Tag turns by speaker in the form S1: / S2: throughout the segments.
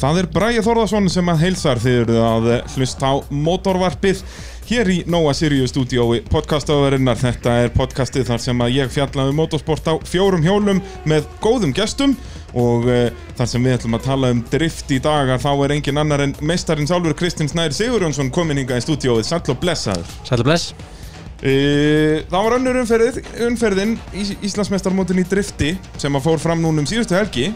S1: Það er Bræði Þorðarsson sem að heilsar þegar þið eruð að hlusta á mótorvarpið hér í Nóa Sirius stúdiói podcastaðurinnar. Þetta er podcastið þar sem að ég fjalla um motorsport á fjórum hjólum með góðum gestum og uh, þar sem við ætlum að tala um drift í dagar þá er engin annar en meistarinn Sálfur Kristins Nær Sigurjónsson komin hinga í stúdióið. Sæll og blessaður.
S2: Sætla bless
S1: Uh, það var önnur umferð, umferðin í Íslandsmeistarmótin í drifti sem að fór fram núna um síðustu helgi.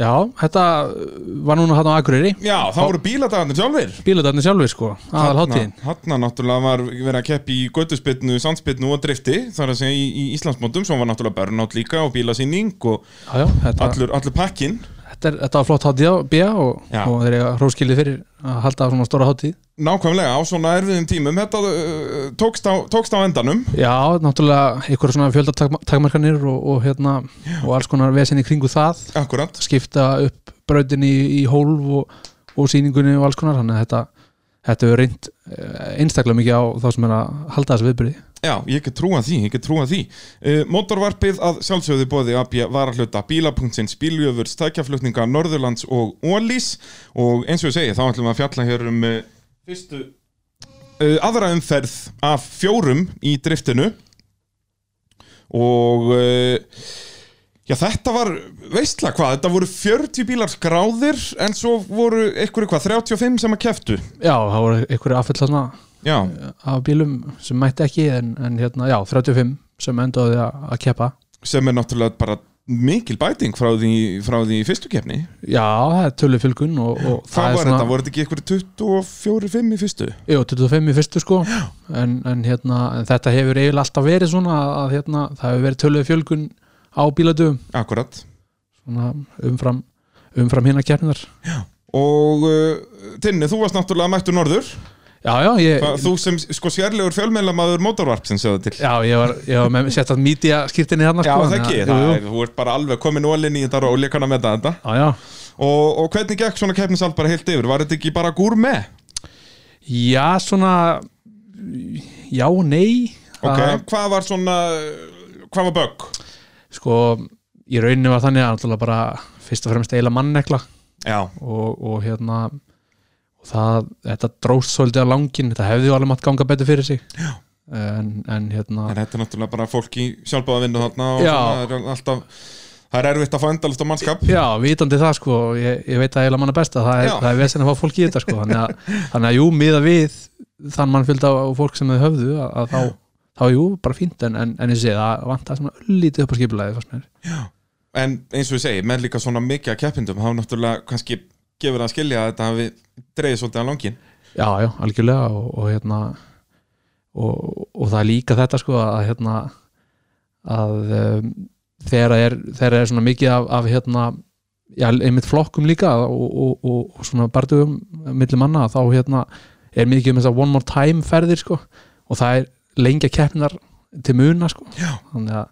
S2: Já, þetta uh, var núna hann á Akureyri
S1: Já, þá voru bíladagarnir sjálfur.
S2: Bíladarnir sjálfur sko, aðal hátíðin
S1: Hanna náttúrulega var verið að keppi í göttuspinnu, sandspinnu og drifti þar að segja í, í Íslandsmótum sem var náttúrulega burnout líka og bílasýning og
S2: Já, já, þetta,
S1: allur, allur pakkin
S2: þetta, er, þetta var flott hátíð á BIA og,
S1: Já.
S2: og þeir eru hróskilið fyrir að halda svona stóra hátíð
S1: nákvæmlega á svona erfiðum tímum þetta uh, tókst, á, tókst á endanum
S2: Já, náttúrulega einhverja svona fjöldatakmarkanir og, og hérna og alls konar vesinni kringu það
S1: akkurat
S2: skipta upp brautinni í, í hólf og, og sýningunni og alls konar þannig að þetta, þetta hefur reynd eh, einstaklega mikið á þá sem er að halda þessu viðbyrði
S1: Já, ég get trúa því, ég get trúa því uh, Mótorvarpið að sjálfsögðu bóði AB varahluta bíla.sins, bíljöfur, stækjaflutninga Norðurlands og Ólís og eins og ég segi, þá ætlum við að fjalla hér um uh, fyrstu uh, aðra umferð af fjórum í driftinu og uh, já, þetta var veistla hvað, þetta voru 40 bílar skráðir en svo voru ykkur eitthvað 35 sem að keftu
S2: Já, það voru einhverju affell þarna
S1: Já,
S2: af bílum sem mætti ekki en, en hérna, já, 35 sem endaði að, að keppa
S1: sem er náttúrulega bara mikil bæting frá því, frá því í fyrstu kefni
S2: Já, það er tölu fylgun og, og
S1: Hvað
S2: er
S1: var þetta? Voru þetta ekki ykkur 24-5 í fyrstu?
S2: Jú, 25 í fyrstu sko en, en, hérna, en þetta hefur eiginlega alltaf verið svona að- að hérna, það hefur verið tölu fjölgun á bíladöfum
S1: Akkurat
S2: svona umfram, umfram hérna kefninar
S1: Og uh, Tinni, þú varst náttúrulega mættur norður
S2: Já, já, ég,
S1: Hva, Þú sem sko sérlegur fjölmeilamaður mótorvarp sem séða til
S2: já, ég var, ég var með sett að mítja skýrtinni þarna
S1: Já,
S2: sko,
S1: það
S2: þannig
S1: ekki,
S2: að-
S1: það
S2: jú, jú.
S1: er, þú ert bara alveg komin ólinn í þetta og leikana með þetta
S2: Já, já,
S1: og, og hvernig gekk svona keppnisald bara heilt yfir? Var þetta ekki bara gúr með?
S2: já, svona já, nei
S1: Ok,
S2: Það-
S1: hvað var svona hvað var bögg?
S2: sko, í rauninni var þannig að náttúrulega bara fyrst og fremst eila mannekla
S1: Já,
S2: og, og hérna og það, þetta dróst svolítið á langin þetta hefði alveg mátt ganga betur fyrir sig en, en hérna
S1: en þetta er náttúrulega bara fólk í sjálfbáða vinnu þarna og
S2: Já.
S1: svona, það er alltaf það er erfitt að fá endalist á mannskap
S2: já, vitandi það sko, ég, ég veit að eila manna besta það er,
S1: Já.
S2: það er vesinn að fá fólk í þetta sko þannig að, þannig að jú, miða við þann mann fylgd á fólk sem þau höfðu að, að þá, þá jú, bara fínt en, en, en ég sé það vantaði svona öllítið upp á skipulagi fannst mér.
S1: en eins og ég segi, með líka svona mikið að keppindum þá náttúrulega kannski gefur það að skilja að þetta hafi dreigð svolítið að langin
S2: Já, já, algjörlega og, og hérna og, og það er líka þetta sko að hérna að um, þegar það er, þegar það er svona mikið af, af hérna já, einmitt flokkum líka og, og, og, og svona barndugum milli manna þá hérna er mikið um þess að one more time ferðir sko og það er lengja keppnar til muna sko
S1: Já.
S2: þannig að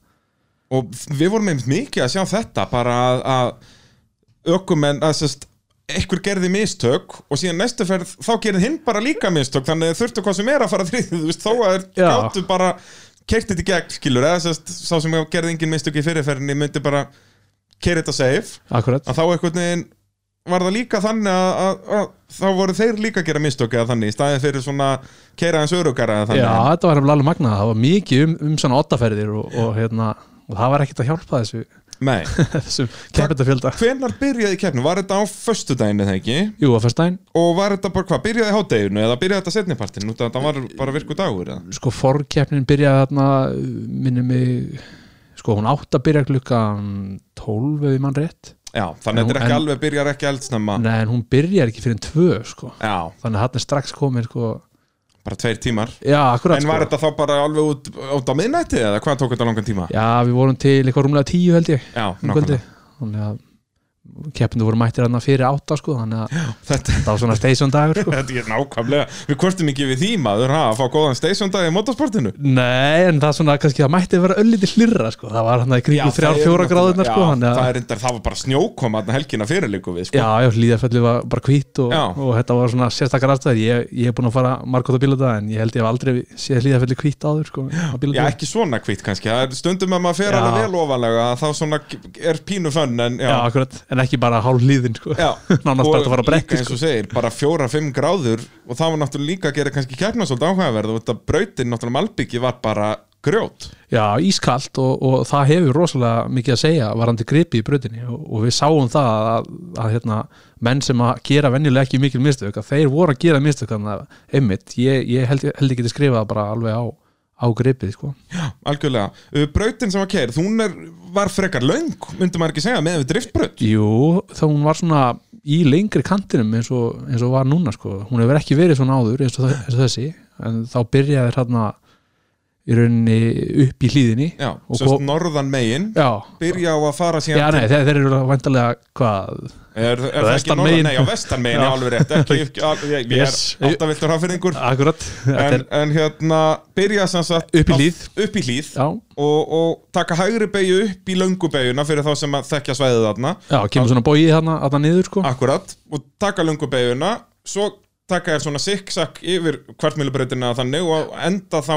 S1: og við vorum einmitt mikið að sjá þetta bara að, að ökumenn að sérst einhver gerði mistök og síðan næstu ferð þá gerði hinn bara líka mistök þannig að þurftu hvað sem er að fara þrið þú veist, þó að þeir
S2: Já.
S1: gáttu bara kert þetta í gegn skilur eða sérst sá sem gerði engin mistök í fyrirferðinni myndi bara kerið þetta safe
S2: akkurat
S1: að þá einhvern veginn var það líka þannig að, að, að þá voru þeir líka að gera mistök eða þannig í staðið fyrir svona keira hans örugara eða
S2: Já,
S1: þannig
S2: þetta var alveg alveg magnað, það var mikið um, um svona ottaferðir og, og hérna og það var ekkert að hjálpa þessu,
S1: Nei,
S2: þessum keppendafjölda
S1: hvenar byrjaði keppni? Var þetta á föstudaginu þegar ekki?
S2: Jú, að fyrstæðin
S1: Og var þetta bara hvað? Byrjaði í hádeginu eða byrjaði þetta setnipartin? Nú þetta var bara virku dagur eða?
S2: sko forkeppnin byrjaði þarna minni mig sko hún átt að byrja klukkan 12 ef ég mann rétt
S1: Já, þannig að þetta er ekki
S2: En-
S1: alveg byrjar ekki eldsnemma
S2: nei en hún byrjar ekki fyrir en 2 sko
S1: Já,
S2: þannig að hann er strax komin sko
S1: bara tveir tímar
S2: já akkurat
S1: En var
S2: sko
S1: þetta þá bara alveg út, út á miðnætti eða hvað tók þetta langan tíma?
S2: já við vorum til eitthvað rúmlega 10 held ég
S1: Já,
S2: um kvöldi þannig að keppinu voru mættir þarna fyrir 8 sko þannig að
S1: Þetta,
S2: það var svona station dagur sko
S1: þetta er nákvæmlega Við kvortum ekki við því maður ha, að fá góðan station dag í motorsportinu
S2: Nei, en það svona kannski, það mætti vera öllítið hlirra sko, það var hann að
S1: Já,
S2: kringu
S1: það
S2: þrjár,
S1: er
S2: fjóra
S1: náttúrulega-
S2: gráðunar sko,
S1: já,
S2: þannig að-
S1: það, er reyndar, það var bara snjókoma þarna helgina fyrir líku við sko.
S2: Já, já, hlýðarfjalli var bara hvít og,
S1: Já.
S2: og þetta var svona sérstakar aðstæður ég, ég er búin að fara margótt á bílada en ég held ég hef aldrei séð hlýðarfjalli hvít áður sko, á
S1: Já,
S2: bílada
S1: ekki svona kvitt kannski Það er stundum að maður fer
S2: Já.
S1: alveg vel ofanlega að Þá svona er pínu fönn en, já,
S2: akkurat, en ekki bara hálf líðin sko.
S1: Já,
S2: nánast bara að fara að bretti
S1: eins
S2: sko.
S1: og segir, bara fjóra, fimm gráður og það var náttúrulega líka að gera kannski kjarnar svolítið áhugaverð og þetta brautin náttúrulega malbyggi var bara grjót
S2: já, ískalt og, og það hefur rosalega mikið að segja varandi gripi í bröðinni og, og við sáum það að, að, hérna, menn sem að gera venjulega ekki mikil mistök að þeir voru að gera mistök þannig að einmitt, ég, ég held, held ekki að skrifa það bara alveg á, á gripið sko.
S1: algjörlega, Uh, brautin sem var kærð hún er, var frekar löng myndum maður ekki segja, með við driftbraut
S2: Jú, þá hún var svona í lengri kantinum eins og, eins og var núna sko. hún hefur ekki verið svona áður eins og, þa- eins og þessi en þá byrjaði hérna í rauninni upp í hlýðinni
S1: já,
S2: Og
S1: sérst
S2: hvo-
S1: norðan megin
S2: já,
S1: byrja á að fara
S2: já
S1: síðan
S2: nei, þeir, þeir eru væntalega hvað
S1: er, er það ekki
S2: vestan
S1: norðan,
S2: megin.
S1: nei, á vestan megin já.
S2: Já.
S1: alveg rétt, ekki, ekki al, ég, ég
S2: Yes.
S1: er áttaviltur hafyrringur
S2: akkurat þetta
S1: en,
S2: er,
S1: en hérna, byrja sem sagt
S2: Upp í
S1: á-
S2: hlíð.
S1: upp í hlíð
S2: já,
S1: og, og taka hægri beigju upp í löngu beigjuna fyrir þá sem að þekkja svæðið þarna
S2: já, kemur svona bóið þarna, þarna niður sko.
S1: akkurat, og taka löngu beigjuna svo taka þér svona siksak yfir kvartmjölubreytina þannig og enda þá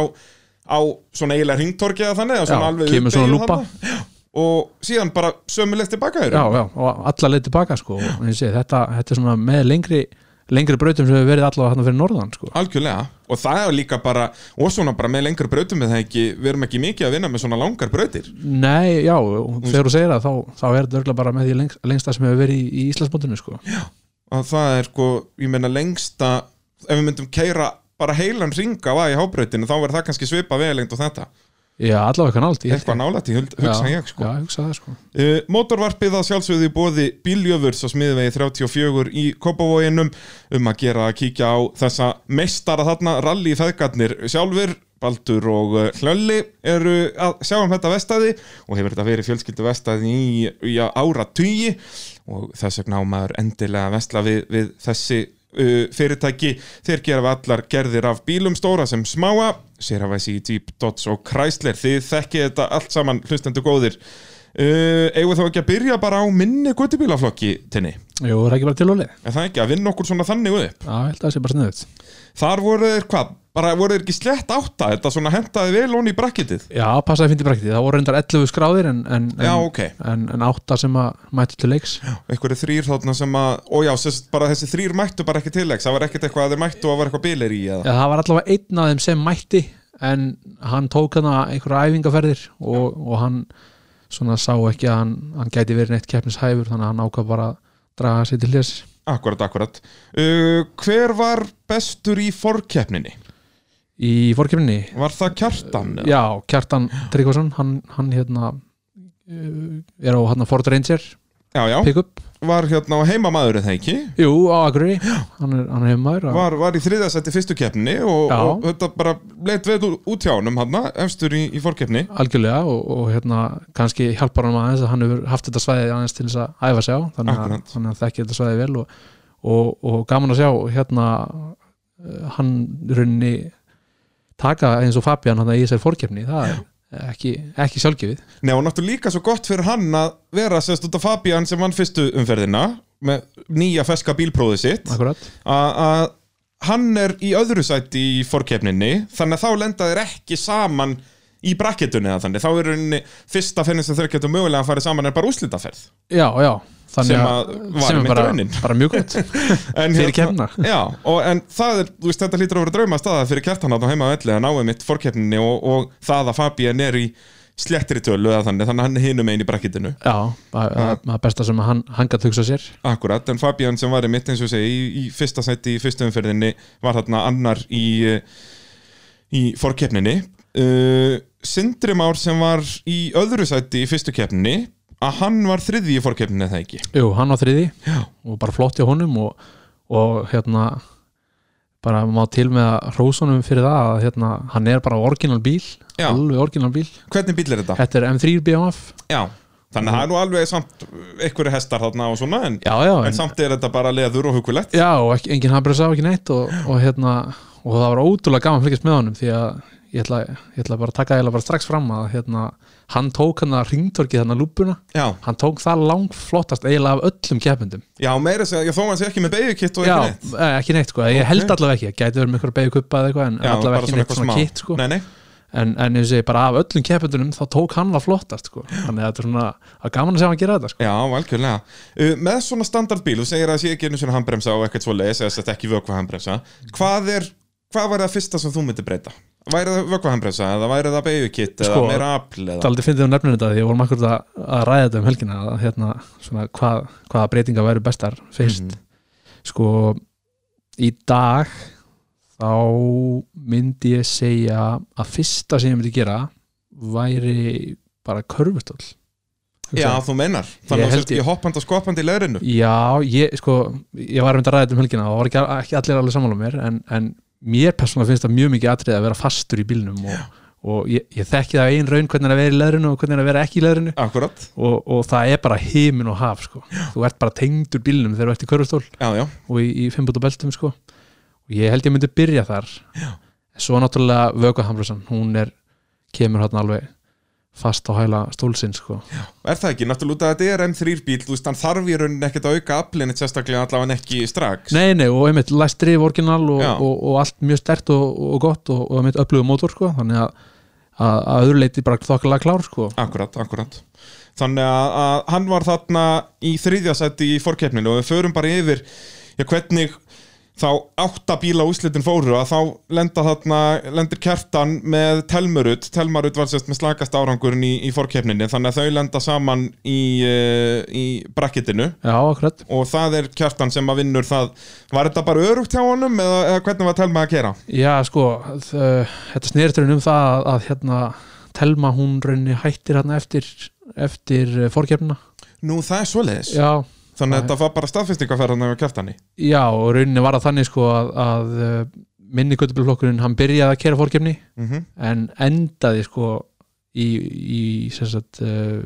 S1: á svona eiginlega hringtorkiða þannig eða svona
S2: Já,
S1: alveg
S2: kemur svona
S1: beygju
S2: lúpa.
S1: þarna. Já, og síðan bara sömulegt tilbaka þér
S2: já, já, og alla leið tilbaka sko. Og ég segi, þetta, þetta er svona með lengri lengri brautum sem hefur verið allavega hérna fyrir norðan sko.
S1: Algjörlega, og það er líka bara og svona bara með lengur brautum við, það ekki, við erum ekki mikið að vinna með svona langar brautir
S2: Nei, já, og þegar þú segir það þá, þá er þetta örgulega bara með því lengst, lengsta sem hefur verið í, í Íslandsbóndinu sko.
S1: að það er sko, ég meina lengsta ef við myndum keira bara heilan ringa á aði hábrautinu, þá verður það kannski svipa vegilegnd og þetta,
S2: Já, allavega kannált
S1: eitthvað nálætt í huld- hugsa ég sko.
S2: Já, hugsa það sko
S1: Uh, Mótorvarpið að sjálfsögðu í bóði Bíljöfurs á smiðvegi 34 í Kópavóginum um að gera að kíkja á þessa meistara þarna rally feðgarnir sjálfur Baldur og uh, Hlölli eru að sjá um þetta vestæði og hefur þetta verið fjölskyldu vestæði í, í ára tugi og þess vegna á maður endilega að vestla við, við þessi uh, fyrirtæki þeir gera við allar gerðir af bílum stóra sem smáa sér að væsi í Jeep, Dodge og Chrysler þið þekkið þetta allt saman hlustendu góðir Uh, eigum við þá ekki að byrja bara á minni guttibílaflokki tenni,
S2: Jú, það er ekki bara til ólið Já,
S1: en það er ekki að vinna okkur svona þannig upp
S2: ég held að það sé bara sniðut
S1: þar voru þeir hvað, bara voru þeir ekki slett átta þetta svona hendaði vel honi í brakkitið
S2: Já, passaði fint í brekti, það voru reyndar 11 skráðir en, en, en,
S1: já ok,
S2: en, en 8 sem að mættu til leiks
S1: einhverju þrýr þarna sem að, og já, sérst, bara þessi þrýr mættu bara ekki tilleggs, það var ekkert eitthvað að þeir mættu og það var eitthvað bílir í eða,
S2: Já, það var allavega einn af þeim sem mætti en hann tók hana einhverja æfingaferðir og, og hann svona sá ekki að hann, hann gæti verið neitt keppnishæfur þannig að hann ákvað bara að draga sér til hljés
S1: akkurat, akkurat uh, hver var bestur í forkeppninni,
S2: í fórkjöfninni
S1: var það kjartan? eða?
S2: Já, Kjartan Tryggvason hann, hann hérna eh, er á hérna Ford Ranger
S1: já, já,
S2: pick-up,
S1: var hérna á heimamaðurinn það ekki
S2: jú á Akureyri hann er, hann er maður að-
S1: var, var í þriðasætti fyrstu keppni og,
S2: Já.
S1: og þetta bara leitt veð út hjá honum hann, efstur í, í fórkeppni
S2: algjörlega og, og hérna kannski hjálpar hann aðeins að hann hefur haft þetta svæði aðeins til þess að æfa sig á þannig að,
S1: Akkurat.
S2: þannig að þekki þetta svæði vel og, og, og gaman að sjá hérna eh, hann í rauninni taka eins og Fabian hann í þessari fórkefni það er ekki, ekki sjálfgefið
S1: Nei og náttúrulega líka svo gott fyrir hann að vera sérst út af Fabian sem vann fyrstu umferðina með nýja feska bílpróði sitt
S2: akkurat
S1: að að hann er í öðru sæti í fórkeppninni þannig að þá lenda þeir ekki saman í brakketunni eða þannig þá er rauninni fyrsta fennin sem þeir getur mögulega að fara saman er bara úslitaferð
S2: já, já þannig
S1: Sem
S2: að
S1: að var
S2: sem
S1: einmitt
S2: er bara,
S1: raunin.
S2: bara mjög gott
S1: En
S2: fyrir
S1: hérna-
S2: kemna
S1: Já, og, en það er, þú veist, þetta hlýtur að vera drauma staða fyrir kjartan á heima á elli að náum mitt fórkeppninni og, og það að Fabian er í slettri tölu eða þannig, þannig að hann er hinum einn í brakkitinu
S2: Já, það það- það er besta sem hann, hann gætt hugsa sér
S1: Akkurat, en Fabian sem var í mitt eins og ég segi í, í fyrsta seti í fyrstu umferðinni var þarna annar í eh, í fórkeppninni uh, Sindri Már sem var í öðru seti í fyrstu keppninni að hann var þriði í fórkeppninni eða ekki
S2: Jú, hann á þriði
S1: Já.
S2: og bara flott hjá honum og, og hérna bara má til með að hrósa honum fyrir það að hérna, hann er bara orginal bíl
S1: Já.
S2: alveg orginal bíl
S1: Hvernig bíl er þetta?
S2: Þetta er M3 BMF
S1: Já, þannig að það er nú alveg samt einhverju hestar þarna og svona en,
S2: Já, já,
S1: en
S2: en,
S1: samt er þetta bara leður og hugulegt
S2: já og ekki, engin hafbrið sá ekki neitt og, og hérna og það var ótrúlega gaman að fylgjast með honum því að ég ætla, ég ætla bara að taka eða bara strax fram að hérna, hann tók hérna hann að ringtorkið hann að lúpuna
S1: Já,
S2: hann tók það langflottast eiginlega af öllum keppendum
S1: já meira að segja, ég þó hann sé ekki með beigjukitt og
S2: Já,
S1: ekki neitt
S2: sko. eh, ekki neitt sko, ég held allavega ekki gæti verið með einhverja beigju kuppa eða eitthvað en
S1: Já,
S2: allavega
S1: bara
S2: ekki
S1: svona eitthvað
S2: neitt svona
S1: smá.
S2: kitt sko
S1: Nei, nei,
S2: en, en eins og ég bara af öllum keppendunum þá tók hann það flottast sko. þannig að þetta er svona, það er gaman að sjá hann gera þetta sko.
S1: Já, algjörlega. Uh, með svona standardbíl, þú segir að það sé ekki einu svona handbremsa og ekkert svo leis, eða sett ekki vökva handbremsa. Hvað er, hvað var það fyrsta sem þú myndir breyta? Væri það vökva handbremsa, eða væri það beigjukitt, eða
S2: Sko,
S1: meira afl, eða?
S2: Það er aldrei fyndið á nefninu þetta því við vorum akkur að, að ræða þetta um helgina að hérna, svona, hvað, hvaða breytinga væru bestar fyrst
S1: Mhm.
S2: sko, í dag þá myndi ég segja að fyrsta sem ég myndi gera væri bara körfustól
S1: Já, þú meinar. Þannig
S2: Ég
S1: að þú
S2: held
S1: sért
S2: ég-
S1: ekki hoppandi og skoppandi í leirinu.
S2: Já, ég, sko, ég var að mynda að ræða þetta um helgina og það var ekki, ekki allir alveg sammála um mér en, en mér persónulega finnst það mjög mikið atrið að vera fastur í bílnum og, og ég, ég þekki það af ein raun hvernig er að vera í leðrinu og hvernig er að vera ekki í leðrinu
S1: Akkurat.
S2: og, og það er bara heimin og haf sko. þú ert bara tengdur bílnum þegar þú ert í körfustól
S1: Já, já.
S2: og í, í fimmbúta beltum sko. og ég held ég myndi byrja þar
S1: Já.
S2: svo náttúrulega vökuhamrössan hún er, kemur hérna alveg fast á hæla stólsinn sko.
S1: Er það ekki? Náttúrulega út að þetta er M3 bíl, þú veist, hann þarf í rauninni ekkert að auka aflinn, sérstaklega allavega ekki strax.
S2: nei, nei, og einmitt læstrið orginal og,
S1: Já.
S2: og, og allt mjög stert og, og gott og, og einmitt upplöfu mótor sko. þannig að að að öðru leiti bara þokkalega klár sko.
S1: Akkurat, akkurat Þannig að, að hann var þarna í þriðjasætti í fórkeppninu og við förum bara yfir já, hvernig þá átta bíla úslitin fóru að þá lenda þarna, lendir kertan með Telmurut, Telmarut var sérst með slakast árangurinn í, í fórkeppninu þannig að þau lenda saman í, eh, í brakkitinu
S2: já, akkurat
S1: og það er kertan sem að vinnur það var þetta bara örugt hjá honum eða, eða hvernig var Telma að gera?
S2: Já, sko, þ- þetta snerturinn um það að, að hérna, Telma hún raunni hættir hérna eftir, eftir fórkefnina.
S1: Nú það er svoleiðis
S2: Já,
S1: þannig að þetta var bara staðfestingaferðan með kertani
S2: já, og rauninni var það þannig sko að, að eh, minni göttubillflokkurinn hann byrjaði að kera fórkefni
S1: mm
S2: en endaði sko í, í, sem sagt, eh,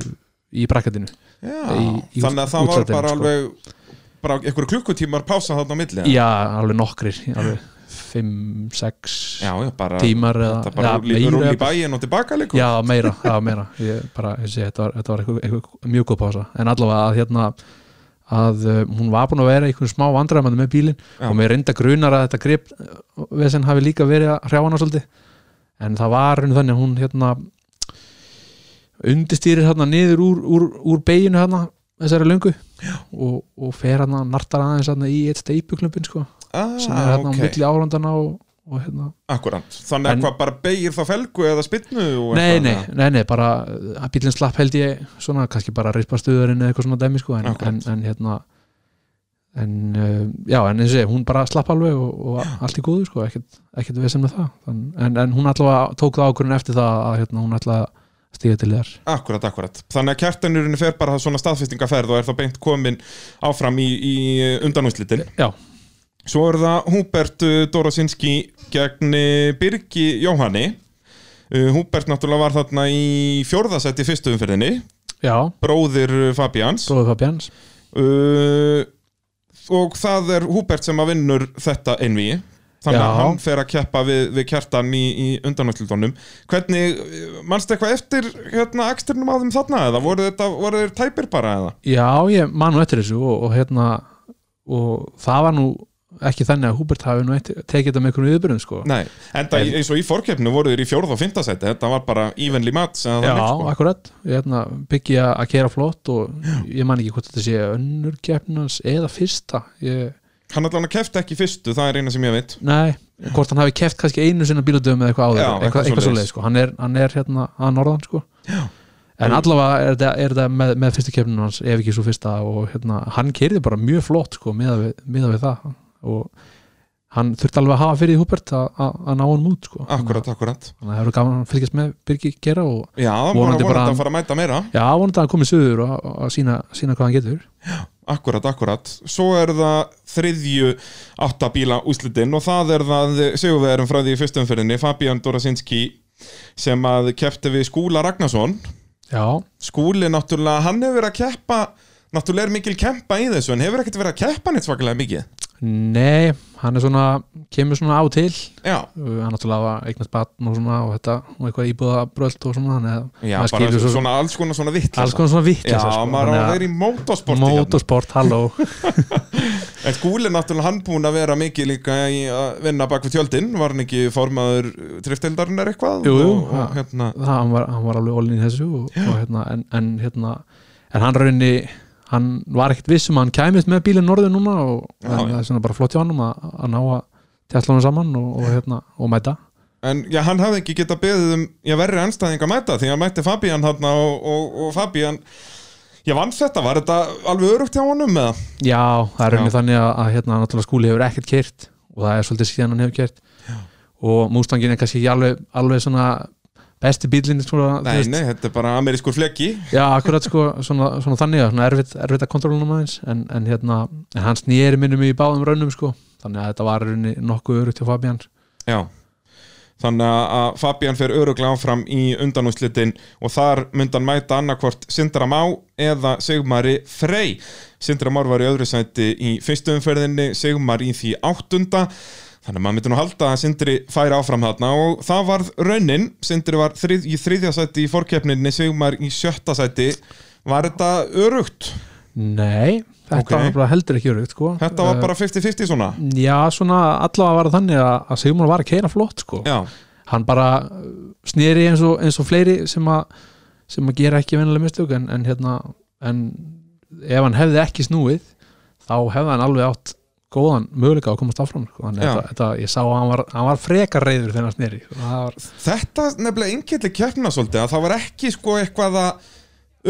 S2: í brakkatinu.
S1: Já,
S2: í- í
S1: þannig að það var
S2: útlandinu,
S1: bara
S2: sko.
S1: alveg bara einhverju klukkutímar pása þarna á milli
S2: Já. alveg nokkrir, alveg fimm, sex
S1: já, já, bara
S2: tímar eða
S1: þetta bara
S2: já,
S1: rúli, rúli í
S2: meira
S1: sko.
S2: jafnvel.
S1: bæin og tilbaka líka
S2: Já, meira, já, meira ég bara, ég sé, þetta var, þetta var eitthvað, eitthvað mjög góð pása en allavega að hérna að uh, hún var búin að vera í einhvern smá vandræðamann með bílinn
S1: Já.
S2: og mér reynda grunar að þetta grip eh, vesen hafi líka verið að hrjá hana svolítið en það var hún þannig að hún hérna undistýrir hérna niður úr, úr, úr beginu hérna þessari löngu og, og fer hérna nartar aðeins hérna í eitt steipuklumpin sko sem er
S1: ah,
S2: hérna á
S1: ok,
S2: milli árandana og, og hérna
S1: akkurant þannig að
S2: En-
S1: hvað bara beigir þá felgu eða spinnu og
S2: nei,
S1: eitthvað,
S2: nei,
S1: eða?
S2: nei, nei, bara að bílinn slapp held ég svona, kannski bara rispa stuðurinn eða eitthvað svona dæmi sko, en, en,
S1: Akkurat.
S2: en hérna en uh, já, en eins og ég, hún bara slapp alveg og, og allt í góðu sko, ekkert, ekkert við sem með það Þann, en, en hún allavega tók það ákvörðin eftir það að hérna, hún allavega stíða til þér
S1: akkurat, akkurat, þannig að kertanurinn fer bara svona staðfestingaferð og er þá beint komin áfram í, í undanúslitin
S2: já,
S1: Svo er það Húbert uh, Dorosinski gegn uh, Birgi Jóhanni Uh, Húbert náttúrulega var þarna í fjórðasætti fyrstu umferðinni,
S2: já,
S1: bróðir uh, Fabians
S2: bróðið Fabians
S1: uh, og það er Húbert sem að vinnur þetta einví þannig að
S2: Já.
S1: hann fer að keppa við, við kjartan í, í undanáttlítunum hvernig, uh, manstu eitthvað eftir hérna eksternum á þeim þarna eða voru þetta, voru þeir tæpir bara eða
S2: já, ég man nú eftir þessu og, og hérna og það var nú ekki þannig að Húbert hafi nú eftir, tekið þetta með einhvern viðbyrjum sko
S1: Nei, enda en, eins og í fórkeppnu voru þeir í fjórða og fintasæti, þetta var bara evenly match eða
S2: Já,
S1: þannig, sko.
S2: akkurat, ég hérna, byggi að að kera flott og ég man ekki hvort þetta sé önnur keppnans eða fyrsta ég,
S1: Hann allan að kefta ekki í fyrstu, það er eina sem ég veit
S2: nei, hvort hann hafi keft kannski einu sinna bíladöfum eða eitthvað áður,
S1: Já, eitthvað
S2: eitthvað, eitthvað
S1: svoleiðis.
S2: svoleið sko. hann, er, hann er hérna að norðan sko. en allavega er þetta, er þetta með, með fyrstu keppninu hans, ef ekki svo fyrsta og hérna, hann kerði bara mjög flott sko, miða við, miðað við það og hann þurfti alveg að hafa fyrir í Húbert að- að að ná hann út sko.
S1: Akkurat, akkurat
S2: þannig að það eru gaman að fylgjast með Birgi gera og
S1: Já, það var
S2: Vonandi
S1: vonandi
S2: bara-
S1: að fara að mæta meira
S2: já, vonandi að hann komið sögur og, og, og sína, sína hvað hann getur
S1: Akkurat, akkurat. Svo er það þriðju áttabíla úslitin og það er það segjuverum frá því í fyrstu umferðinni, Fabian Dorasinski sem að keppti við Skúla Ragnarsson.
S2: já,
S1: Skúli náttúrulega, hann hefur verið að keppa, náttúrulega er mikil kempa í þessu en hefur ekkert verið að keppa neitt svakalega mikið.
S2: Nei, hann er svona kemur svona á og til
S1: Já,
S2: Uh, hann náttúrulega var eignast batn og svona og þetta og eitthvað íbúðabröld og svona þannig að
S1: já
S2: maður
S1: bara
S2: skilur svo,
S1: svona alls konar svona vitt.
S2: sko, alls konar svona vitt
S1: hérna. Já, maður á að vera í mótorsporti
S2: Mótosport, halló
S1: En skúli náttúrulega hann búin að vera mikið líka í að vinna bak við tjöldin Var hann ekki formaður driftildarinnar eitthvað?
S2: Jú, jú,
S1: og, og,
S2: ha.
S1: hérna,
S2: það, hann, var, hann var alveg olin í þessu og, og hérna, en, en, hérna, en hann raunni hann var ekkert viss um að hann kæmist með bílinn norður núna og
S1: Já,
S2: en
S1: já.
S2: það er svona bara flott hjá hann um að, að ná að tjastla hann saman og, og, hérna, og mæta
S1: En já, hann hafði ekki getað beðið um ég verri anstæðing að mæta því að hann mætti Fabian hann og, og, og Fabian ég vann þetta, var þetta alveg örugt hjá honum eða?
S2: Já, það er raunni
S1: Já.
S2: þannig að, að hérna, náttúrulega skúli hefur ekkert kert og það er svolítið síðan hann hefur kert og Mustangin er kannski ekki alveg, alveg svona besti bílinn svona, þú
S1: Nei,
S2: veist.
S1: nei, þetta er bara amerískur fleki
S2: Já, akkurat sko, svona, svona þannig að svona erfitt, erfitt að kontrólunum aðeins en, en, hérna, en hann snýri minnum í báðum raunum sko, þannig að þetta var í rauninni nokkuð örugt hjá Fabian
S1: Já Þannig að- að Fabian fer öruglega áfram í undanúslitin og þar myndi hann mæta annarkvort Sindra Má eða Sigmari Frey. Sindra Már var í öðru sæti í fyrstu umferðinni, Sigmar í því áttunda. Þannig að maður myndi nú halda að Sindri færi áfram þarna og það varð raunin. Sindri var þrið, í þriðja sæti í fórkeppninni, Sigmar í sjötta sæti. Var þetta örugt?
S2: Nei, þetta
S1: Ok.
S2: var nefnilega heldur ekki örugt sko
S1: Þetta var
S2: Eh,
S1: bara 50-50 svona?
S2: Já, svona allavega var það þannig að, að Sigmar var að keira flott sko
S1: Já,
S2: hann bara uh, snýri eins og, eins og fleiri sem að sem að gera ekki vennilega mistök en, en hérna en ef hann hefði ekki snúið þá hefði hann alveg átt góðan möguleika á að komast áfram sko. þannig
S1: Já.
S2: að þetta- þetta, ég sá að hann var, hann var frekar reyður þegar hann snýri var,
S1: sko- Þetta nefnilega einnkjalli keppna svolítið að það var ekki sko eitthvað að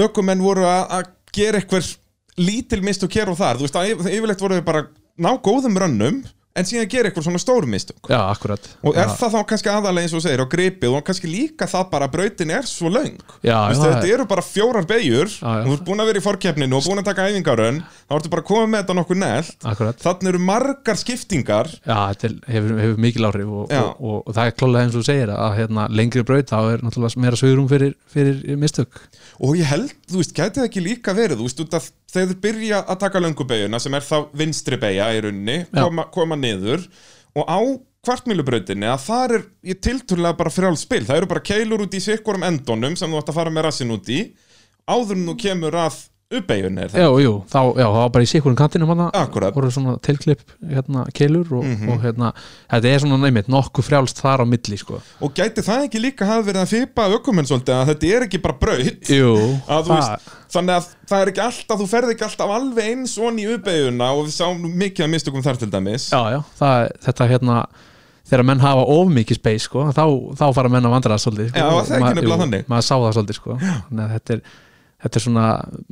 S1: ökumenn voru að, að gera eitthvað lítil mistök hér og þar þú veist að yf- yfirleitt voru þau bara að ná góðum rönnum en síðan gera eitthvað svona stór mistök
S2: já, akkurat
S1: og er
S2: já,
S1: það þá kannski aðalega eins og þú segir á gripið og kannski líka það bara að brautin er svo löng Þú
S2: já, já,
S1: Veist, þetta eru bara fjórar beigjur
S2: Já, já.
S1: og þú ert búin að vera í forkeppninu og búin að taka æfingarönn þá ertu bara að koma með þetta nokkuð nelt
S2: akkurat
S1: þannig eru margar skiptingar
S2: já, þetta er- hefur, hefur mikil áhrif og,
S1: Já.
S2: og, og, og það er klálega eins og þú segir að hérna, lengri braut þá er náttúrulega meira sögurum fyrir, fyrir mistök
S1: Og ég held, þú veist, gæti það ekki líka verið, þú veist, út að þegar þau byrja að taka löngubegjuna sem er þá vinstri beigja í runni,
S2: Já.
S1: koma, koma niður og á kvartmýlubrautinni að þar er ég tilturlega bara frjáls spil, það eru bara keilur út í sikkurum endunum sem þú ætti að fara með rassin út í, áður en þú kemur að uppbeigjunni, er það?
S2: Já, jú, þá, já, það var bara í sikkurum kantinum hana,
S1: Akkurat. Mhm.
S2: voru svona tilklipp hérna, keilur og, og hérna þetta er svona neymið, nokkuð frjálst þar á milli sko.
S1: Og gæti það ekki líka hafa verið að fipa ökumenn svolítið að þetta er ekki bara braut?
S2: Jú,
S1: Að, þú
S2: það,
S1: veist, þannig að það er ekki alltaf, þú ferð ekki alltaf alveg eins og í uppeiguna og við sáum nú mikið að mistökum þar til dæmis.
S2: já, já, það, þetta hérna þegar menn hafa of mikið space sko, þá, þá fara menn að vandra það svolítið sko.
S1: Já, það er ekki
S2: Maður-
S1: nefnilega
S2: jú,
S1: þannig.
S2: Maður sá það svolítið sko. Þannig að þetta er, þetta er svona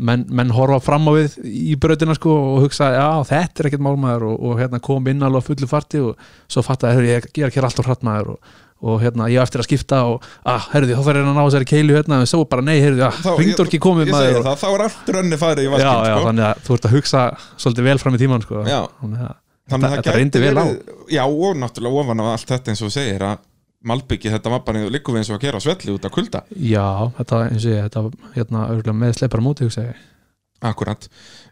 S2: menn, menn horfa fram á við í brautina sko, og hugsa, já, þetta er ekkert málmaður og, og hérna kom inn alveg að fullu farti og svo fatta, herru, ég, ég er ekki alltaf hrattmaður og, og hérna, ég á eftir að skipta og, ah, herru, þá þarf ég að ná þessari keilu hérna, en svo bara, nei, herru, ah, ringdur ekki komið
S1: ég, ég segi
S2: maður og,
S1: það, þá er allt rönni farið í
S2: já,
S1: vaskinn
S2: já,
S1: sko.
S2: þannig að þú ert að hugsa svolítið vel fram í tíman sko.
S1: Já.
S2: þannig að,
S1: þannig
S2: þetta, þetta reyndi vel á
S1: já og náttúrulega ofan af allt þetta eins og þú segir að Malbyggi þetta var bara líku við eins og að gera á svelli út af kulda
S2: Já, þetta eins og ég, þetta hérna örgulega með sleipar móti, hugsa ég.
S1: akkurat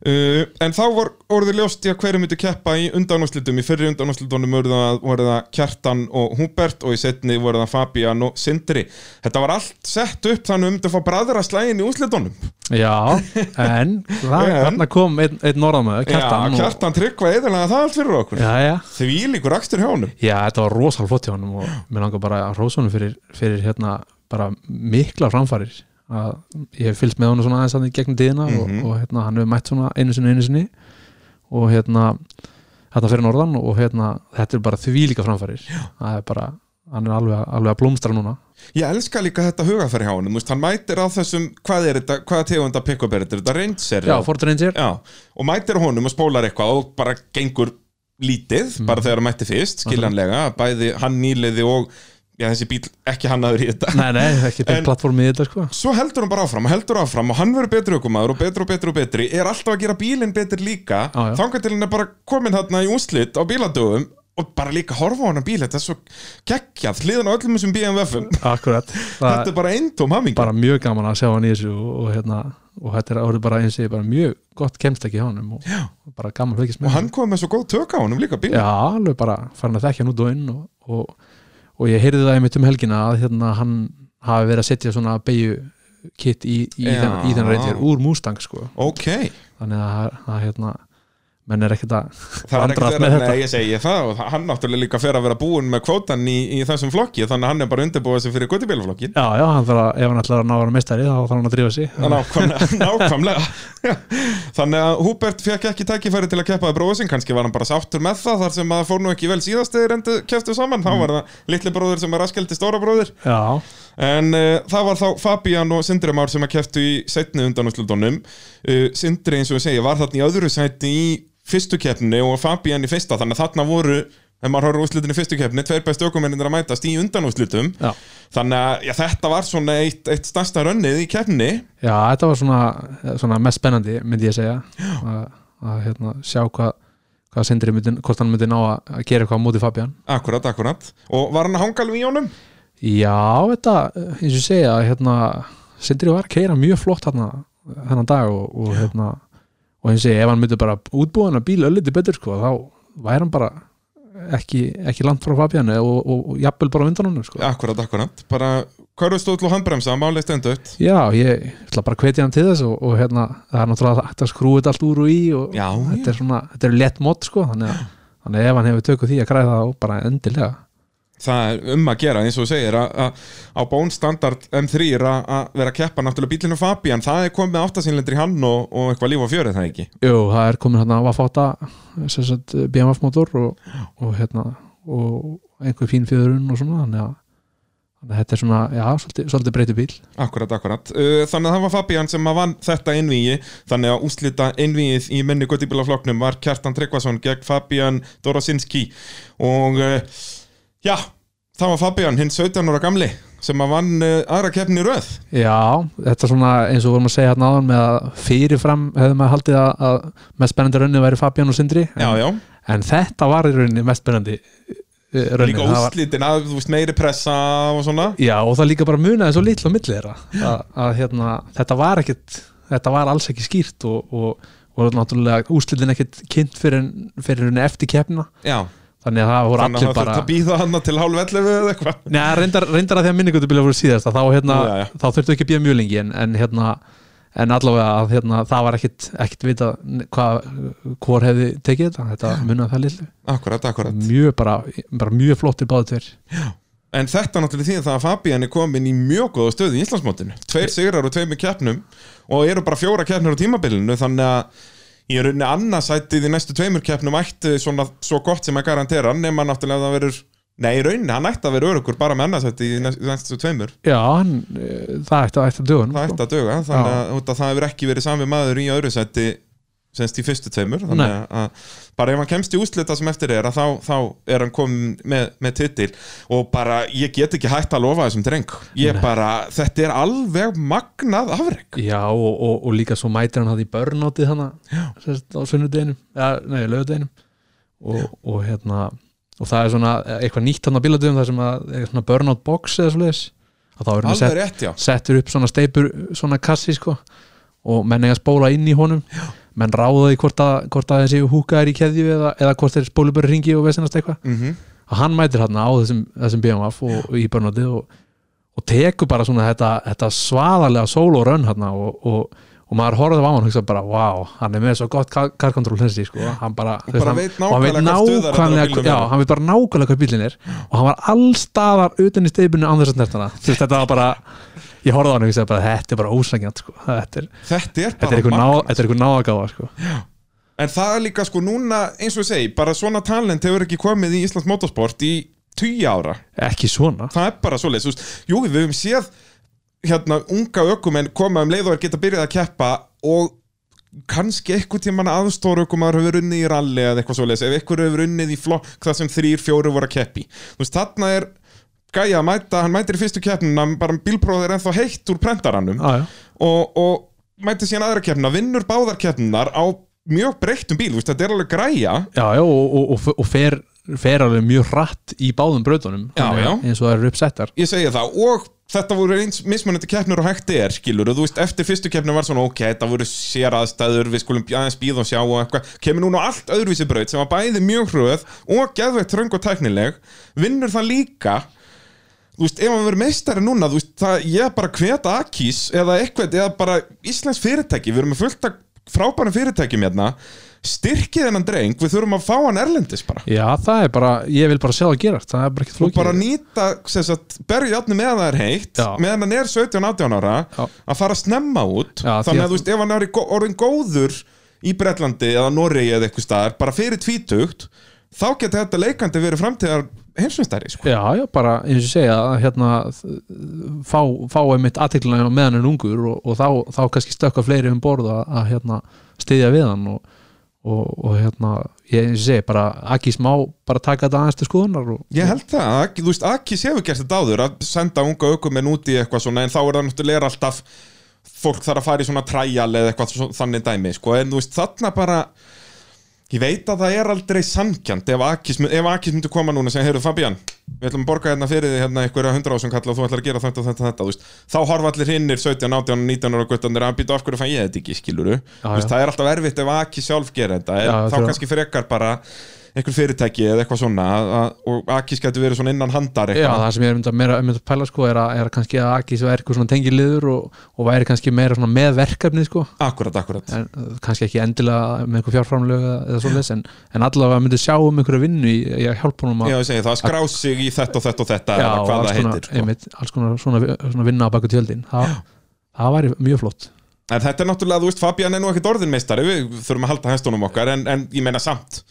S1: uh, en þá var orðið ljóst í að hverju myndi keppa í undanúslitum í fyrri undanúslitunum voru það, voru það Kjartan og Húbert og í setni voru það Fabian og Sindri þetta var allt sett upp þannig að við myndum að fá bræðra slægin í úslitunum
S2: Já, en það,
S1: En-
S2: þarna kom einn ein norðamöður, Kjartan.
S1: já, Kjartan tryggva eðalega það allt fyrir okkur
S2: Og, já, já,
S1: því líkur akstur hjá honum
S2: já, þetta var rosal flott hjá honum og mér langar bara að rósa honum fyrir, fyrir hérna bara mikla framfærir. Að, ég hef fylgst með honum svona aðeins að í gegnum tíðina
S1: Mhm.
S2: og, og hérna, hann hefur mætt svona einu sinni, einu sinni og hérna, hérna fyrir norðan og hérna, þetta er bara því líka framfærir. Já. Það er bara, hann er alveg, alveg að blómstra núna.
S1: Ég elska líka þetta hugafæri hjá honum, þú veist, hann mætir á þessum, hvað er þetta, hvaða tegunda pick-up er þetta, Er þetta reynsir?
S2: Já, Ford Ranger.
S1: Já, og mætir honum og spólar eitthvað og bara gengur lítið,
S2: Mhm.
S1: bara þegar hann mætti fyrst, skiljanlega, bæði hann nýliði og, já, þessi bíl ekki hannaður í þetta.
S2: Nei, nei, ekki
S1: En-
S2: til plattformið þetta sko.
S1: Svo heldur hann bara áfram og heldur áfram og hann verður betri aukumaður og betri og betri og betri, er alltaf að gera bílinn betri líka,
S2: Já, já.
S1: þangar til hann er bara komin þarna í úslit á bíladöfum og bara líka horfa á hann bíl, þetta er svo geggjað, hliðan á öllum þessum BMW-um.
S2: Akkurat, það
S1: Þetta
S2: er
S1: er bara eintóm hamingi
S2: bara mjög gaman að sjá hann í þessu og, og, hérna, og þetta er orðið bara eins og ég bara mjög gott kemst ekki hjá hann og, og bara gaman að fylgjast
S1: og
S2: með
S1: hann kom með svo góð tök á honum líka bíl
S2: Já, alveg bara farin að þekkja nú dóinn og, og, og ég heyrði það einmitt um helgina að hérna, hann hafi verið að setja svona beigju kitt í, í,
S1: Já.
S2: þennan- í þennan reytir úr Mustang sko.
S1: ok,
S2: þannig að, að hérna, menn er ekkert að
S1: það er ekkert
S2: vandræðast
S1: verið,
S2: með
S1: nei
S2: þetta
S1: ég segi það og hann náttúrulega líka fer að vera búinn með kvótan í, í þessum flokki þannig að hann er bara undirbúið sig fyrir kvotibílaflokkin
S2: já, já, hann þarf að, ef hann ætlar að ná að vera meistari þá þarf hann að drífa sig
S1: nákvæmlega, nákvæmlega. þannig að Hubert fekk ekki tækifæri til að keppa að bróðu sinn, kannski var hann bara sáttur með það þar sem að það fór nú ekki vel síðast þegar endur keftu saman,
S2: Mm.
S1: þá var það litli bróður sem er askeldi stóra bróður
S2: já,
S1: En uh, það var þá Fabian og Sindri Már sem að keftu í setni undanúslutunum uh, Sindri eins og ég segi var þarna í öðru sæti í fyrstu keppni og Fabian í fyrsta þannig að þarna voru ef maður horfður úrslutin í fyrstu keppni, tveir bestu ökumennir að mætast í undanúslutum
S2: já,
S1: þannig að já, þetta var svona eitt, eitt stærsta rönnið í keppni
S2: já, þetta var svona, svona mest spennandi myndi ég segja að, að hérna, sjá hvað hvað Sindri myndi, hvort hann myndi ná að að gera eitthvað á móti Fabian
S1: akkurat, akkurat og var hann að hanga alveg í honum?
S2: Já, þetta, eins og ég segja hérna, Sindri var að keira mjög flott hérna, þennan dag og, og, hérna, og eins og ég, ef hann myndi bara útbúa hann að bíla ölliti betur sko, þá væri hann bara ekki, ekki langt frá Fabian og, og, og, jafnvel bara á undan honum sko.
S1: Akkurat, akkurat, bara körðustóðl og handbremsa, málið stendur
S2: Já, ég ætla bara að hvetja hann til þess og, og hérna, það er náttúrulega hægt að skrúa þetta allt úr og í og
S1: Já,
S2: þetta er svona, þetta er lett mót sko, þannig að, þannig að ef hann hefur tökuð því að græða þá bara endilega
S1: það er um að gera eins og þú segir að að á bónstandard M3 er að að vera að keppa náttúrulega bílinu Fabian það er komið áttasínlendri í hann og, og eitthvað líf á fjöri það ekki
S2: Jú, það er komin hérna Vafata sem sagt, BMF motor og, og hérna og einhver fín fjöðurinn og svona þannig að, þannig að þetta er svona, já, svolítið, svolítið breytið bíl
S1: akkurat, akkurat, Uh, þannig að það var Fabian sem að vann þetta einvíi, þannig að úslita einvíið í minni guttibílafloknum var Kjartan Tryggvason gegn Fabian Dorosinski og uh, já, það var Fabian hinn 17 ára gamli sem að vann uh, aðra keppni í röð
S2: Já, þetta er svona eins og vorum að segja hérna áðan með að fyrirfram hefðum að haldið að, að mest spennandi raunin væri Fabian og Sindri
S1: já,
S2: en,
S1: já,
S2: en þetta var í rauninni mest spennandi eh, raunin
S1: líka úslitin að þú veist meiri pressa og svona
S2: Já, og það líka bara munaði svo litla á milli þeirra að, að hérna, þetta var ekkit þetta var alls ekki skýrt og, og, og náttúrulega úslitin ekkit kynnt fyrir, en- fyrir henni eftir keppna
S1: já,
S2: þannig að það voru
S1: þannig að
S2: allir
S1: það
S2: bara
S1: þurft að býða hann til hálf 11 eða eitthvað
S2: Nei, reyndar, reyndar að því að minningutubíla voru síðast að þá, hérna,
S1: Já, já.
S2: þá þurftu ekki að bíða mjög lengi en, en, hérna, en allavega að hérna, það var ekkit, ekkit vita hvað, hvor hefði tekið þetta þetta munaði það litlu
S1: Akkurat, akkurat
S2: mjög bara, bara mjög flottir báðu tver
S1: En þetta náttúrulega því að það að Fabian er komin í mjög góða stöðu í Íslandsmótinu Tveir sigrar og tveimur keppnum og eru bara fjóra keppnur á tímabilinu þannig að í rauninni annarsætið í næstu tveimur keppnum ætti svona svo gott sem að garantera nema náttúrulega að það verður Nei, í rauninni, hann ætti að vera örugur bara með annarsætið í næstu, næstu tveimur
S2: Já, hann, eh, það ætti að ætti að sko. dögun
S1: Það ætti að döga, þannig að, út að það hefur ekki verið sami maður í öðru sæti semst í fyrstu tveimur þannig
S2: Nei.
S1: að- að bara ef hann kemst í úslita sem eftir er að þá, þá er hann komin með, með titil og bara ég get ekki hægt að lofa þessum dreng ég bara, þetta er alveg magnað afreg
S2: Já og, og, og líka svo mætir hann það í börnáttið hana sérst, á sunnudeginum, ja, nei, lögudeginum og, og hérna og það er svona eitthvað nýtt hann á bíladöfum það sem að er svona burnout box eða svoleiðis að þá er hann
S1: alveg
S2: sett,
S1: rétt, já
S2: settur upp svona steipur svona kassi sko og menn eiga að spóla inn í honum já. menn ráða því hvort að, hvort að þessi húka er í keðju eða, eða hvort þeir spólu bara ringi og vesinast eitthvað
S1: mm
S2: að hann mætir hérna á þessum, þessum BMF og, og í börnandi og, og tekur bara svona þetta, þetta svaðarlega solo run hérna og, og, og maður horfði á hann og hugsa bara, wow, hann er með svo gott karkontról þessi, sko, hann bara, þú
S1: bara
S2: hann,
S1: veit
S2: og hann veit
S1: nákvæmlega hvað stuðar þetta á
S2: nákvæmlega
S1: bílnum
S2: já,
S1: er.
S2: hann veit bara nákvæmlega hvað bílinn er og hann var allstaðar utan í steipinu án þess að snertana, þú veist, þetta var bara ég horfði á hann og hugsa bara, þetta er bara ósækjant sko, þetta er,
S1: þetta er
S2: þetta er
S1: bara
S2: einhver
S1: magnað
S2: ná, þetta er einhver náðagáfa sko.
S1: en það er líka sko núna, eins og ég segi bara svona talent hefur ekki komið í Íslands motorsport í 10 ára
S2: ekki svona
S1: það er bara svoleiðis, þú veist, jú við höfum séð hérna unga ökumenn koma um leið og er geta byrjað að keppa og kannski einhvern tímann aðstóra ökumar hefur unnið í ralli eða eitthvað svoleiðis, ef einhver hefur unnið í flokk þar sem þrýr, fjóru voru að keppi þú veist, þarna er gæja að mæta hann mætir í fyrstu keppnina, bara bílpróð er ennþá heitt úr prentarannum
S2: já, já.
S1: og, og mætir síðan aðra keppnina, vinnur báðar keppninar á mjög breyttum bíl, þú veist, þetta er alveg græja
S2: Já, já, og, og, og, og fer, fer alveg mjög hratt í báðum brautunum
S1: Já,
S2: þannig að-
S1: já.
S2: eins og það eru uppsettar
S1: ég segja það og þetta voru eins mismunandi keppnur og hægt er skilur þú veist eftir fyrstu keppnur var svona ok þetta voru sér aðstæður við skulum aðeins býða og sjá og eitthvað kemur núna á allt öðruvísi braut sem var bæði mjög hröð og geðveitt tröng og tæknileg vinnur það líka þú veist ef hann verður meistari núna þú veist það ég bara hveta Akis eða eitthvað eða bara Íslands fyrirtæki við erum með fullt af frábærum fyrirtækjum hérna styrkið hennan dreng, við þurfum að fá hann erlendis bara
S2: já, það er bara, ég vil bara sjá það gera það er bara ekki
S1: og
S2: flókið
S1: bara nýta, sem sagt, berja átni meðan það er heitt
S2: Já.
S1: meðan hann er 17-18 ára
S2: Já.
S1: að fara snemma út
S2: Já, því
S1: þannig að
S2: að-
S1: þú veist, ef hann er í gó- orðin góður í Bretlandi eða Noregi eða eitthvað staðar bara fyrir tvítugt, þá geta þetta leikandi verið framtíðar heimsumstæri sko.
S2: já, já, bara eins og ég segja að hérna þ- fá, fá einmitt aðteklina meðan en ungur og, og þá, þá kannski stökka fleiri um borð að, að hérna styðja við hann og, og, og hérna, ég eins og ég segja bara Aki smá, bara taka þetta aðeins til skoðunar og,
S1: Ég held það, að, Aki- þú veist, Akis hefur gert þetta áður að senda unga aukumenn út í eitthvað svona en þá er það náttúrulega er alltaf fólk þarf að fara í svona træjal eða eitthvað svo, þannig dæmi, sko, en þú veist, þarna bara ég veit að það er aldrei samkjant ef Akis, mun- ef Akis myndi koma núna og segja, heyrðu Fabian, við ætlum að borga hérna fyrir því hérna einhverja hundra ásum kalla og þú ætlar að gera þetta og þetta, þetta, þú veist, þá horfa allir hinnir 17, 18, 19 ára guttanir að býta af hverju fann ég þetta ekki, skiluru,
S2: Já,
S1: þú veist,
S2: já.
S1: það er alltaf erfitt ef Akis sjálf gera þetta, en
S2: Já,
S1: þá
S2: þegar-
S1: kannski frekar bara einhver fyrirtæki eða eitthvað svona að- að- og Akis getur verið svona innan handar
S2: Já,
S1: eitthvað
S2: það sem ég er myndið meira um að pæla sko er að, er að kannski að Aki sem er eitthvað svona tengiliður og, og væri kannski meira svona með verkefnið sko
S1: Akkurat, akkurat
S2: en, uh, kannski ekki endilega með einhver fjárframlög eða- eða svoleiðis en, en allavega myndið sjá um einhverja vinnu í, í að hjálpa honum að
S1: Já, ég segi það, að skrá sig í þetta og þetta og þetta eða
S2: og
S1: hvað
S2: alls
S1: það
S2: konar,
S1: heitir sko.
S2: einmitt, alls konar svona, svona vinna á baku tjöldin Þa, það væri mjög flott
S1: En þetta er náttúrulega, þú veist, Fabian er nú ekkit orðinmeistari við þurfum að halda hestunum okkar en, en ég meina samt,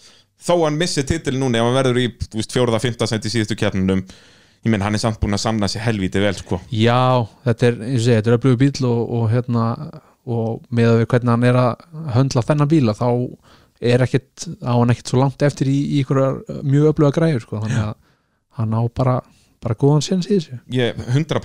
S1: þó hann missi titil núna ef hann verður í, þú veist, fjóruða, fymta sent í síðustu keppnunum, ég meina hann er samt búin að samna sér helvítið vel, sko
S2: Já, þetta er, eins og segja, þetta er öflugur bíl og, og hérna og með að við hvernig hann er að höndla þennan bíla þá er ekkit, á hann ekkit svo langt eftir í, í einhverjar uh, mjög öfluga græður sko, þannig að hann á bara bara góðan séns í þessu
S1: Ég, 100%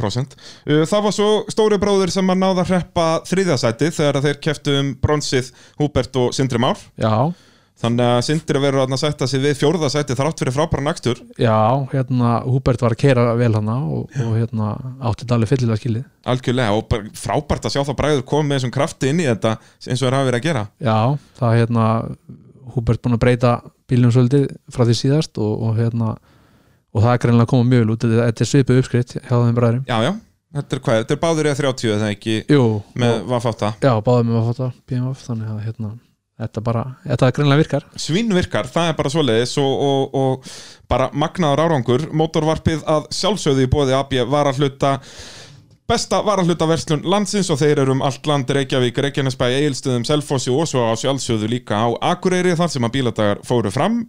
S1: Uh, Það var svo stóri bróður sem að náða að hreppa þriðasæti þegar að þeir keftu um bronsið Húbert og Sindri Már
S2: Já,
S1: Þannig að Sindri verður þarna að setja sig við fjórðasæti þrátt fyrir frábæra nakstur
S2: já, hérna Húbert var að keira vel hana og, og hérna átti þetta alveg fyllilega skilið
S1: algjörlega og bara frábært að sjá það bræður komið með þessum krafti inn í þetta eins og þeir hafa verið að gera
S2: Já, það er hérna Húbert búin að breyta bílnum svolítið frá því síðast og, og hérna og það er greinlega að koma mjög vel út þetta þetta er svipuð uppskritt hjá þeim bræðurum
S1: Já, já, þetta er hvað, þetta er báður í að 30 eða ekki
S2: Jú,
S1: með vafáta
S2: Já, báðum við að fóta BMF þannig að hérna, þetta bara, þetta greinlega virkar
S1: Svínvirkar, það er bara svoleiðis og, og, og bara magnaður árangur Mótorvarpið að sjálfsögðu í bóði AB var að hluta besta varahluta verslun landsins og þeir eru um allt land Reykjavík, Reykjanesbæ, Egilstöðum, Selfossi og svo á sjálfsögðu líka á Akureyri þar sem að bíladagar fóru fram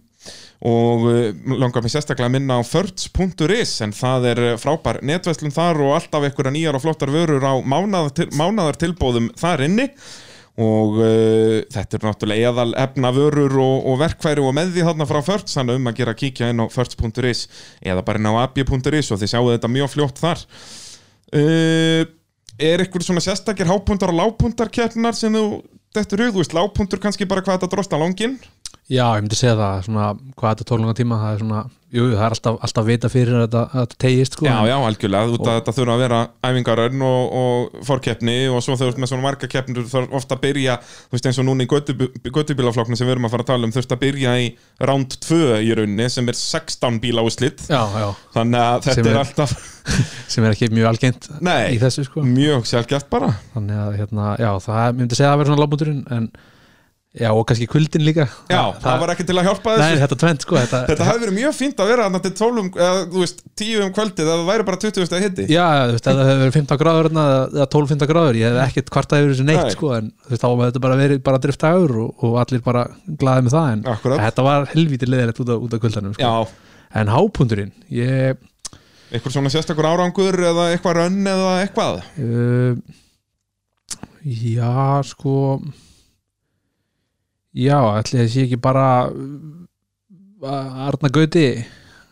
S1: og eh, langar mér sérstaklega að minna á förts.is en það er eh, frábær netverslun þar og alltaf einhverja nýjar og flottar vörur á mánaðartil, mánaðartilbóðum þar inni og uh, þetta er náttúrulega eðal efna vörur og, og verkfæri og með því þarna frá förts þannig um að gera að kíkja inn á förts.is eða bara inn á ab.is og þið sjáu þetta mjög fljótt þar uh, er eitthvað svona sérstakir hápundar og lápundar keppnar sem þú dettur hug, þú veist, lápundur kannski bara hvað þetta drosna langinn
S2: Já, ég myndi segja það, svona hvað þetta tólunga tíma, það er svona jú, jú, það er alltaf, alltaf vita fyrir að þetta- að þetta tegist sko,
S1: Já, já, algjörlega, út að þetta þurfa að vera æfingarönn og, og fórkeppni og svo þau ert með svona marga keppnir þarf ofta að byrja, þú veist eins og núna í göttubílaflokknum sem við erum að fara að tala um þurft að byrja í round 2 í rauninni sem er 16 bíla úrslit
S2: já, já,
S1: þannig að þetta
S2: Sem
S1: er,
S2: er-
S1: alltaf
S2: sem er ekki mjög algengt
S1: Nei.
S2: í þessu sko
S1: mjög sjálfgeft bara
S2: þannig að hérna, já, það ég myndi segja að það verður svona lábúndurinn en já, og kannski kuldin líka
S1: Já, það, var ekki til að hjálpa þessu
S2: Nei, þetta tvent sko þetta,
S1: Þetta hefði verið mjög fínt að vera þarna til 12 um, eða, þú veist, 10 um kvöldið eða það væri bara 20 stað hitti
S2: Já, þú veist, ef það hefur verið 15 gráður þarna eða eða 12-15 gráður, ég hef ekkert kvartað yfir þessu neitt
S1: Nei.
S2: sko, en þú veist, þá hefur þetta bara verið bara driftaður og, og allir bara glaðið með það en
S1: Akkurat.
S2: þetta var helvítið leðilegt út af, út af kvöldanum sko.
S1: Já,
S2: en hápundurinn, ég
S1: eitthvað svona sérstakur árangur eða eitthvað rönn eða eitthvað
S2: uh, já, sko já, ætli þessi ekki bara uh, Arna Gauti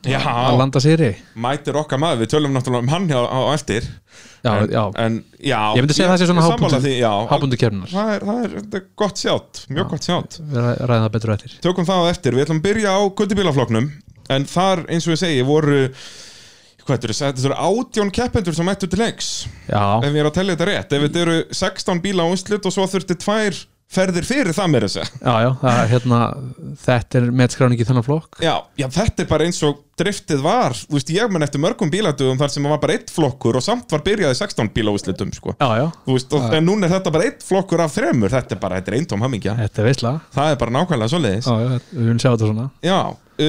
S1: Já.
S2: að landa sýri
S1: Mætir okkar maður, við tölum náttúrulega um hann á, á á eftir
S2: já,
S1: en,
S2: já,
S1: en, já
S2: Ég myndi segja það sé svona
S1: ég sammála
S2: hápunktur-
S1: því, já,
S2: hápundur kemnar
S1: það er, það er, það er gott sjátt, mjög
S2: Já.
S1: gott sjátt
S2: við ræ- ræðum það betur á eftir
S1: Tökum það á eftir, við ætlum að byrja á guldibílafloknum En þar, eins og ég segi, voru Hvað þetta eru, þetta eru átjón keppendur sem mættu til leiks
S2: já,
S1: Ef ég er að tella þetta rétt, ef þetta eru 16 bíla á úslit og svo þurfti tvær ferðir fyrir það meira þess að segja.
S2: já, já, það, er, hérna, þetta er metskráningi í þennan flokk
S1: já, já, þetta er bara eins og driftið var, þú veist, ég menn eftir mörgum bíladugum þar sem var bara eitt flokkur og samt var byrjaði 16 bílaúslitum, sko
S2: já, já,
S1: Þú veist, og, en núna er þetta bara eitt flokkur af þremur þetta er bara, þetta er eintóm hamingja
S2: þetta er veistla
S1: það er bara nákvæmlega svoleiðis
S2: já, já, við viljum sjá þetta svona
S1: já,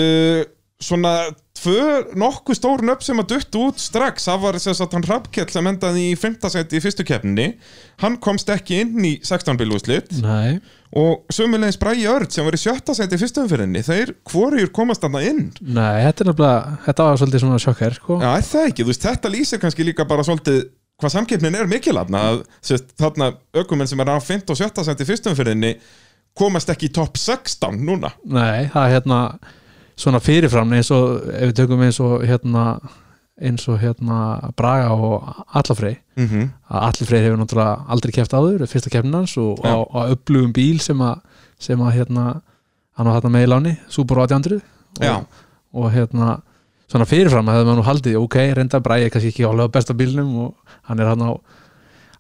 S1: uh, svona tvö nokkuð stór nöfn sem að dutt út strax, það var þess að hann Hrafkell sem endaði í 15 seti í fyrstu keppninni hann komst ekki inn í 16 bílúslit
S2: nei,
S1: og sömulegis Bræi Örd sem var í sjötta seti í fyrstu umfyrinni, þeir hvorjur komast þarna inn
S2: nei, þetta er nefnilega þetta var svolítið svona sjokkar, sko
S1: Já, er það ekki, þú veist, þetta lýsir kannski líka bara svolítið hvað samkeppnin er mikilatna að sérst, þarna ökumenn sem er á 15 og 17 cent í fyrstumfyrðinni komast ekki í topp 16 núna
S2: Nei, það er hérna svona fyrirfram eins og ef við tökum eins og hérna eins og hérna Braga og Allafrey
S1: mm -hmm.
S2: að Allafrey hefur náttúrulega aldrei keft áður fyrsta keppnin hans og
S1: Já.
S2: á, á upplugum bíl sem að sem að hérna hann var hérna með í láni, Subaru 800
S1: Já.
S2: og, og hérna svona fyrirfram hefði maður nú haldið, ok, reynda Braga er kannski ekki álega á besta bílnum og hann er hann á,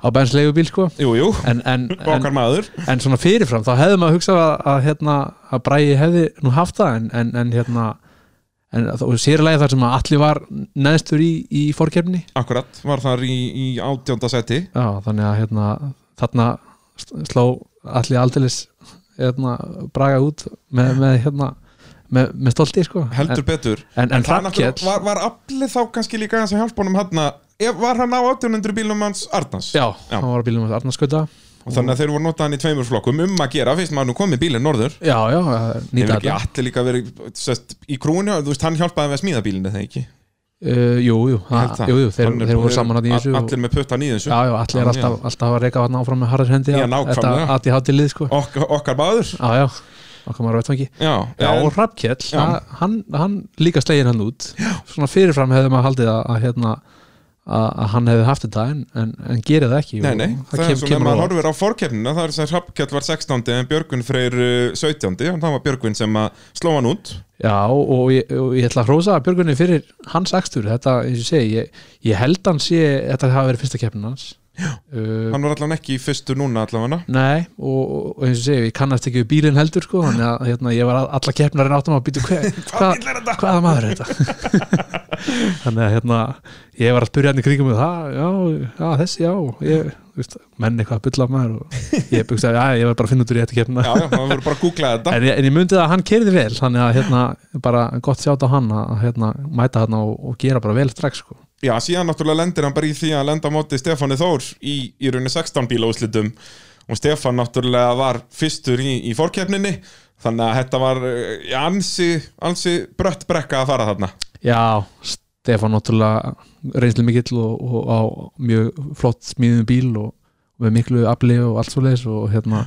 S2: á benslegu bíl sko
S1: Jú, jú,
S2: en, en, en,
S1: okkar maður
S2: en svona fyrirfram þá hefði maður hugsað að, að, hérna, að Bræi hefði nú haft það en, en, en hérna en, og sérlega þar sem að allir var neðstur í, í fórkefni
S1: Akkurat, var þar í, í 18 seti
S2: Já, þannig að hérna, þarna sl- sló allir aldeilis hérna, braga út með, með, hérna, með, með stolti sko.
S1: heldur betur
S2: en, en, en
S1: Það náttúrulega
S2: Hrafnkell
S1: var, var aflið þá kannski líka aðeins að hjálpunum hann var hann á 800 bílum hans Arnans
S2: Já, hann var á bílum með Arnarskauta
S1: og þannig að þeir voru notað hann í tveimur flokkum um að gera fyrst maður nú komið bílinn norður
S2: Já, já,
S1: Hefur
S2: nýta
S1: ekki
S2: þetta
S1: allir líka verið sest, í krúinu, þú veist, hann hjálpaði með að smíða bílinn þegar ekki
S2: uh, Jú, jú,
S1: Held
S2: að,
S1: það.
S2: jú, jú þeir,
S1: Hann er-
S2: þeir voru saman að í þessu og-
S1: Allir með puttan í þessu
S2: Já, já, allir er
S1: Já,
S2: alltaf, alltaf að reyka hann áfram með harðar hendi
S1: Já,
S2: að-
S1: nákvæmlega.
S2: Þetta aðti hátti lið, sko
S1: Ok, Okkar báður
S2: Já, já, okkar maður vettfangi
S1: Já,
S2: Já,
S1: en-
S2: og Hrafkell,
S1: Já.
S2: hann- hann, hann líka slegir hann út já. Svona fyrirfram hefði maður haldið að, að hérna að að hann hefði haft þetta en, en, en gerir það ekki
S1: Nei,
S2: og
S1: nei,
S2: það
S1: það er
S2: kem,
S1: svona, ef
S2: kemur
S1: maður
S2: á
S1: horfir á fórkeppnina það er sem Hrafnkell var 16. en Björgun freyr uh, 17. en það var Björgun sem að sló hann út
S2: Já, og ég, og ég ætla að hrósa Björgunni fyrir hans akstur, þetta, eins og ég segi ég, ég held hann sé, þetta hafa verið fyrsta keppnin hans Já, uh,
S1: Hann var allan ekki í fyrstu núna allavega
S2: Nei, og, og eins og segja, ég kannast ekki við bílinn heldur sko, þannig að hérna, ég var all- alla keppnarinn áttum að býta hver,
S1: Hvað bíl er þetta?
S2: hvaða maður er þetta þannig að hérna, ég var að spyrja hann í kringum og það, já, já, þessi, já ég, þú veist, menn eitthvað að bulla af maður og ég byggsað, já, ég var bara að finna út úr í þetta keppna
S1: Já, já, maður voru bara að googla þetta
S2: en, ég- en ég myndi það að hann kerði vel þannig að hérna, bara gott sjátt á hann að hérna, mæta hann og, og gera bara vel strax sko.
S1: Já, síðan náttúrulega lendir hann bara í því að lenda á móti Stefáni Þór í, í rauninni 16 bíla úslitum og Stefán náttúrulega var fyrstur í, í fórkeppninni þannig að þetta var eh, ansi, ansi brött brekka að fara þarna
S2: Já, Stefán náttúrulega reynslu mikill og, og á mjög flott smíðum bíl og, og með miklu afli og allt svo leis og hérna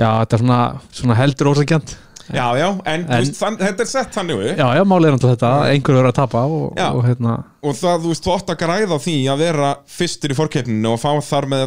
S2: já, þetta er svona, svona heldur ósækjant
S1: Já, já, en,
S2: En-
S1: en veist, þann, þetta er sett þannig við
S2: Já, já, málið er náttúrulega þetta, einhverju verður að tapa og,
S1: Já.
S2: og hérna,
S1: og það, þú veist, þú átt að græða á því að vera fyrstur í fórkeppninu og fá þar með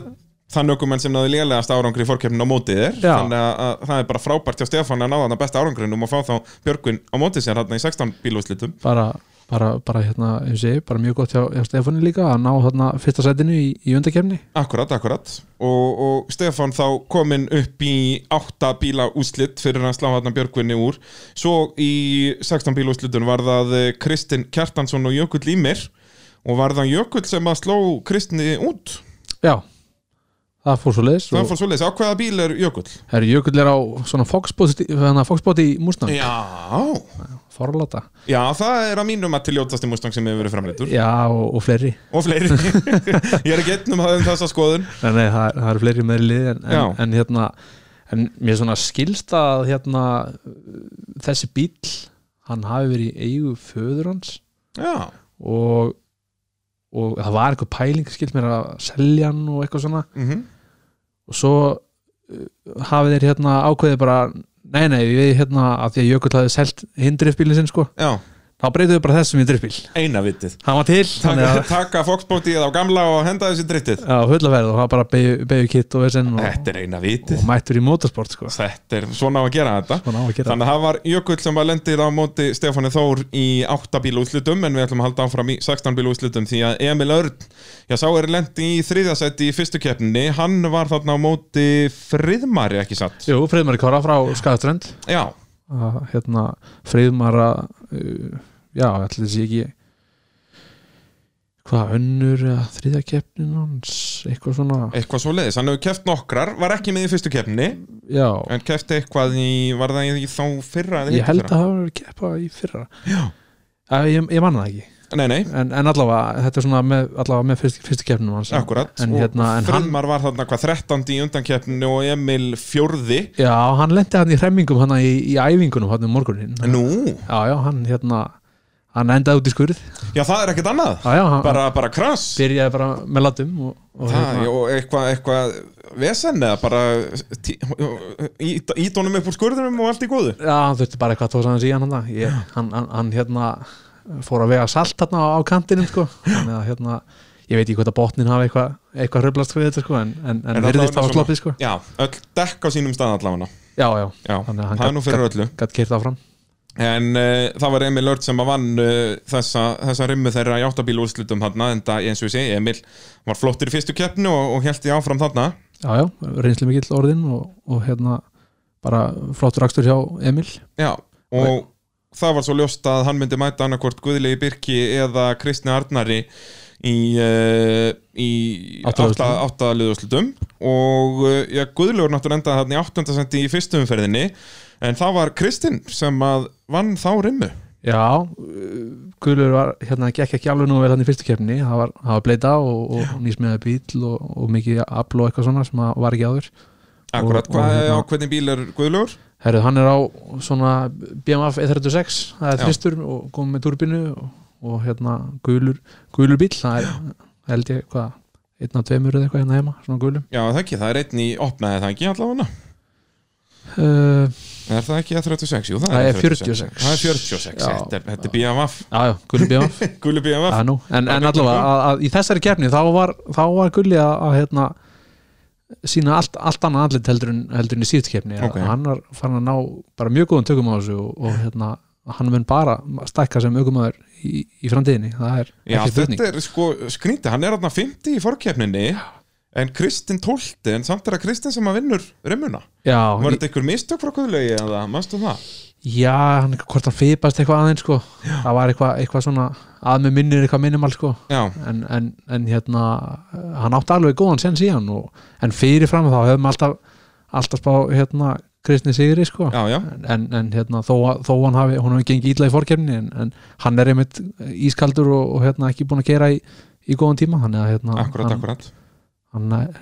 S1: þann ökumenn sem náði lélegast árangri í fórkeppninu á mótið þér
S2: Já.
S1: þannig að, að það er bara frábært hjá Stefáni að náða þarna besta árangrinum og fá þá Björgvin á mótið sér þarna í 16 bílúslitum
S2: bara, bara, bara hérna, eins og ég, bara mjög gott hjá, hjá Stefáni líka að ná þarna fyrsta sætinu í, í undakefni
S1: Akkurat, akkurat og, og Stefán þá kominn upp í átta bíla úslit fyrir að slá hann Björgvinni úr svo í 16 bíla úslitun var það eh, Kristinn Kjartansson og Jökull Ímir og var það Jökull sem að sló Kristinni út
S2: Já, það fór svo leis
S1: það
S2: og
S1: fór svoleiðis, á hvaða bíl er Jökull?
S2: herri, Jökull er á svona foxbóti, foxbóti í Mustang,
S1: Já
S2: forláta
S1: Já, það er að mínum að til ljótasti Mustang sem hefur verið framleittur
S2: Já, og, og fleiri
S1: og fleiri, ég er ekki einn um það um þessa skoðun
S2: Nei, nei það, er- það eru fleiri meðri lið en,
S1: Já.
S2: en, en hérna en mér svona skilst að hérna þessi bíll hann hafi verið í eigu föður hans
S1: Já,
S2: og, og það var einhver pæling skilt mér að selja hann og eitthvað svona
S1: mhm
S2: og svo uh, hafið þeir hérna ákveðið bara nei nei við hérna að því að Jökull hafði selt hindrifbílinn sinn sko
S1: Já,
S2: þá breytum við bara þessum í driftbíl
S1: eina vitið
S2: hann var til, þannig
S1: taka,
S2: að
S1: taka foxbótið á gamla og henda þessi drittið
S2: á hullaverð og það bara beigju kitt og vesinn og,
S1: þetta er eina vitið
S2: og mættur í motorsport sko.
S1: þetta er svona á að gera þetta
S2: Svona á að gera
S1: þannig að það var Jökull sem var lendið á móti Stefáni Þór í 8 bíl útslutum en við ætlum að halda áfram í 16 bíl útslutum því að Emil Örn, já sá er lendi í þriðasætti í fyrstu keppni hann var þarna á móti friðmari ekki satt,
S2: Jú, Friðmar Kára frá Skagaströnd
S1: já,
S2: að hérna Friðmar að uh, já, ætli þessi ekki hvað önnur eða þriðja keppnin hans eitthvað svona,
S1: eitthvað svo leiðis hann hefur keft nokkrar, var ekki með í fyrstu keppni
S2: já
S1: en kefti eitthvað í, var það í þá fyrra eða
S2: ég
S1: hitt
S2: held að
S1: fyrra?
S2: það hafa verið keppa í fyrra já ég, ég manna það ekki
S1: nei, nei,
S2: en, en allavega, þetta er svona með, allavega með fyrst, fyrstu keppnum hans
S1: akkurat,
S2: en,
S1: og
S2: hérna, en hann,
S1: friðmar var þarna hvað 13 í undankeppni og Emil fjórði
S2: já, hann lendi hann í hremmingum hann í, í æfingunum hann um morgunin já,
S1: nú,
S2: já, hann hérna hann endaði út í skurð
S1: já það er ekkert annað
S2: já, já, hann
S1: bara, bara krass
S2: byrjaði bara með latum og, og hérna,
S1: Það, já, og eitthvað eitthva vesen eða bara tí- ít- ít honum upp úr skurðunum og allt í góðu
S2: Já, hann þurfti bara eitthvað að tósa hans í hann þarna. ég, hann, hann, hann hérna fór að vega salt hérna á, á kantinum sko. Þannig að hérna, ég veit ekki hvort að botnin hafi eitthvað eitthva hröflast við þetta sko, en, en, en
S1: allavega
S2: virðist hafa
S1: svona-
S2: sloppið sko.
S1: Já, öll dekk á sínum stað allavega
S2: Já, já,
S1: Já,
S2: Þannig að hann
S1: það er
S2: gat-
S1: nú fyrir öllu
S2: gætt keirt áfram
S1: En uh, það var Emil Örd sem að vann uh, þessa, þessa rimmu þeirra í áttabíl úrslutum þarna en það eins og ég segi, Emil var flottur í fyrstu keppnu og, og held í áfram þarna
S2: Já, já, reynslu mikill orðin og, og hérna bara flottur akstur hjá Emil
S1: Já, og það var svo ljóst að hann myndi mæta annarkvort Guðlegi Birki eða Kristni Arnari í, uh, í
S2: Áttaliðaúrslitum.
S1: áttaliðuslutum og uh, já, Guðlegur náttúrulega endaði hann í áttundasendi í fyrstu umferðinni en það var Kristinn sem að vann þá rimmu
S2: Já, Guðlur var hérna gekk ekki alveg nú vel hann í fyrstu keppni það var, það var bleita og, og nýsmiðaði bíl og, og mikið afl og eitthvað svona sem að var ekki áður
S1: Akkurat,
S2: Og-
S1: hvað
S2: og
S1: er
S2: hérna-
S1: á hvernig bíl er Guðlegur?
S2: Herru, hann er á svona BMF 136, það er
S1: Já.
S2: þristur og kom með turbinu og, og hérna gulur, gulur bíl, það er held ég hvað, einn af tveimur eða eitthvað hérna heima, svona gulum.
S1: Já, það ekki, það er einn í opnaði það ekki allavega
S2: Uh,
S1: Er það ekki að 36? Jú, það,
S2: Það er
S1: E46.
S2: 46.
S1: Það er 46,
S2: Já.
S1: þetta er, þetta er BMF
S2: já, já, gulur BMF,
S1: Guðli BMF
S2: það er nú, en,
S1: Það er
S2: en allavega
S1: gulur.
S2: að, að, í þessari keppni þá var, þá var gulli að, að hérna sína allt, allt annað andlit heldur en, heldur en í síðust keppni,
S1: Ok.
S2: okay. hann var farin að ná bara mjög góðum tökum á þessu og, og hérna hann mun bara stækka sem aukumæður í, í framtíðinni, það er
S1: Já,
S2: ekki spurning.
S1: þetta er sko skrýndi, hann er þarna 50 í forkeppninni en Kristinn 12, en samt er að Kristinn sem að vinnur rimmuna.
S2: Já,
S1: Var þetta einhver mistök frá Guðlaugi eða, manstu það?
S2: Já, hann, hvort hann fipast eitthvað aðeins sko. það var eitthvað, eitthvað svona að með minnir eitthvað minimal sko.
S1: Já,
S2: en, en, en hérna hann átti alveg góðan sen síðan og, en fyrirfram þá höfum alltaf alltaf spá hérna Kristni Sigri sko.
S1: já, já,
S2: en, en, en hérna þó, að- þó hann hafi, hún hafi gengið ítla í fórkefni en, en hann er einmitt ískaldur og, og hérna ekki búin að gera í, í góðan tíma hann, hérna,
S1: akkurat,
S2: hann,
S1: akkurat
S2: hann eh,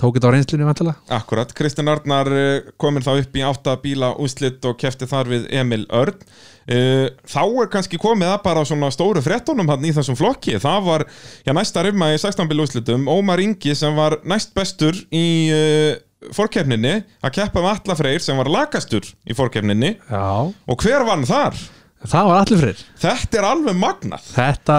S2: tók þetta á reynslunni vantilega
S1: Akkurat, Kristinn Arnar eh, komin þá upp í átta bíla úslit og kefti þar við Emil Örn Eh, Þá er kannski komið að bara á svona stóru frettunum hann í þessum flokki Það var, já, næsta rimma í 16 bíla úslitum Ómar Ingi sem var næst bestur í uh, fórkefninni að keppa með Atla Freyr sem var lakastur í fórkefninni
S2: Já,
S1: Og hver vann þar?
S2: það var allir fyrir
S1: Þetta er alveg magnað
S2: Þetta,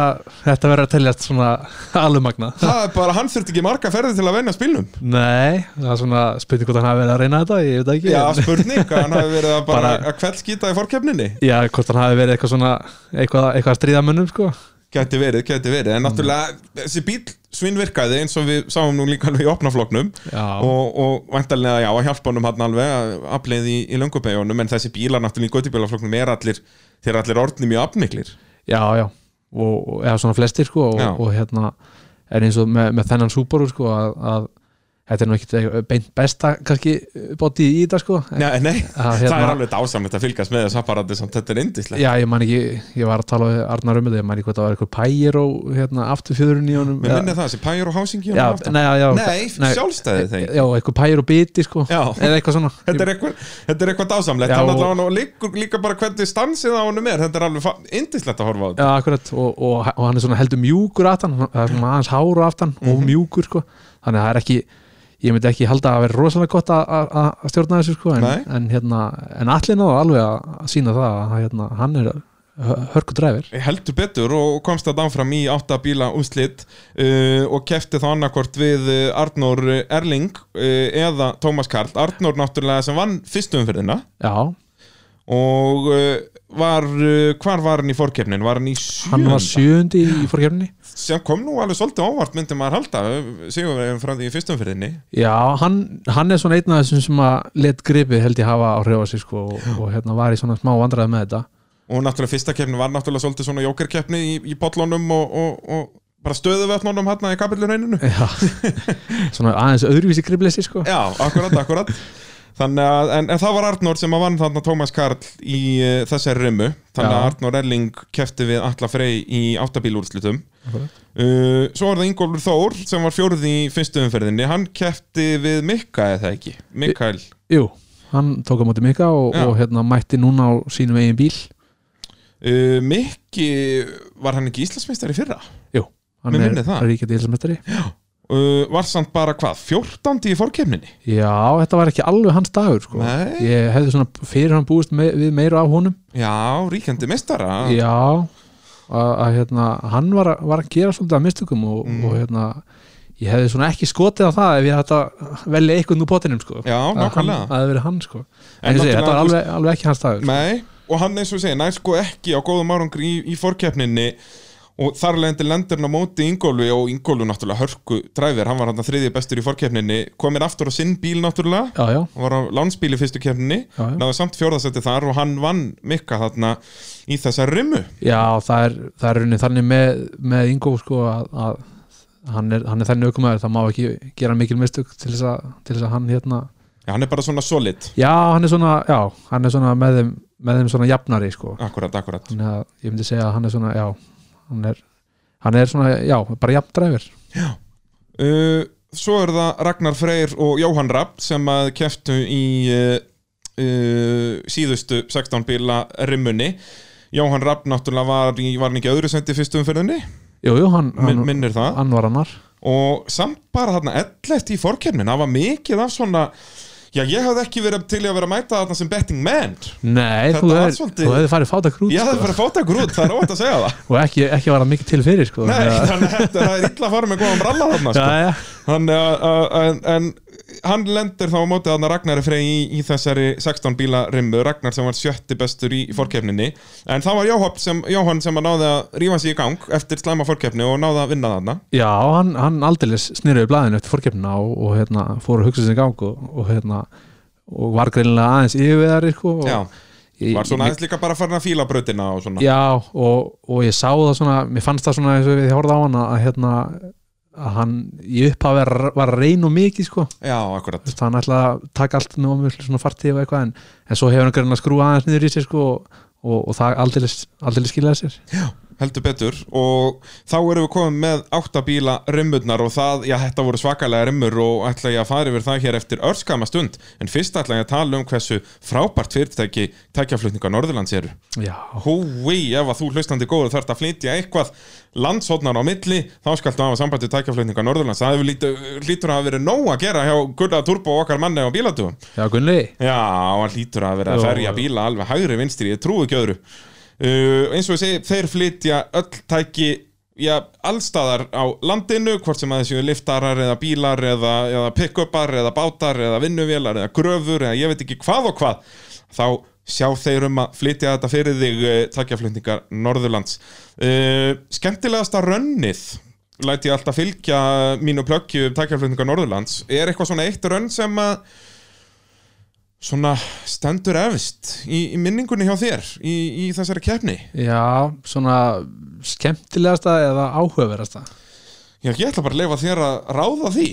S2: þetta verður að teljast svona alveg magnað
S1: Það er bara, hann þurfti ekki marga ferði til að venja spilnum
S2: Nei, það er svona spurning hvort hann hafi verið að reyna þetta, ég veit það ekki
S1: Já,
S2: en-
S1: spurning, að hann hafi verið að bara,
S2: Bara-
S1: að kveldskýta í fórkefninni
S2: Já, hvort hann hafi verið eitthvað svona eitthvað, eitthvað að stríða mönnum, sko
S1: Gæti verið, gæti verið,
S2: Mm.
S1: en náttúrulega þessi bíl svinnvirkaði eins og við sáum nú líka alveg í opnafloknum
S2: Já,
S1: og, og vantarlega já, að hjálpa honum hann alveg að afleið í, í löngubæjónum en þessi bílar náttúrulega í göttibílafloknum er allir, þeir eru allir orðnum í apniklir
S2: já, já og, og eða svona flestir, sko og,
S1: Já.
S2: og hérna, er eins og með, með þennan súboru, sko að, að þetta er nú ekkit beint besta, kannski, bóti í þetta, sko en,
S1: Nei, nei,
S2: að,
S1: það er alveg dásamlegt að fylgast með þessu apparati samt, þetta er indislegt
S2: hérna- Já, ég man ekki, ég var að tala við Arnar um þetta, ég man ekki hvað það var eitthvað pægir og hérna, afturfjöðurinn í honum
S1: Mér
S2: eða-
S1: minni það, þessi pæjur og hásing
S2: Já, nei, já, já,
S1: nei,
S2: nei.
S1: sjálfstæði þeim
S2: Já, eitthvað pægir og biti sko
S1: Já.
S2: eða eitthvað svona
S1: Þetta er eitthvað, þetta er eitthvað dásamlegt
S2: Já,
S1: Þannig
S2: og-
S1: að hann og líka, líka bara hvernig stansið á honum er Þetta er alveg fa- yndislegt að horfa á þetta
S2: Já, akkurat, og, og, og hann er svona heldur mjúkur aftan, það er svona aðeins háru aftan og mjúkur sko, þannig að það er ekki ég myndi ekki halda að vera rosalega gott að- að að stjórna þessu sko, en,
S1: Nei.
S2: en hérna en allir náðu alveg að að sína það að hérna, hann er hörkudræfir
S1: heldur betur og komst að áfram í áttabíla úslit uh, og kefti þá annarkvort við uh, Arnór Erling uh, eða Tómas Karl Arnór náttúrulega sem vann fyrstu umferðina
S2: já,
S1: og uh, var, uh, hvar var hann í fórkefnin? Var hann í
S2: hann
S1: sjönda?
S2: var sjöndi í fórkefninni
S1: sem kom nú alveg svolítið ávart myndi maður halda sigur við frá því í fyrstu umferðinni
S2: já, hann, hann er svona einn af þessum sem að let gripið held ég hafa á hrjóða sig sko, og, og hérna var í svona smá vandræði með þetta
S1: og náttúrulega fyrsta kefni var náttúrulega svolítið svona jókerkefni í, í bollunum og, og, og bara stöðuvötnunum hérna í kapilluneininu
S2: já, svona aðeins öðruvísi gripleysi sko
S1: Já, akkurat, akkurat Þannig að, en, en það var Arnór sem að vann þarna Tómas Karl í uh, þessari rimmu Þannig að
S2: Já.
S1: Arnór Erling kefti við Alla Frey í áttabílúrslutum
S2: Akkurat.
S1: uh, Svo var það Ingólfur Þór sem var fjórði í fyrstu umferðinni Hann kefti við Mikka eða ekki Mikael
S2: jú, hann tók á móti Mika og,
S1: Já.
S2: og hérna mætti núna á sínum eigin bíl
S1: uh, Mikki, var hann ekki Íslandsmeistari í fyrra?
S2: jú, hann
S1: Mig
S2: er
S1: minnir það.
S2: ríkjandi hilsamestari
S1: Uh, var samt bara hvað, 14. í fórkefninni?
S2: já, þetta var ekki alveg hans dagur sko.
S1: Nei.
S2: ég hefði svona fyrir hann búist me við meira af honum
S1: Já, ríkjandi meistara
S2: já að, að hérna, hann var, að- var að gera svolítið að mistökum og,
S1: Mm.
S2: og hérna ég hefði svona ekki skotið á það ef ég hætti að velja einhvern úr potinum sko.
S1: Já,
S2: Að hann-
S1: nákvæmlega
S2: að það hefði verið hann sko.
S1: En
S2: en ég segi, þetta var
S1: náttúrulega,
S2: alveg, alveg ekki hans dagur sko.
S1: Nei, og hann eins og segja, nær sko ekki á góðum árangri í, í fórkeppninni og þar lendi lendur hann á móti Ingólu og Ingólu náttúrulega hörku dræfir, hann var hann þriðið bestur í fórkeppninni komin aftur á sinn bíl náttúrulega
S2: já, já,
S1: hann var á lánsbíl í fyrstu keppninni
S2: já, já.
S1: náðu samt fjórðasetti þar og hann vann mikka þarna í þessa rimmu
S2: já það er, það er runni þannig með, með Ingo sko, að, að hann er, hann er þannig aukumæður það má ekki gera mikil mistök til þess að, til þess að hann hérna
S1: Já, hann er bara svona solid
S2: já, hann er svona, já, hann er svona með þeim, með þeim svona jafnari sko.
S1: Akkurat, akkurat
S2: þannig að ég myndi segja að hann er svona já, hann er, hann er svona já, bara jafn dræfir
S1: uh, Svo er það Ragnar Freyr og Jóhann Rapp sem að keftu í uh, uh, síðustu 16 bíla rimmunni Jóhann Rapp náttúrulega var, í, var hann ekki í öðru sendi fyrstu umferðinni,
S2: jú, jú, hann,
S1: Min,
S2: hann,
S1: minnir það
S2: hann var annar
S1: og samt bara þarna ellert í fórkernin, það var mikið af svona já ég hafði ekki verið til í að vera að mæta þarna sem betting man
S2: nei,
S1: Þetta
S2: þú
S1: var
S2: hefði
S1: svolítið-
S2: þú hefði farið fáta krút
S1: ég hafði
S2: sko,
S1: bara fóta grút, það er óvægt að segja það
S2: og ekki, ekki var hann mikið til fyrir sko,
S1: Nei,
S2: þannig að-
S1: þannig að þetta- það er illa að fara með góðan bralla þarna sko.
S2: já, já,
S1: Þannig að, að- að, en hann lendir þá á mótið hann að Ragnar er frey í, í þessari 16 bíla rimmu, Ragnar sem var sjötti bestur í, í
S2: Mhm.
S1: fórkefninni, en það var Jóhann sem, Jóhann sem að náði að rífa sig í gang eftir slæma fórkefni og náði að vinna þarna
S2: já, hann, hann aldeilis snýrði blaðinu eftir fórkefnina og, og hérna, fór að hugsa sinni gang og, og hérna og var greinilega aðeins yfirveðari sko, og
S1: Já,
S2: ég-
S1: var svona
S2: ég-
S1: aðeins líka bara farin að fíla brautina og svona
S2: Já, og, og ég sá það svona mér fannst það svona eins og við horfði á hann að hérna, að hann í upphafi var- var reyn og mikið sko
S1: Já, akkurat
S2: Þess, hann ætlaði að taka allt með ómjöld svona fartíð og eitthvað en, en svo hefur hann grunn að skrúa aðeins niður í sér sko og, og, og það aldrei skiljaði sér
S1: heldur betur og þá erum við komið með áttabíla rimmurnar og það, já þetta voru svakalega rimmur og ætla ég að fara yfir það hér eftir örskama stund en fyrst ætla ég að tala um hversu frábært fyrirtæki tækjaflutninga Norðurlands eru
S2: Já,
S1: Húi, ef að þú hlustandi góður þarft að flytja eitthvað landshotnar á milli þá skaltu hafa sambandi tækjaflutninga Norðurlands það hefur lítið, lítur að hafa verið nóg að gera hjá Gurra Turbo og okkar manni á bílatugum
S2: já Gunnli
S1: Já, hann lítur að vera að
S2: Jó,
S1: ferja
S2: jó.
S1: bíla alveg hægri vinstri, ég trúi ekki öðru uh, eins og ég segi, þeir flytja öll tæki já, allstaðar á landinu, hvort sem að þessu liftarar eða bílar eða, eða pick-upar eða bátar eða vinnuvélar eða gröfur eða ég veit ekki hvað og hvað þá sjá þeir um að flytja þetta fyrir þig uh, tækjaflutningar Norðurlands uh, skemmtilegasta rönnið læt ég alltaf fylgja mínu plöggju um tækjaflutningar Norðurlands er eitthvað svona eitt rönn sem að svona stendur efst í, í minningunni hjá þér í, í þessari keppni
S2: Já, svona skemmtilegasta eða áhugaverasta
S1: Já, ég ætla bara að leifa þér að ráða því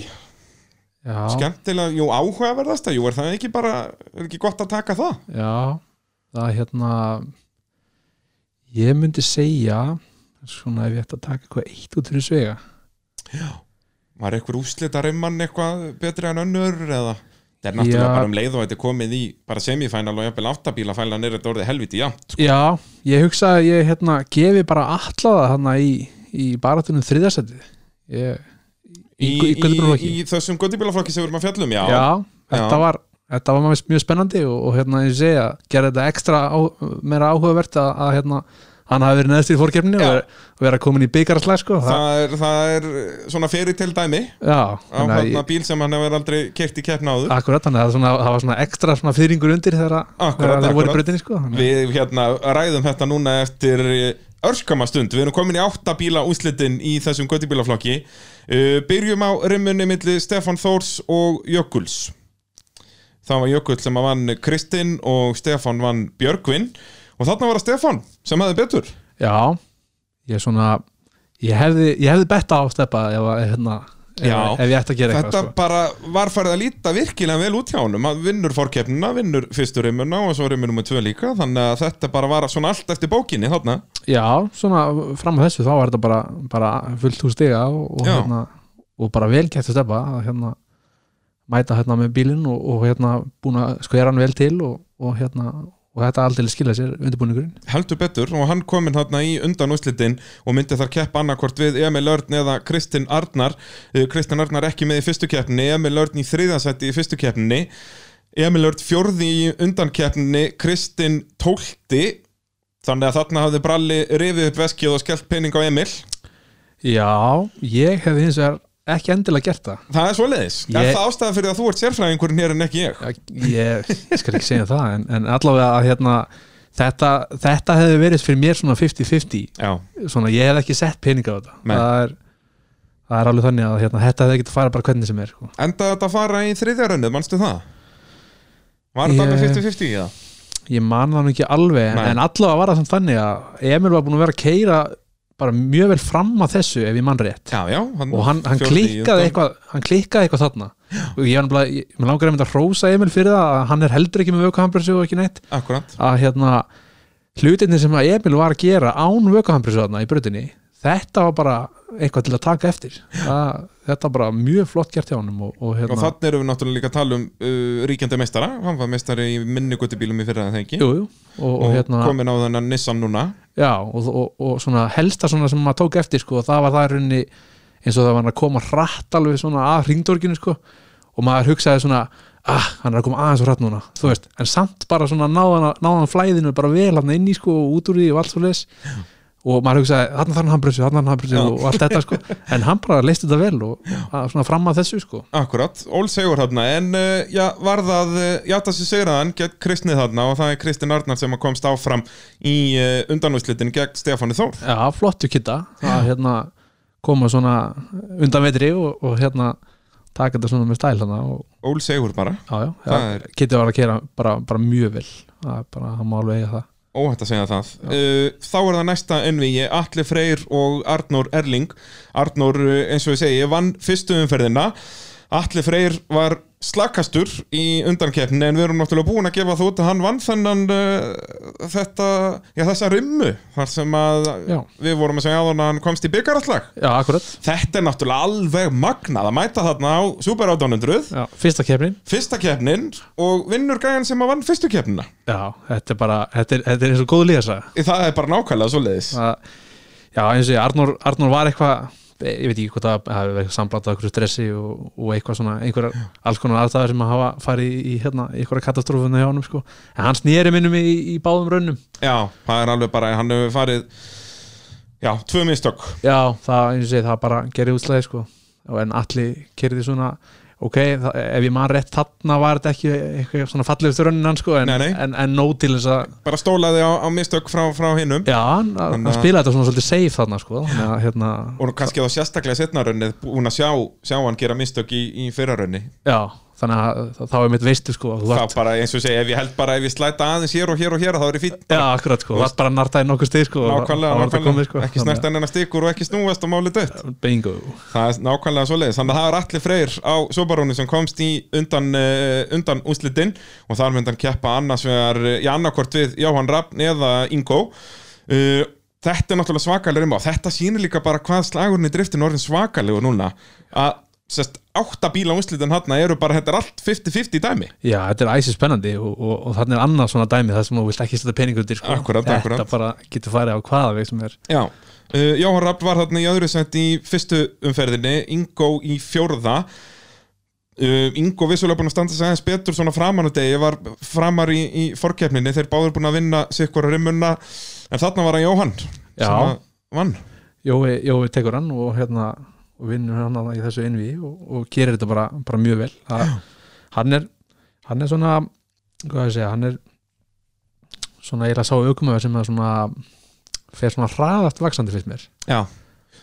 S2: Já,
S1: Skemmtilega, jú, áhugaverðasta, jú, er það ekki bara er ekki gott að taka það?
S2: já það er hérna ég myndi segja svona ef ég ætti að taka eitthvað eitt út fyrir svega
S1: Var eitthvað úslitarimman eitthvað betri en önnur eða Það er náttúrulega
S2: Já.
S1: bara um leið og þetta er komið í bara semifænal og jafnvel áttabílafælan er þetta orðið helviti, já
S2: Já, ég hugsa að ég hérna, gefi bara allaða þarna í, í baratunum þriðarsætið ég, í, í, í
S1: í,
S2: Guðbrunflokki
S1: í þessum göttibílaflokki sem við erum að fjallum, já
S2: já, þetta
S1: já.
S2: var þetta var maður mjög spennandi og, og hérna ég segja, gera þetta ekstra á, meira áhugavert að, að hérna hann hafi verið neðst í fórkefni og
S1: Já.
S2: vera, og vera komin í byggarslag sko. það,
S1: það er, það er svona ferið til dæmi
S2: já,
S1: á
S2: þannig að
S1: hérna
S2: ég,
S1: bíl sem hann hefur aldrei kert í keppna áður
S2: akkurat þannig að svona, það var svona ekstra svona fyrringur undir þegar að-
S1: Akkurat,
S2: þegar þeir voru í
S1: akkurat.
S2: breytinni sko. Þannig-
S1: Við hérna ræðum þetta núna eftir örskama stund, við erum komin í átta bíla úslitin í þessum göttibílaflokki uh, Byrjum á rimmunni milli Stefan Þórs og Jökuls Það var Jökull sem að vann Kristinn og Stefan vann Björgvin og þarna var það Stefan sem hafði betur
S2: já, ég svona ég hefði, ég hefði betta á steppa ef, að, hérna, ef,
S1: Já.
S2: ef ég ætti að gera
S1: Þetta
S2: eitthvað sko.
S1: bara var farið að líta virkilega vel út hjá honum hann vinnur fórkeppnina, vinnur fyrstu rimmuna og svo rimmunum með tvö líka þannig að þetta bara var svona allt eftir bókinni þarna
S2: já, svona fram að þessu þá var þetta bara, bara fullt hús stiga og, og,
S1: Já.
S2: hérna, og bara vel gett að steppa að hérna, mæta hérna með bílinn og, og hérna búin að skvera hann vel til og, og hérna og þetta aldrei skilja sér undirbúningurinn
S1: heldur betur og hann kominn þarna í undan úslitin og myndi þar keppa annarkvort við Emil Örn eða Kristinn Arnar Eh, Kristinn Arnar ekki með í fyrstu keppninni Emil Örn í þriðasætti í fyrstu keppninni Emil Örn fjórði í undan keppninni Kristinn tólti þannig að þarna hafði Bralli rifið upp veskið og skellt pening á Emil
S2: Já, ég hef hins vegar ekki endilega gert það
S1: það er svoleiðis, er
S2: Ég-
S1: það ástæða fyrir að þú ert sérfræðingurinn hér en ekki ég
S2: Ég skal ekki segja það en, en allavega að hérna þetta, þetta hefði verið fyrir mér svona 50-50
S1: Já,
S2: svona ég hef ekki sett peninga á þetta
S1: Nei.
S2: það er, það er alveg þannig að hérna, þetta hefði ekki að fara bara hvernig sem er sko.
S1: enda þetta að fara í þriðja rönnið, mannstu það? Var þetta
S2: Ég-
S1: alveg 50-50 í það?
S2: Ég man það nú ekki alveg en,
S1: Nei.
S2: en allavega var það samt þannig að Emil var búin að vera að keira bara mjög vel fram að þessu ef ég man rétt
S1: Já, já, hann,
S2: og hann, hann
S1: fjórði í
S2: klikkaði
S1: undan.
S2: eitthvað hann klikkaði eitthvað þarna og ég var nefnilega, ég- mig langar einmitt að hrósa Emil fyrir það að hann er heldur ekki með vökuhambrjósu og ekki neitt
S1: Akkúrat.
S2: að hérna hlutinni sem að Emil var að gera án vökuhambrjósu þarna í brutinni þetta var bara eitthvað til að taka eftir það, þetta var bara mjög flott gert hjá honum og, og
S1: Og
S2: hérna,
S1: þannig erum við náttúrulega líka að tala um uh, ríkjandi meistara, hann var meistari í minnugutubílum í fyrra en það ekki
S2: jú, jú, og, og,
S1: og
S2: hérna
S1: komin á þennan Nissan núna
S2: já, og, og, og svona helsta svona sem maður tók eftir sko, það var það í rauninni eins og það var hann að koma hratt alveg svona að hringdorginu sko, og maður hugsaði svona ah, hann er að koma aðeins og hratt núna þú veist, en samt bara svona náðan, náðan flæðinu bara vel hann inn í sko og út úr því og allt svo leis og maður hugsaði, þarna þarf hann brössu, þarna þarf hann brössu
S1: Já.
S2: og allt þetta sko, en hann bara leist þetta vel og að, svona fram að þessu sko
S1: Akkurat, Ól segur þarna en uh, já, var það, uh, já þessi segir að hann gegn Kristnið þarna og það er Kristinn Arnar sem að komst áfram í uh, undanúslitin gegn Stefáni Þór
S2: já, flottu kitta að hérna koma svona undan vetri og, og hérna taka þetta svona með stæl hana og,
S1: Ól segur bara,
S2: já, já,
S1: Það
S2: já,
S1: er-
S2: Kitty var að kera bara, bara mjög vel það er bara, hann má alveg eiga það
S1: óhætt að segja það uh, þá er það næsta ennvíi Atli Freyr og Arnór Erling Arnór uh, eins og ég segi vann fyrstu umferðina Atli Freyr var slakastur í undankeppnin en við erum náttúrulega búin að gefa þú út að hann vann þennan uh, þetta, já þessa rimmu þar sem að
S2: Já.
S1: við vorum að segja áðan að hann komst í byggarallag
S2: já, akkurat,
S1: þetta er náttúrulega alveg magnað að mæta þarna á Super 800
S2: já, fyrsta kefnin
S1: fyrsta keppnin og vinnur gæjan sem að vann fyrstu keppnina
S2: já, þetta er bara, þetta er, þetta er eins og góð líðasa
S1: það er bara nákvæmlega svo leiðis
S2: já, eins og ég, Arnór, Arnór var eitthvað ég veit ekki hvað það það hefur verið samblandað einhverju stressi og, og eitthvað svona einhverjar, alls konar aðstæður sem að hafa farið í, í hérna, í einhverja katastrófuna hjá honum sko. en hann snýri minnum í, í báðum raunnum
S1: Já, það er alveg bara, hann hefur farið Já, tvö mistök
S2: Já, það, eins og segi, það bara gerir útslæði sko. Og en allir kerði svona ok, það, ef ég man rétt þarna var þetta ekki eitthvað svona fallegur raunin hans sko, en,
S1: Nei, nei.
S2: en, en nóg til þess að
S1: Bara stólaði á, á mistök frá, frá hinnum
S2: já, hann, hann
S1: að-
S2: spilaði þetta svona svolítið safe þarna sko, þannig að hérna
S1: Og kannski þá sérstaklega setnarunnið búin að sjá, sjá hann gera mistök í, í fyrrarunni
S2: já, þannig að þá- þá er mitt veistu sko, að þú
S1: Það
S2: vart,
S1: bara eins og segja, ef ég held bara ef ég slæta aðeins hér og hér og hér þá er ég fín
S2: já, akkurat sko, þú vart bara að nartaði nokkuð stið sko, og
S1: Nákvæmlega,
S2: þá var þetta
S1: nákvæmlega,
S2: komið, sko,
S1: ekki snert ennina stikur og ekki snúast og máli dött
S2: að bingo,
S1: Það er nákvæmlega svoleiðis, þannig að það er allir freyr á Sobarónu sem komst í undan, uh, undan úslitinn og þar myndan keppa annars vegar eh, í annarkvort við Jóhann Rappn eða Ingo uh, Þetta er náttúrulega svakalega rimma og þetta sýnir líka bara hvað slagurinn í driftinu orðin svakalegur núna að sest, átta bíla úslitin hann eru bara, þetta er allt 50-50 dæmi
S2: já, þetta er æsi spennandi og, og, og þannig er annað svona dæmi það sem þú vilt ekki setja peningur til sko,
S1: Akkurat,
S2: þetta
S1: akkurat.
S2: bara getur farið á hvaða veg sem er
S1: Já, uh, Jóhann Rapp var þarna í öðru sent í fyrstu umferðinni, Ingo í fjórða uh, Ingo vissulega búin að standa sig aðeins betur svona framan á degi, var framar í, í forkeppninni, þeir báður búin að vinna sikkur rimmuna En þarna var hann Jóhann
S2: Já.
S1: sem að vann
S2: Jói, Jói tekur hann og hérna og vinnur hann þarna í þessu innví og, og gerir þetta bara, bara mjög vel Þa, hann er hann er svona hvað ég að segja, hann er svona eiginlega sá aukumöður sem er svona fer svona hraðast vaksandi fyrst mér
S1: Já,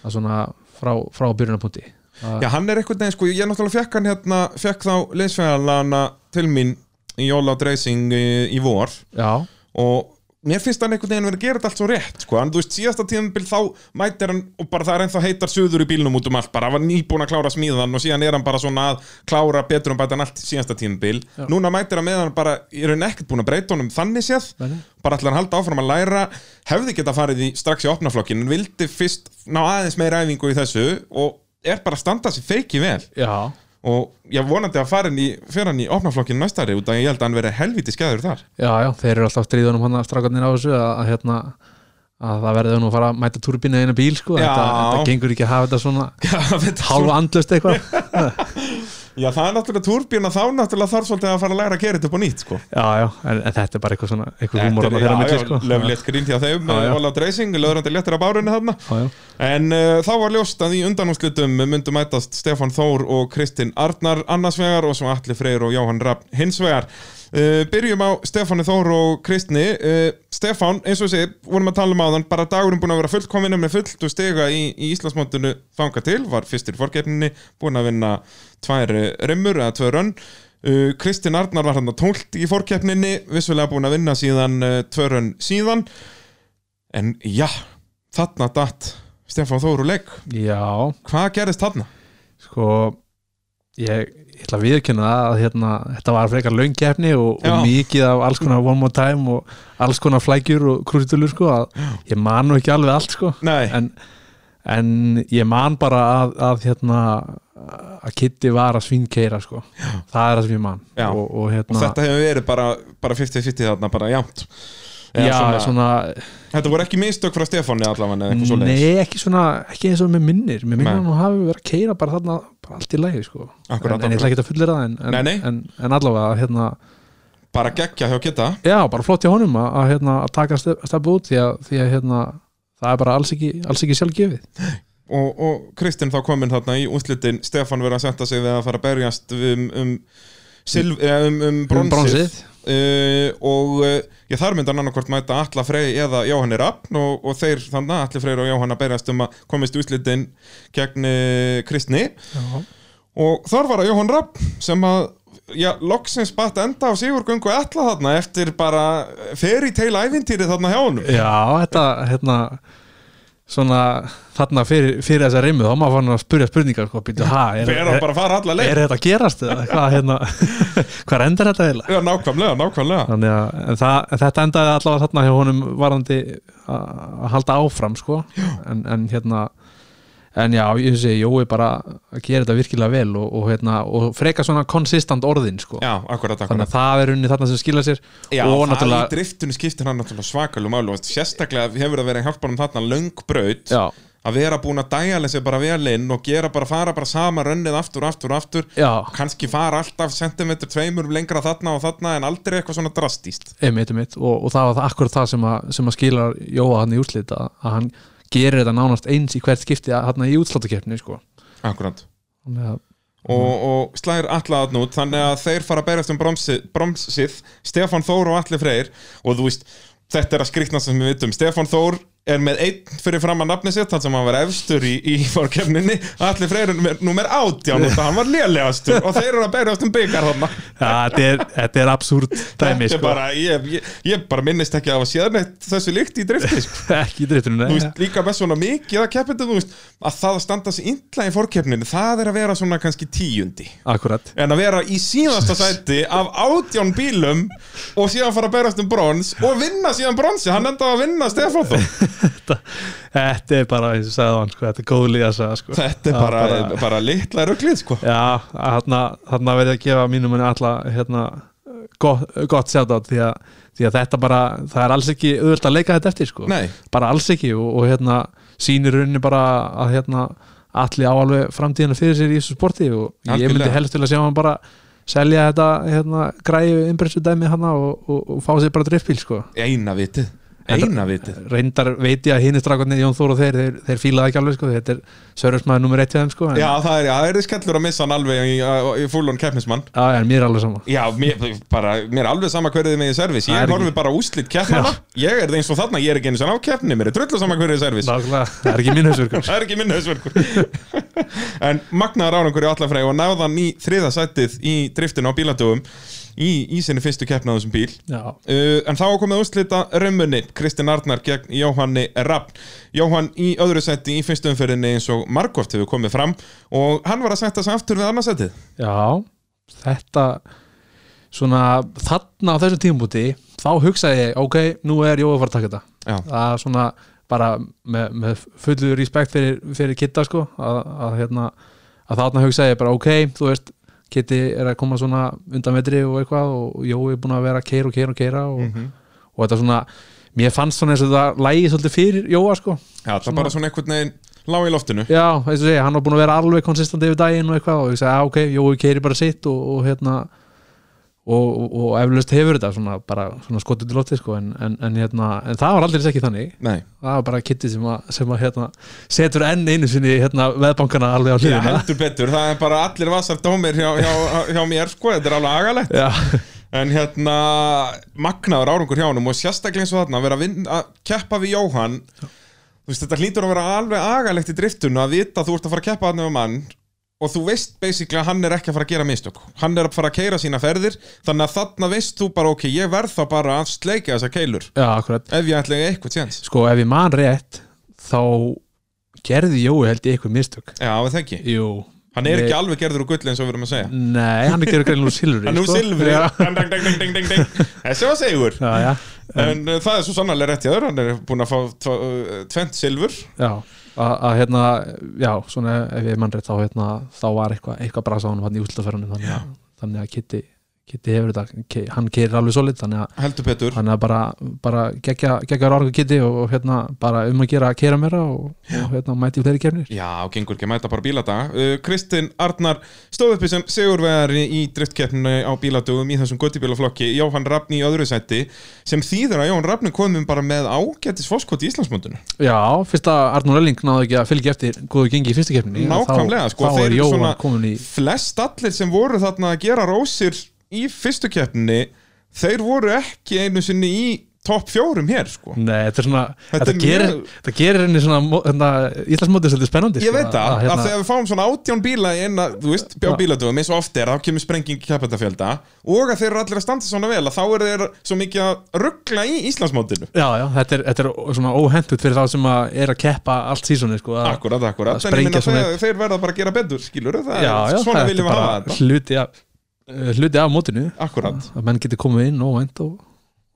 S2: það er svona frá, frá byrjunarpunkti Það-
S1: Já hann er einhvern veginn sko, ég náttúrulega fekk hann hérna, fekk þá liðsfæðalana til mín í Jólátt Racing í, í vor
S2: já,
S1: og mér finnst hann einhvern veginn verið að gera þetta allt svo rétt sko. hann, þú veist, síðasta tíðanbíl þá mætir hann og bara það er ennþá heitar suður í bílnum út um allt bara, hann var nýbúin að klára smíðan og síðan er hann bara svona að klára betur um bæta hann allt síðasta tíðanbíl
S2: Já.
S1: núna mætir hann með hann bara, er hann ekkert búin að breyta honum þannig séð,
S2: Nei, nei.
S1: bara ætlar hann halda áfram að læra hefði geta farið í, strax í opnaflokkin en vildi fyrst ná aðeins meira æfingu í þessu og er bara að standa sér feiki vel
S2: já
S1: og ég vonandi að fara hann í, fer hann í opnaflokkin næstari út af ég held að hann verið helviti skeður þar
S2: Já, já, þeir eru alltaf stríðunum hann að strákarnir á þessu að, að hérna að það verður nú að fara að mæta turbínu einu bíl sko,
S1: Já.
S2: þetta, þetta gengur ekki að hafa þetta svona
S1: Já, þetta er
S2: hálfa andlust eitthvað
S1: Já, það er náttúrulega turbín og þá náttúrulega þarf svolítið að fara að læra að gera þetta upp á nýtt, sko.
S2: Já, já, en, en þetta er bara eitthvað svona eitthvað húmur hann að þeirra
S1: já,
S2: milli
S1: já,
S2: sko
S1: löflétt grín því að þeim, eh,
S2: Já, já.
S1: Ólátt Racing, löðrandi léttir af bárunni þarna.
S2: Já, já,
S1: En uh, þá var ljóst að í undanúslutum myndu mætast Stefan Þór og Kristinn Arnar annars vegar og svo Atli Freyr og Jóhann Rapp hins vegar. Uh, byrjum á Stefani Þór og Kristni. Uh, Stefan, eins og þessi, vorum að tala um áðan, bara dagurinn búin að vera fullkominu með fullt og stega í, í Íslandsmótinu þanga til, var fyrstir fórgefninni, búin að vinna tvær eh, rimmur eða tvö rönn. Uh, Kristinn Arnar var hann að tólt í fórkeppninni, vissulega búin að vinna síðan uh, tvörun síðan en já, þarna datt Stefán Þóru leik,
S2: já,
S1: hvað gerðist þarna?
S2: sko ég, ég ætla að viðurkynna það að hérna, þetta var frekar laungefni og,
S1: Já.
S2: og mikið af alls konar one more time og alls konar flækjur og krúsitulur sko að ég man nú ekki alveg allt sko
S1: Nei,
S2: en, en ég man bara að, að hérna að Kitty var að svinkeira sko. það er það sem ég man
S1: Já.
S2: og, og hérna
S1: og þetta hefur verið bara bara 50-50 þarna, bara jámt Eða
S2: já, svona,
S1: Þetta voru ekki mistök frá Stefáni allavega eða eitthvað svo leiðis
S2: nei, ekki svona ekki eins og með minnir mér minnir
S1: Nei.
S2: að hún hafi verið að keira bara þarna bara allt í lægi sko.
S1: Akkurat,
S2: en, en ég ætla ekki að fullera það en, en,
S1: Nei, nei.
S2: En, en allavega hérna,
S1: Bara geggja hjá Kitta
S2: já, bara flott hjá honum að, að, hérna, að taka stef, stefu út því að, því að hérna, það er bara alls ekki, alls ekki sjálfgefið
S1: og, og Kristinn þá kominn þarna í úslitin Stefán verið að senda sig við að fara að berjast um, um, silf, eh, um, um bronsið,
S2: Um bronsið.
S1: Uh, og uh, ég þar myndi hann annarkvort mæta Alla Frey eða Jóhanni Rappn og, og þeir þannig Alli Freyr og Jóhann að berjast um að komist í úslitin gegn uh, Kristni
S2: já.
S1: og þar var að Jóhann Rapp sem að já, loksins batt enda á Sigurgöngu ætla þarna eftir bara feri teil ævintýri þarna hjá honum
S2: Já, þetta hérna svona þarna fyrir, fyrir þessa rimmu þá maður fann að spyrja spurningar sko, býtu, ha, er,
S1: fer hann bara að fara alla leið
S2: er þetta að gerast eða hvað hérna, hvað endar þetta eiginlega
S1: Já, nákvæmlega, nákvæmlega
S2: þannig að en það, en þetta endaði allavega þarna hjá honum varandi að að halda áfram sko, en, en hérna en já, ég sé, Jói bara að gera þetta virkilega vel og, og, hérna, og freka svona konsistant orðin sko.
S1: Já, akkurat, akkurat
S2: þannig að það er unni þarna sem skila sér
S1: Já, það
S2: og
S1: í
S2: náttúrulega
S1: driftinu skiptir hann náttúrulega svakalum álu Sérstaklega hefur það verið hjálpanum þarna löngbraut
S2: já,
S1: Að vera búin að dæla sig bara vel inn Og gera bara, fara bara sama rönnið aftur, aftur, aftur
S2: já,
S1: Kanski fara alltaf sentimetr tveimur lengra þarna og þarna En aldrei eitthvað svona drastíst
S2: einmitt, einmitt og, og það var það akkur það sem að, sem að skilar Jóa hann í úrslit að, að hann gerir þetta nánast eins í hvert skipti að, hann í útsláttakeppni sko.
S1: Akkurat
S2: Þannig að-
S1: og, og slæðir alla þarna út þannig að þeir fara að berjast um bromsið, bromsið Stefan Þór og Atli Freyr og þú veist, þetta er að skrikna sem við vitum Stefan Þór er með einn fyrir fram að nafni sitt, þannig sem hann var efstur í, í fórkefninni, Atli Freyr er númer- númer átján og hann var lélegastur og þeir eru að berjast um byggar þarna
S2: ja, þetta er, þetta er absúrt
S1: Þetta
S2: dæmi
S1: er
S2: sko.
S1: bara, ég, ég, ég bara minnist ekki að hafa séð neitt þessu líkt í drifti sko.
S2: ekki í driftunum
S1: Þú
S2: nei.
S1: veist, líka með svona mikið að keppindu þú veist, að það að standa sig illa í fórkefninni það er að vera svona kannski tíundi
S2: akkurat
S1: en að vera í síðasta sæti af átján bílum og síðan fara að berast um brons og vinna síðan bronsi, hann endaði að vinna Stefán þó
S2: þetta, þetta er bara eins og sagði hann sko, þetta er góð líða sagði, sko.
S1: þetta er
S2: Það
S1: bara, bara... litla rugglið sko.
S2: Já, þarna, þarna verði að gefa mínum henni alla hérna, gott, gott sjátt því, að- því að þetta bara, það er alls ekki auðvöld að leika þetta eftir sko
S1: Nei.
S2: bara alls ekki og, og hérna sýnir rauninni bara að hérna allir á alveg framtíðina fyrir sér í þessu sporti og ég myndi
S1: Algjörlega.
S2: helst til að sjá hann bara selja þetta hérna græju innbreynsu dæmi hana og, og, og fá sér bara driftbíl sko
S1: eina vitið eina vitið
S2: reyndar veit ég að hinn er strákarnir Jón Þór og þeir, þeir, þeir fílaði ekki alveg sko, þetta er sörjusmaður nummer eitt hjá þeim sko, en,
S1: Já, það er, það er skellur að missa hann alveg í, í fullon keppnismann
S2: já, en mér er alveg sama
S1: Já, mér, bara, mér er alveg sama hverðið með í servis
S2: Það
S1: Ég
S2: er
S1: horfi
S2: ekki-
S1: bara á úslit keppnana Ég er það eins og þarna, ég er ekki eins og á keppni Mér er drullu sama hverðið í servis
S2: Nákvæmlega, það er ekki sko. minn hausverkur
S1: Það er ekki minn hausverkur En magnaðar árangur í allafræði og náðan í þriða sættið í driftinu á bíladögum í, í sinni fyrstu keppna á þessum bíl
S2: já,
S1: Uh, en þá komið úrslita römmunni Kristinn Arnar gegn Jóhanni Rappn Jóhann í öðru seti í fyrstu umferðinni eins og Markoft hefur komið fram og hann var að setja sig aftur við annarsetið
S2: Já, þetta svona þarna á þessum tímabúti þá hugsaði ég, ok, nú er Jóa að fara að taka þetta
S1: Já,
S2: það er svona bara með, með fullu respekt fyrir, fyrir Kitta sko að, að, hérna, að þarna hugsaði ég bara ok, þú veist Kitti er að koma svona undan vetri og eitthvað og Jói er búin að vera að keira og keira og keira og, og þetta svona mér fannst svona eins og þetta lægi svolítið fyrir Jóa sko
S1: Já það er bara svona einhvern veginn lág í loftinu
S2: Já, eins og segja, hann var búin að vera alveg konsistandi yfir daginn og eitthvað og ég sagði, "Ah, ok, Jói keiri bara sitt og, og hérna og, og, og eflaust hefur þetta svona, bara svona skotið til lotið sko en, en, en, hérna, en það var aldrei ekki þannig
S1: Nei,
S2: það var bara kitti sem að, sem að hérna, setur enn einu sinni hérna, veðbankana alveg á
S1: Já,
S2: hliðina
S1: heldur betur, það er bara allir vassar dómir hjá, hjá, hjá mér sko, þetta er alveg agalegt
S2: Já,
S1: En hérna, magnaður árangur hjá honum og sérstaklega eins og þarna að vera að, vinna, að keppa við Jóhann Þú veist, þetta hlýtur að vera alveg agalegt í driftun að vita að þú ert að fara að keppa þarna við mann og þú veist basically að hann er ekki að fara að gera mistök Hann er að fara að keira sína ferðir þannig að þarna veist þú bara, ok, ég verð þá bara að sleika þessa keilur
S2: já, akkurat
S1: ef ég ætla ekki eitthvað tjens
S2: Sko, ef ég man rétt þá gerði Jói held ég eitthvað mistök
S1: Já, við þekki,
S2: Jú,
S1: hann er
S2: Nei.
S1: ekki alveg gerður úr gull eins og við erum að segja
S2: nei, hann er gerður greinlega úr silfri
S1: Hann er úr
S2: sko.
S1: silfri
S2: Já,
S1: Dang, dang, dang, dang, dang, dang. Þessi var segur
S2: já, já,
S1: En uh, það er svo sannarlega rétt í aður Hann er búin að fá tva- uh, tvent silfur
S2: já að að, hérna, já, svona ef ég mann rétt þá, hérna, þá var eitthvað eitthvað brasa á hann hann í útlaferðunum þannig, að- þannig að Kitty, Kitty hefur þetta Ke- hann keirir alveg solid þannig að,
S1: Heldur betur
S2: þannig að bara, bara gegja, gegja orgu Kitty og, og hérna, bara um að gera að keira meira og, og hérna, mæti í fleiri kefnir
S1: Já, og gengur ekki að mæta bara bíladaga uh, Kristinn Arnar stóð uppi sem sigurvegari í driftkeppninu á bíladugum í þessum guttibílaflokki Jóhann Rafn í öðru sætti sem þýður að Jóhann Rafn komum bara með ágætis foskot í Íslandsmundinu
S2: já, fyrst að Arnur Elling náðu ekki að fylgja eftir góðu gengi í fyrstu kefni
S1: Nákvæmlega,
S2: þá,
S1: sko,
S2: þá
S1: þeir
S2: er
S1: eru
S2: Jóa
S1: svona-
S2: komin í
S1: Flest allir sem voru þarna að gera rósir í fyrstu keppninu þeir voru ekki einu sinni í topp fjórum hér sko
S2: Nei, þetta er svona,
S1: Þetta
S2: þetta,
S1: er
S2: gerir,
S1: mjög-
S2: þetta gerir henni svona, mó- hérna, Íslandsmótið svolítið spennandi
S1: Ég
S2: sko,
S1: veit það,
S2: að,
S1: að
S2: hérna,
S1: þegar við fáum svona átján bíla í eina, þú veist, bjá
S2: Já.
S1: bíladöfum eins og oft er, þá kemur sprenging í keppendafjölda og að þeir eru allir að standa svona vel að þá eru þeir svo mikið að ruggla í Íslandsmótinu
S2: Já, já, þetta er, þetta er svona óhendut fyrir þá sem að er að keppa allt sísoni sko, að,
S1: Akkurat, akkurat,
S2: að
S1: en ég minna
S2: sprengja
S1: þeir,
S2: svona
S1: þeir verða bara að gera betur, skilur það,
S2: Já,
S1: er-
S2: já,
S1: svona
S2: þetta
S1: viljum
S2: er
S1: við hafa
S2: bara
S1: þetta
S2: hluti af, eh, hluti af mótinu
S1: Akkurat,
S2: að menn geti komið inn óvænt og,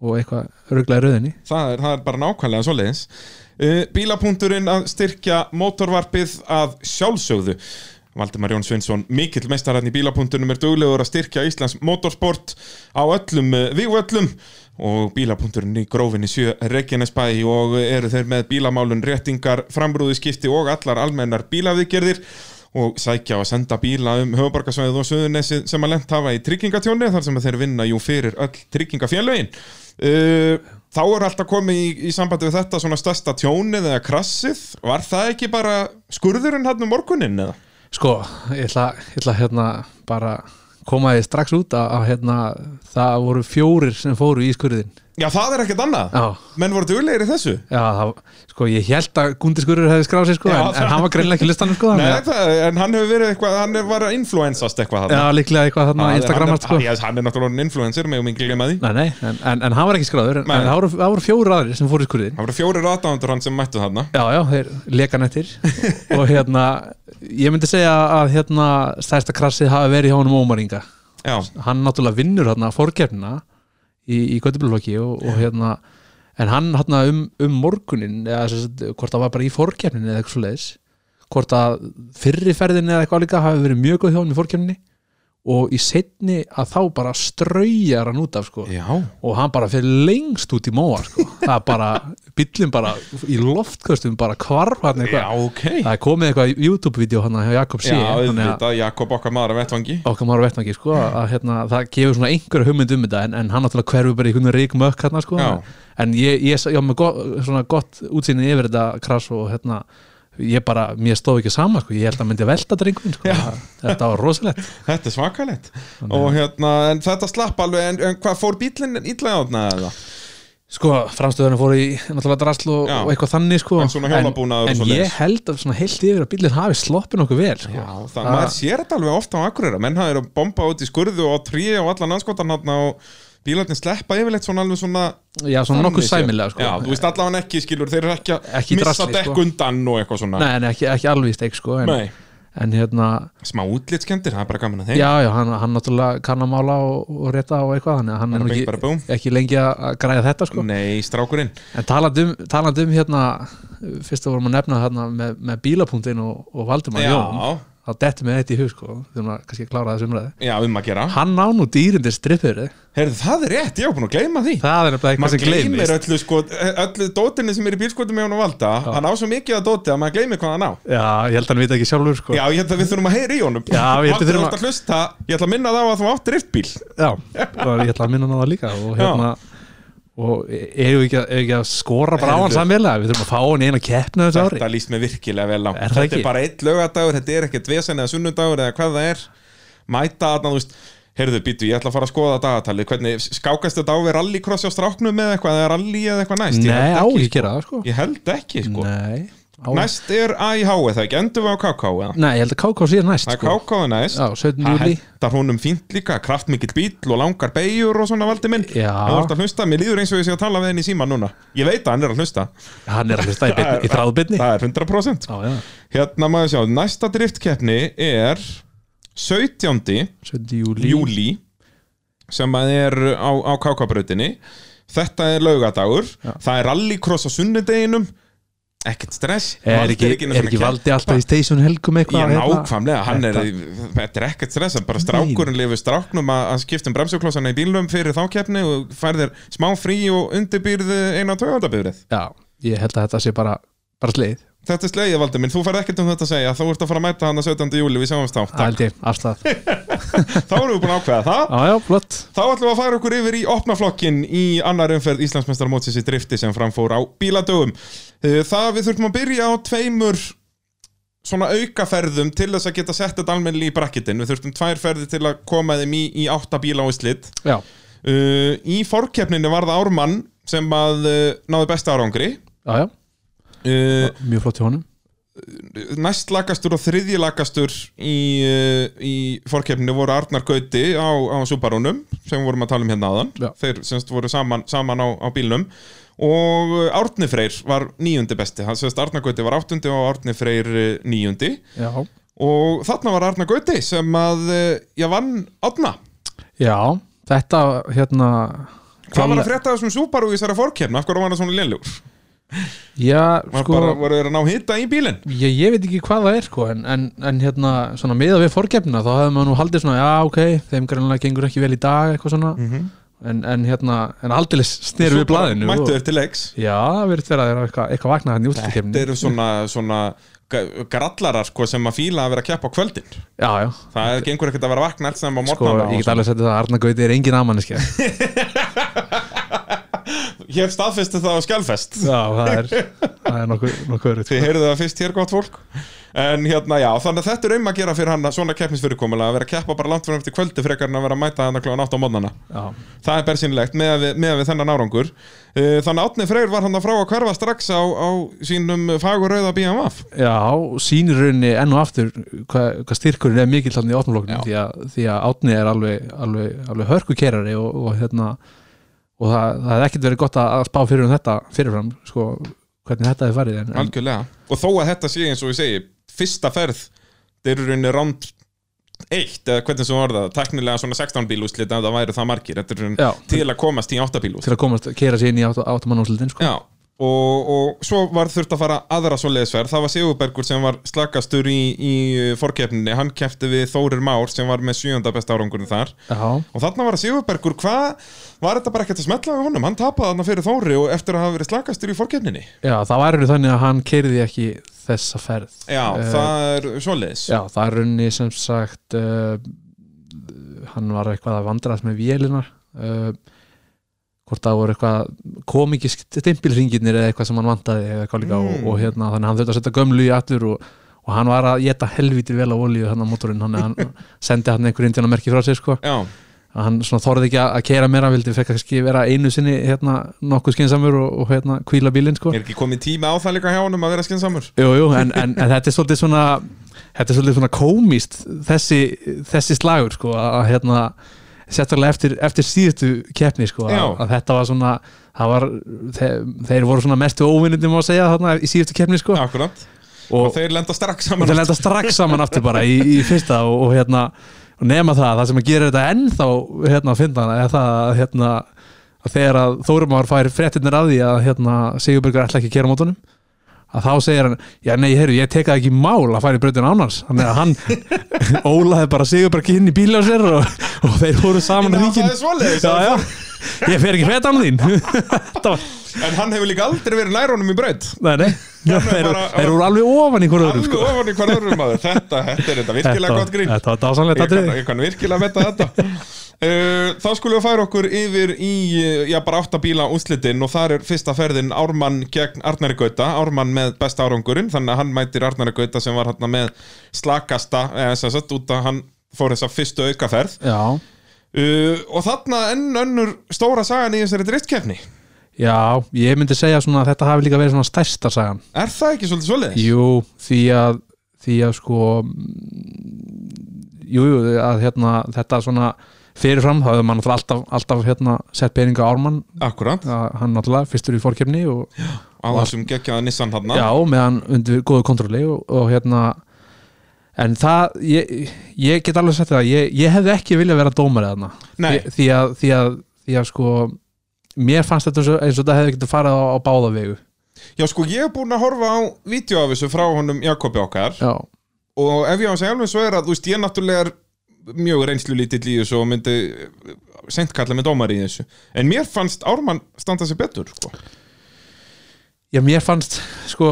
S2: og eitthvað rugla í rauðinni
S1: það er, það er bara nákvæmlega svoleiðis uh, Bílapunkturinn að styrkja mótorvarpið að sjálfsögðu Valdimar Jón Sveinsson, mikill mestarann í bílapunktunum er duglegur að styrkja Íslands motorsport á öllum uh, vígvöllum og bílapunkturinn í grófinni sjö Reykjanesbæi og eru þeir með bílamálun réttingar, framrúðiskipti og allar almennar bílaviðgerðir og sækja og senda bíla um höfubarkasvæðið og söðunesi sem að lent hafa í tryggingatjóni þar sem að þeir vinna jú fyrir öll tryggingafélögin uh, þá er alltaf komið í, í sambandi við þetta svona stærsta tjónið eða krassið var það ekki bara skurðurinn hann um morguninn eða?
S2: Sko, ég ætla, ég ætla hérna bara koma því strax út að, að hérna, það voru fjórir sem fóru í skurðin
S1: Já það er ekkert annað,
S2: Já,
S1: menn voru duglegir í þessu
S2: já það, sko, ég held að Gundi skurður hefði skráð sér sko,
S1: Já,
S2: en,
S1: það-
S2: en hann var greinlega ekki á listanum sko, þannig
S1: Nei,
S2: að-
S1: það, en hann hefur verið eitthvað, hann var að influensast eitthvað þarna.
S2: Já, líklega eitthvað þarna
S1: hann
S2: Instagramar
S1: sko.
S2: sko
S1: hann, hann er náttúrulega orðinn influencer, megum ekki glemma því
S2: Nei, nei, en, en, en hann var ekki skráður en,
S1: Nei.
S2: en það voru, það voru fjóru aðrir sem fóru í skurðin
S1: Það voru fjórir aðdándur hann sem mættu þarna
S2: Já, já, þeir lekan eftir og hérna, ég myndi segja að hérna, stærsta krassið hafi verið hjá honum Ómar Inga
S1: Já,
S2: Hann náttúrulega vinnur hérna fórkjörnina í, í Götubluflokki og, og hérna en hann hérna um, um morgunin eða sem sagt, hvort það var bara í fórkjörnin eða eitthvað svo leiðis hvort að fyrri ferðin eða eitthvað líka hafi verið mjög góð hjá honum í fórkjörninni og í setni að þá bara straujar hann út af sko
S1: já,
S2: og hann bara fyrir lengst út í móa sko. það er bara, bíllinn bara í loftköstum bara hvarf
S1: já,
S2: hann eitthvað
S1: ok
S2: það er komið eitthvað YouTube-vídeó hann hjá Jakob
S1: Já,
S2: Sé þannig að
S1: auðvitað, Jakob okkar maður að vettvangi
S2: okkar maður vettmangi sko, að hérna, það gefur svona einhverju hugmynd um þetta en, en hann náttúrulega hverfur bara í einhvern rík mökk hérna sko,
S1: Já.
S2: en ég, ég, ég, ég með gott, svona gott útsýni yfir þetta krass og hérna ég bara, mér stóð ekki sama sko, ég held að myndi velta drengum sko, þetta var rosalegt
S1: Þetta er svakalegt Og hérna, en þetta slapp alveg En, en hvað fór bílinn illa játna eða?
S2: Sko, framstöðunum fóru í náttúrulega drasl og,
S1: Já.
S2: og eitthvað þannig sko
S1: En svona hjólabúnaður og
S2: en, en
S1: svoleiðis.
S2: ég held að svona heilt yfir að bílinn hafi sloppið nokkuð vel sko.
S1: Já, það, maður sér þetta alveg ofta á Akureyra Menn það eru að bomba út í skurðu og á trí og allan anskotan hátna og bílarnir sleppa yfirleitt svona alveg svona
S2: Já, svona nokkuð
S1: þannig séð.
S2: sæmilega sko
S1: Já, þú veist allavega ekki skilur, þeir eru ekki að
S2: Ekki í
S1: missa
S2: drasli, sko.
S1: dekk undan og eitthvað svona
S2: Nei, nei, ekki, ekki alveg í steik sko en,
S1: Nei.
S2: en hérna,
S1: Smá útlitskendir, það er bara gaman að þeim
S2: já, já, hann, hann náttúrulega kann að mála og, og rétta og eitthvað þannig að hann
S1: Bara
S2: er nú
S1: bing, bara Mm. búm.
S2: ekki, ekki lengi að græða þetta sko
S1: Nei, strákurinn
S2: En talandi um, talandi um hérna fyrst að vorum að nefna hérna með, með bílapunktin og, og Valdimar
S1: Já.
S2: Jón þá dettum við þetta í hug sko þegar maður kannski að klára þessu umræði
S1: Já, um að gera
S2: Hann á nú dýrindir strippur
S1: Herðu, það er rétt, ég var búin að gleyma því
S2: Það er nefnilega eitthvað sem
S1: maður gleymir
S2: gleymist
S1: öllu sko, öllu dótinni sem er í bílskotum með hún og valda, hann á svo mikið að dóti að maður gleymir hvað hann á
S2: Já, ég held að hann vita ekki sjálfur sko
S1: Já, ég held að við þurfum að heyra í honum
S2: Já, við
S1: Valdi,
S2: þurfum
S1: þú ert að hlusta, ég ætla að minna þá að þú átt driftbíl
S2: Já, og ég ætla að minna hann á það líka og hérna og eigum við ekki, að- eigum við ekki að skora bara á hann
S1: Heyrðu.
S2: samveglega við þurfum að fá hann í eina keppna þessu ári
S1: Þetta líst mér virkilega vel á
S2: Er það
S1: Þetta
S2: ekki?
S1: er bara einn lögadagur, þetta er ekkert vesen eða sunnundagur eða hvað það er Mæta þarna, þú veist Heyrðu, býtu, ég ætla að fara að skoða dagatalið Hvernig skákast þetta á við rallycrossi á stráknum eða eitthvað eða rally eða eitthvað næst Ég
S2: Nei,
S1: held
S2: á
S1: ekki,
S2: ekki að gera það sko
S1: Ég held ekki, sko
S2: Nei, á,
S1: Næst er AIH eða ekki, endur við á KK eða?
S2: Nei, ég held að KK sé næst
S1: Það er
S2: sko.
S1: KK er næst
S2: Já, 17.
S1: Það
S2: júli
S1: hendar honum fínt líka, kraftmikill bíl og langar beigjur og svona valdi minn
S2: Já.
S1: Þú ert að hlusta, mér líður eins og ég sé að tala við henni í síma núna Ég veit að hann er að hlusta
S2: Hann er að hlusta í, beinni- í þráðbyrni
S1: Það er 100%
S2: Já, já,
S1: Hérna maður sjá, næsta driftkeppni er 17.
S2: 17. júli
S1: júli sem að er á, á KK-brautinni Þetta er laugadagur Það er rallycross á sunnudeginum Ekkert stress
S2: Er
S1: Valdi
S2: ekki,
S1: inn að
S2: er ekki
S1: keppa.
S2: valdi alltaf í station helgum
S1: Já,
S2: eitthvað hérna?
S1: nákvæmlega, hann er, þetta er ekkert stress bara strákurinn lifur stráknum að, að skipta um bremsuklossana í bílnum fyrir þá keppni og færðir smá frí og undirbýrðu eina tögandabýrið.
S2: Já, ég held að þetta sé bara, bara sleið
S1: Þetta er slegið, Valdur minn, þú færð ekkert um þetta að segja þú ert að fara að mæta hann að 17. júli, við sjáumst þá
S2: Það held ég, afstæð Já,
S1: Þá erum við búin að ákveða það
S2: já, flott
S1: Þá ætlum við að fara okkur yfir í opnaflokkin í annar umferð Íslandsmestarmótsins í drifti sem framfór á bíladögum. Eh, Það við þurfum að byrja á tveimur svona aukaferðum til þess að geta sett þetta almennilega í brakkitin. Við þurftum tvær ferði til að koma þeim í, í átta bíla á Íslit.
S2: Já,
S1: Uh, í forkeppninu var það Ármann sem að uh, náði besta árangri.
S2: já, já
S1: Uh,
S2: mjög flott hjá honum
S1: næst lagastur og þriðji lagastur í, uh, í fórkeppninu voru Arnar Gauti á, á Subarunum sem við vorum að tala um hérna aðan
S2: Já.
S1: þeir semst voru saman, saman á, á bílnum og uh, Árni Freyr var níundi besti, hann semst Arnar Gauti var áttundi og Árni Freyr uh, níundi
S2: já.
S1: og þarna var Arnar Gauti sem að uh, ég vann Árna
S2: já, þetta hérna
S1: Hvað var að frétta af þessum Subaru í þessari fórkeppni? Af hverju var hann svona lélugur?
S2: Já,
S1: Var
S2: sko,
S1: bara, voru þeir að ná hita í bílinn?
S2: ég, ég veit ekki hvað það er sko, en, en, en hérna, svona miða við forgefnina þá hefði maður nú haldið svona, já ok þeim greinlega gengur ekki vel í dag, eitthvað svona en, en hérna, en aldeilis snerum við blaðinu
S1: Mhm. Mættu
S2: og,
S1: þeir til leiks
S2: Já, við erum þeirra þeirra eitthvað, eitthvað vaknað hérna í
S1: Þetta
S2: útlíkefni
S1: eru svona, svona g- grallarar sko, sem að fíla að vera að keppa á kvöldin
S2: Já, já,
S1: Það gengur ekkert að vera vakna alls nefnum á
S2: sko,
S1: morgnana
S2: ég
S1: og
S2: get alveg að setja það að Arna Gauti er engin amanniski Já,
S1: svona. Ég staðfesti það á skjálfest
S2: það er, það er nokkuð, nokkuð örugt,
S1: Þið
S2: sko.
S1: heyrðu það fyrst hér gott fólk En hérna já, þannig að þetta er um að gera fyrir hann að svona keppnisfyrirkomulega að vera að keppa bara langt fyrir eftir kvöldi frekar en að vera að mæta hann að klóðan átt á morgnana
S2: Já,
S1: Það er bersinlegt með, við, með við þennan árangur Eh, Þannig að Átni Freyr var hann að frá að hverfa strax á, á sínum fagurauða BMF
S2: Já, sýnir rauninni enn og aftur hvað, hvað styrkurinn er mikill hann í opnumloknum því, að- því að átni er alveg, alveg, alveg hörkukerari og, og hérna og það, það hefði ekkert verið gott að að spá fyrir um þetta fyrirfram, sko, hvernig þetta hefði farið en, en
S1: Algjörlega Og þó að þetta sé eins og ég segi Fyrsta ferð Þeir eru rauninni ránd Eitt eða hvernig sem var það Teknilega svona 16 bílúslit En það væri það margir Þetta er rauninni
S2: já, til,
S1: til að komast í 8 bílúslit
S2: til að komast, kera sér inn í átt, áttamann úrslitin, sko
S1: Já og, og svo var þurft að fara aðra svo leiðsverð, það var Sigurbergur sem var slakastur í, í fórkeppninni hann kefti við Þórir Már sem var með sjönda besta árangurinn þar
S2: já,
S1: og þarna var að Sigurbergur, hvað var þetta bara ekkert að smetla við honum, hann tapaði þarna fyrir Þóri og eftir að hafa verið slakastur í fórkeppninni
S2: já, það var í rauninni þannig að hann keirði ekki þessa ferð
S1: já,
S2: Eh,
S1: það er svo leiðs
S2: já, það er runni sem sagt uh, hann var eitthvað að vandrast með vélinar uh, hvort það voru eitthvað komikist stimpilringinir eða eitthvað sem hann vantaði eða eitthvað líka
S1: Mm.
S2: og, og hérna, þannig að hann þurfti að setja gömlu í aftur og, og hann var að geta helvítið vel á olíu þannig að mótorinn, hann, hann sendi hann einhver indjána merki frá sér sko
S1: já,
S2: að hann svona þorði ekki að, að keira meira vildi fekk kannski vera einu sinni hérna, nokkuð skinsamur og, og hérna kvíla bílinn sko
S1: er ekki komið tíma á það líka hjá honum að vera skinsamur
S2: Jú, jú, en, en, en þetta er svolítið svona þetta er svolítið svona komist þessi, þessi slagur sko að að, hérna sérstaklega eftir, eftir síðustu keppni sko að,
S1: Já.
S2: að þetta var svona það var, þe þeir voru svona mestu óvinnindi má segja þarna í síðustu keppni sko
S1: akkurat, og
S2: og,
S1: þeir lenda strax
S2: og
S1: saman
S2: þeir lenda strax saman aftur bara í, í fyrsta og, og hérna og nema það, það sem að gera þetta ennþá hérna að finna hana, er það að hérna að þegar að Þórumár fær fréttinir að því að hérna Sigurbergur ætla ekki að kera mótunum að þá segir hann, já nei, heyrðu, ég teka það ekki í mál að fara í brautin ánars þannig að hann ólaði bara Sigurberg inn í bíl á sér og, og þeir fóru saman
S1: Já, það
S2: ríkin
S1: er svoleiðis.
S2: já, já, ég fer ekki frétt án þín þetta var,
S1: en hann hefur líka aldrei verið nær honum í braut
S2: nei, nei þeir,
S1: bara-
S2: þeir voru alveg ofan í hverju öðru
S1: alveg
S2: sko.
S1: ofan í hvar öðrum maður þetta, þetta er þetta virkilega
S2: Þetta-
S1: gott grín
S2: þetta var
S1: ég
S2: dásanlegt
S1: kann,
S2: atrið
S1: ég kann virkilega metta þetta Uh, þá skulum við færa okkur yfir í uh, já, bara áttabíla úslitin og þar er fyrsta ferðin Ármann gegn Arnari Gauta Ármann með besta árangurinn þannig að hann mætir Arnari Gauta sem var hann með slakasta eða sem sagt út að hann fór þessa fyrstu aukaferð
S2: já,
S1: uh, og þarna enn önnur stóra sagan í þessari drittkefni
S2: já, ég myndi segja svona að þetta hafi líka verið svona stærsta sagan
S1: er það ekki svolítið svolítið?
S2: Jú, því að því að sko mm, jú, jú, að hérna þetta svona fyrirfram, þá hefur maður náttúrulega alltaf, alltaf hérna, sett peninga á Ármann
S1: Akkurat,
S2: að hann náttúrulega fyrstur í fórkefni og
S1: á þessum geggjaða Nissan hann
S2: já, meðan undir góðu kontróli og, og hérna en það, ég, ég get alveg sett það ég, ég hefði ekki viljað vera dómari þarna
S1: Nei.
S2: því, því, að, því, að, því að sko mér fannst þetta svo- eins og þetta hefði getið farið á, á báða vegu
S1: Já sko ég er búinn að horfa á vídeo af þessu frá honum Jakobi okkar
S2: já,
S1: og ef ég á að segja alveg svo er að þú veist ég náttúrulega er mjög reynslu lítill í þessu og myndi sent kalla með dómar í þessu en mér fannst Ármann standa sig betur sko.
S2: Já, mér fannst, sko,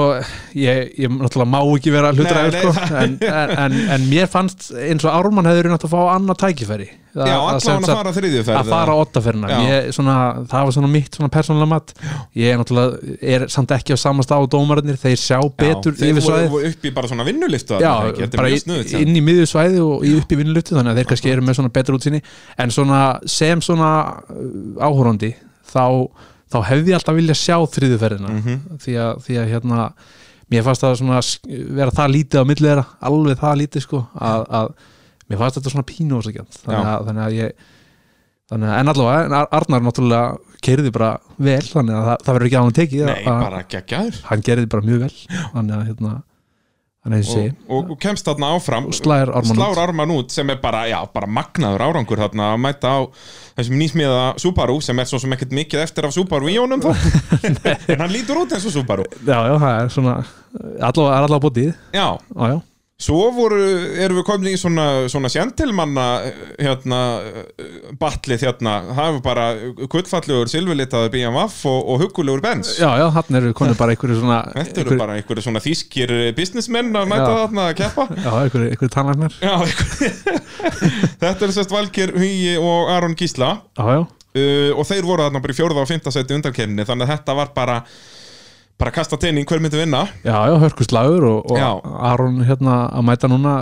S2: ég, ég náttúrulega má ekki vera
S1: Nei,
S2: hlutræður,
S1: nei,
S2: sko,
S1: það-
S2: en, en, en, en mér fannst eins og Ármann hefur nátt að fá annað tækifæri. Að-
S1: Já
S2: að sem
S1: allan að
S2: sagt-
S1: fara þriðju ferð
S2: Að fara óttaferna.
S1: Já.
S2: Ég, svona, það var svona mitt, svona persónulega mat. Ég er náttúrulega, er samt ekki á samasta á dómararnir, þeir sjá betur
S1: Þeir
S2: yfir
S1: voru-
S2: svæðið.
S1: voru upp í bara svona vinnuliftu
S2: Já,
S1: þarna, ekki? Þetta er
S2: bara
S1: mjög snuðugt,
S2: í-
S1: já.
S2: inn í miðju svæði og í upp í vinnulutu þannig að þeir kannski eru með svona betra útsýni en svona sem svona uh, áhorandi þá, þá hefði ég alltaf vilja sjá þriðuferðina mm
S1: Mhm.
S2: -hmm. því, að, því að hérna mér fannst það svona sk- vera það lítið á milli þeirra, alveg það lítið sko að, að mér fannst þetta svona pínu ósakjönd þannig, að- þannig að ég þannig að en allavega, en Ar- Arnar náttúrulega kerði bara vel, þannig að það, það verður ekki á hann tekið
S1: Nei,
S2: að
S1: bara geggjaður
S2: hann gerði bara mjög vel þannig að hérna þannig að ég
S1: og,
S2: segi
S1: og, og kemst þarna áfram
S2: slæðir armann
S1: slár Ármann út sem er bara, já, bara magnaður árangur þarna að mæta á þessum nýsmiða Subaru sem er svo sem ekkert mikið eftir af Subaru í honum þá en hann lítur út eins og Subaru
S2: já, já, það er svona allavega, er allavega bótið
S1: já,
S2: já, já,
S1: svo voru, erum við komin í svona, svona sjentilmanna hérna, batlið hérna það hefur bara kullfallegur silfurlitaður BMW og, og hugulegur Benz
S2: já, já hann eru konur bara einhverju svona
S1: Þetta eru bara einhverju svona þýskir eh, businessmenn að mæta
S2: Já.
S1: þarna að keppa
S2: já, einhverju, einhverju tannlæknar
S1: Já, einhver- þetta eru sérst Valgir Hugi og Aron Gísla
S2: já, já,
S1: uh, og þeir voru þarna bara í fjórða og fymta seti undarkefni þannig að þetta var bara bara að kasta tenning hver myndi vinna
S2: já, já, hörkuslagur og,
S1: Já.
S2: og Aron hérna að mæta núna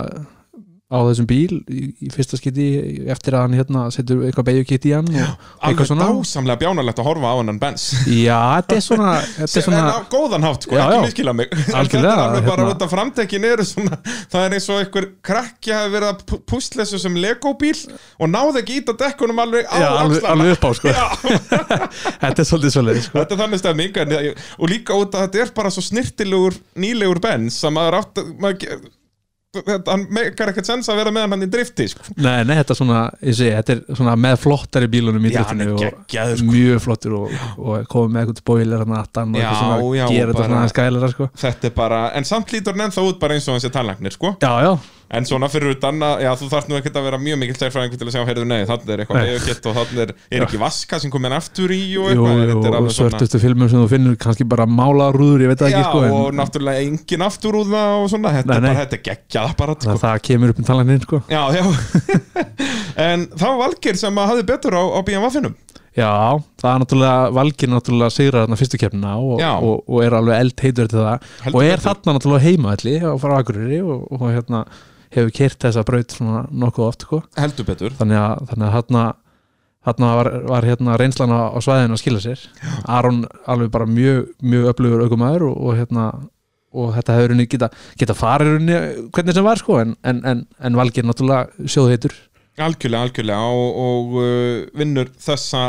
S2: á þessum bíl í, í fyrsta skiti eftir að hann hérna setur eitthvað beigju í hann og
S1: alveg
S2: eitthvað svona
S1: dásamlega bjánalegt að horfa á hennan Benz
S2: já, þetta er svona, þetta er
S1: sem
S2: svona
S1: er á góðan hátt, sko,
S2: Já,
S1: ekki
S2: já.
S1: miskila mig En þetta
S2: Algjörlega,
S1: er alveg bara
S2: hérna.
S1: út af framtekin eru svona, það er eins og einhver krakki hafi verið að pú- púsla þessu sem Lego bíl og náði ekki ít að dekkunum alveg á
S2: já, alveg,
S1: axlana.
S2: alveg upp á sko
S1: Já.
S2: þetta er svolítið svolítið sko
S1: Þetta er þannig stemming en, ég- og líka út að þetta er bara svo snirtilegur nýlegur Benz að maður átt að maður, ge- þetta- hann meikar ekkert sens að vera með hann hann í drifti sko.
S2: Nei, nei, þetta er svona, ég segi, þetta er svona með flottari bílunum í
S1: Já, hann er
S2: driftinu og
S1: geggjaður, sko.
S2: mjög flottur og, og komið með eitthvað spoiler hann aftan og
S1: Já,
S2: eitthvað svona,
S1: já,
S2: gera þetta
S1: bara-
S2: svona aðeins skælera, sko.
S1: þetta er bara, en samt lítur hann ennþá út bara eins og hann sé tannlagnir sko
S2: Já, já,
S1: En svona fyrir utan að, já, þú þarft nú ekkert að vera mjög mikill sérfræðingur til að segja, heyrðu, nei, þannig er eitthvað
S2: Nei.
S1: eðugitt og þannig er, er ekki vaska sem komin aftur í og
S2: jú,
S1: eitthvað,
S2: jú,
S1: þetta er
S2: og
S1: alveg svona
S2: svörtustu filmum sem þú finnur kannski bara málarúður, ég veit það
S1: Já,
S2: ekki, sko,
S1: og
S2: en
S1: náttúrulega engin aftur úr það og svona, þetta
S2: Nei,
S1: er
S2: nei.
S1: bara, þetta er geggjað apparat,
S2: það,
S1: sko
S2: það kemur upp um talaninn, sko.
S1: Já, já En það var Valgeir sem að hafði betur á, á BMW-finum
S2: Já, það er náttúrulega valgir náttúrulega sigrar þarna fyrstu keppnina og,
S1: Já.
S2: og, og er alveg eld heitur til það
S1: Heldur
S2: og er
S1: betur.
S2: þarna náttúrulega heimaðalli og fara á Akureyri og, og hérna hefur kert þessa braut svona nokkuð oft sko.
S1: Heldur betur
S2: þannig að, þannig að þarna, þarna var, var hérna reynslan á, á svæðinu að skila sér Aron alveg bara mjög, mjög öflugur aukumæður og, og hérna og þetta hefur henni geta, geta farið henni hvernig sem var sko en, en, en, en valgir náttúrulega sjóðheitur
S1: Algjörlega, algjörlega og, og uh, vinnur þessa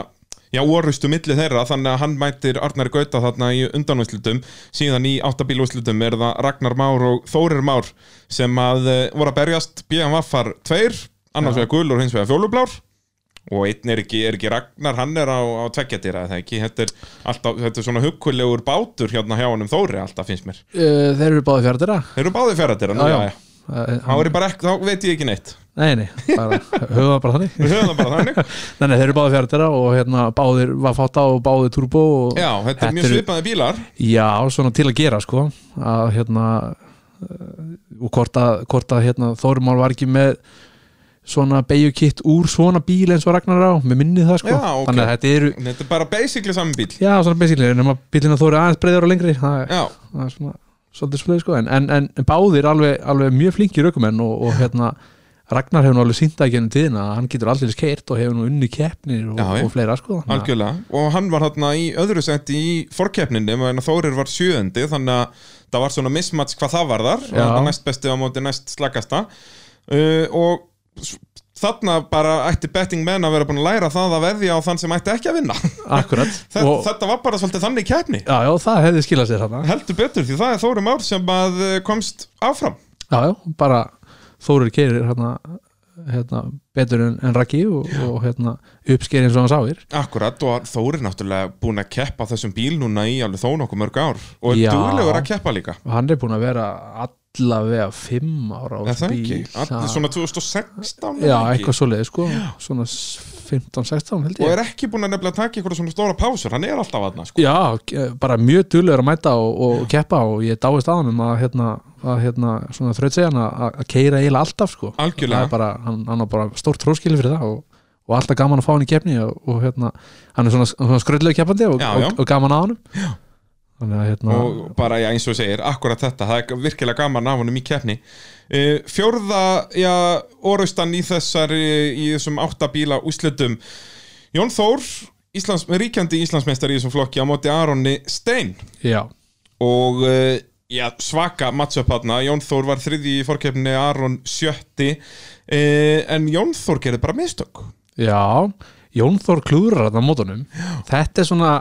S1: Já, orustu milli þeirra, þannig að hann mætir Arnari Gauta þarna í undanúslutum síðan í áttabílúslutum er það Ragnar Már og Þórir Már sem að uh, voru að berjast BMWar 2 annars vegar gul og hins vegar fjólublár og einn er ekki, er ekki Ragnar, hann er á, á tveggjadýra eða ekki, þetta er, alltaf, þetta er svona hugkulegur bátur hérna hjá honum Þóri alltaf finnst mér.
S2: uh, Þeir eru báði fjardira
S1: Þeir eru báði færadýra, nú já, já, já. Þá,
S2: já.
S1: er ég bara ekki, þá veit ég ekki neitt.
S2: Eh, Nei, nei, bara, höfum það bara þannig
S1: Við höfum það bara þannig.
S2: Nei, nei, þeir eru báðir fjardera og hérna báðir Vafata og báðir Turbo og,
S1: Já, þetta er mjög
S2: eru-
S1: svipaði bílar
S2: Já, svona til að gera sko að hérna eh, og hvort að, hvort að hérna, Þórumál var ekki með svona beigjukitt úr svona bíl eins og Ragnar á með minni það sko
S1: Já, ok.
S2: þannig að þetta eru,
S1: Þetta er bara basically saman bíl
S2: já svona basically nema bílina Þóri aðeins breyðar og lengri það,
S1: Já,
S2: það er svona svolítið svolítið sko en, en, en báðir alveg, alveg mjög flinkir aukumenn og, og hérna Ragnar hefur nú alveg sínt að genum tíðina að hann getur allir skeirt og hefur nú unni keppnir og,
S1: Já, já.
S2: og fleira sko þannig að-
S1: algjörlega Og hann var þarna í öðru seti í forkeppninni en Þórir var sjöundi þannig að það var svona mismats hvað það var þar
S2: Já.
S1: og næst besti á móti næst slagasta uh, og s- þarna bara ætti betting menn að vera búin að læra það að veðja á þann sem ætti ekki að vinna
S2: Akkurat
S1: Þetta,
S2: og,
S1: þetta var bara svolítið þannig keppni
S2: já, já, það hefði skilað sér þarna
S1: Heldur betur því það er Þóri Már sem að uh, komst áfram
S2: Já, já, bara Þórir keirir hérna, hérna betur en, en Raki og, og hérna uppskerir eins og hann sáir
S1: Akkurat og Þóri náttúrulega búin að keppa á þessum bíl núna í alveg þó nokkuð mörg ár og er
S2: Já.
S1: duglegur að keppa líka
S2: og hann er búin að vera allavega fimm ára á
S1: Er það
S2: bíl
S1: ekki? All,
S2: Það-
S1: svona 2016 er
S2: Já,
S1: það ekki?
S2: eitthvað svoleiði sko svona 15-16 held
S1: Og
S2: ég
S1: er ekki búin að nefnilega taka eitthvað svona stóra pásur Hann er alltaf aðna sko.
S2: Já, eh, bara mjög duglegur að mæta og, og keppa og ég dáist að honum að hérna, að hérna svona þrautsegan að að keira eiginlega alltaf sko það er
S1: Algjörlega,
S2: bara, hann, hann var bara stórt tróskili fyrir það og, og alltaf gaman að fá hann í keppni og, og hérna, hann er svona, svona skröldlega keppandi og,
S1: Já, já.
S2: og, og gaman að honum já. þannig að hérna
S1: og bara já, eins og þú segir, akkurat þetta Það er virkilega gaman af honum í keppni uh, Fjórða, já, orustan í þessari Í þessum áttabíla úslitum Jón Þór Íslands, Ríkjandi Íslandsmeistari í þessum flokki Á móti Aronni Stein
S2: já,
S1: og uh, já, svaka matchup hana, Jón Þór var þriði í fórkefni Aron sjötti uh, en Jón Þór gerði bara mistök
S2: já Jón Þór klúrar þarna á mótunum þetta er svona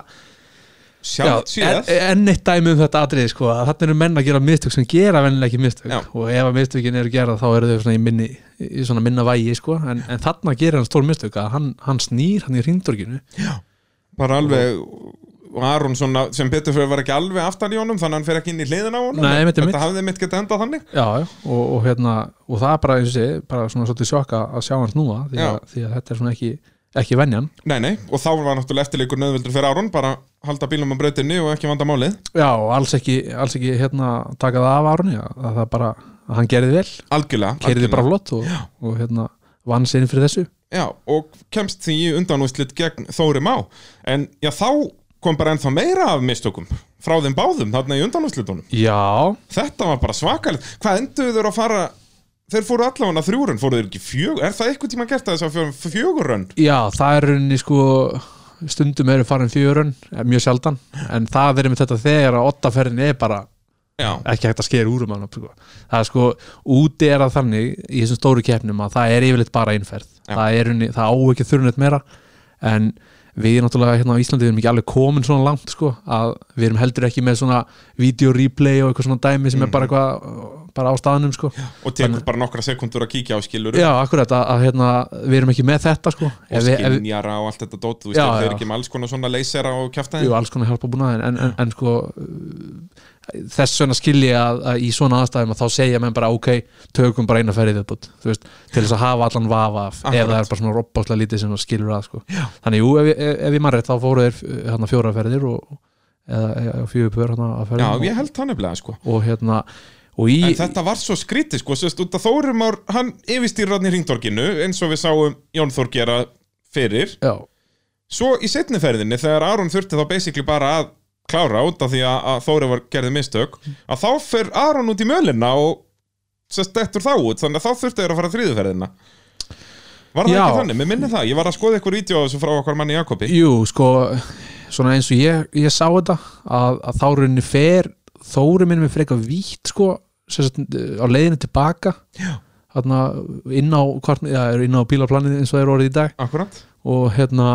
S2: já,
S1: sjálft síðar
S2: en- enn eitt dæmi um þetta atriði sko, að þetta eru menn að gera mistök sem gera vennilega ekki mistök
S1: Já.
S2: og ef að mistökin eru gerða þá eru þau svona í, minni, í svona minna vægi sko, en, en þarna gerir hann stór mistök að hann, hann snýr hann í hringdorginu
S1: bara alveg og Aron svona, sem betur fyrir var ekki alveg aftan í honum þannig að hann fer ekki inn í hliðin á honum
S2: Nei, einmitt, einmitt.
S1: þetta hafði mitt getið endað þannig
S2: já, já, og, og hérna og það er bara eins og sé, bara svona svolítið sjokka að sjá hans núa, því að,
S1: Já.
S2: því að þetta er svona ekki ekki venjan,
S1: nei, nei, og þá var náttúrulega eftirleikur nöðvildur fyrir Aron bara halda bílum á brautinni og ekki vanda málið
S2: já, og alls ekki alls ekki hérna taka það af árunni að að það bara, að hann gerði vel
S1: algjörlega,
S2: keiriði
S1: algjörlega.
S2: bara flott og, og hérna vann sérinn fyrir þessu
S1: Já, og kemst því undanúslit gegn Þóri Má en já, þá kom bara ennþá meira af mistökum frá þeim báðum þarna í undanúslitunum
S2: já,
S1: þetta var bara svakalegt hvað enduðu þeir að fara þeir fóru allavega þrjúrun, fóru þeir ekki fjögur er það eitthvað tíma gert að þess að fjörum fjögurun
S2: já, það er rauninni sko stundum eru farin fjörun eh, mjög sjaldan, en það er með þetta þegar að ottaferðin er bara
S1: já,
S2: ekki hægt að skera úr um hann sko. það er sko, úti er það þannig í þessum stóru keppnum að það er yfirleitt bara einferð
S1: Já.
S2: það, er, unni- það á ekki þurrnett meira en, við erum náttúrulega hérna á Íslandi við erum ekki alveg komin svona langt sko að við erum heldur ekki með svona video replay og eitthvað svona dæmi sem er bara
S1: Mhm.
S2: eitthvað bara á staðnum sko já,
S1: og tekur bara nokkra sekundur að kíkja á skilur
S2: akkurat að, að hérna við erum ekki með þetta sko
S1: og
S2: Ef við- ef-
S1: skinnjara og allt þetta dót þú veist,
S2: Já,
S1: þau
S2: já.
S1: eru ekki með alls konar svona leysera og kjafta
S2: Jú, alls konar hjálpa búin aðeins en, en, en sko uh, þess vegna skilji að, að í svona aðstæðum að þá segja menn bara ok, tökum bara eina ferðið upp þú veist, til þess að hafa allan vafa af, ef
S1: Akkurat.
S2: það er bara svona roppáslega lítið sem það skilur að sko. þannig jú, ef, ég- ef, ef ég mann rétt þá fóru þeir uh, hérna, fjóra ferðir og, eða, eða fjögur pör hérna að
S1: já,
S2: ferðum
S1: ég
S2: og,
S1: held það nefnilega sko
S2: og hérna og í,
S1: En þetta var svo skrítið sko, sérst, út að Þórum ár, hann yfirstýr hann í ringdorginu eins og við sáum Jón Þór gera fyrir.
S2: já,
S1: Svo í setni ferðinni þegar Aron þurfti þá basically bara að klára út af því að, að Þóri var gerði mistök, að þá fer Aron út í mölina og sérst dettur þá út, þannig að þá þurfti þeir að fara þriðu ferðina. Var það
S2: Já.
S1: ekki þannig? Mér minni það, ég var að skoða ykkur vídeo af þessu frá okkar manni Jakobi.
S2: jú, sko svona eins og ég, ég sá þetta að, að þá rauninni fer þóri minn með frekar vítt sko sem sagt, uh, á leiðinu tilbaka
S1: Já.
S2: þarna inn á, hvort, já, er inn á bílaplanið eins og það er orðið í dag
S1: Akkurat.
S2: og hérna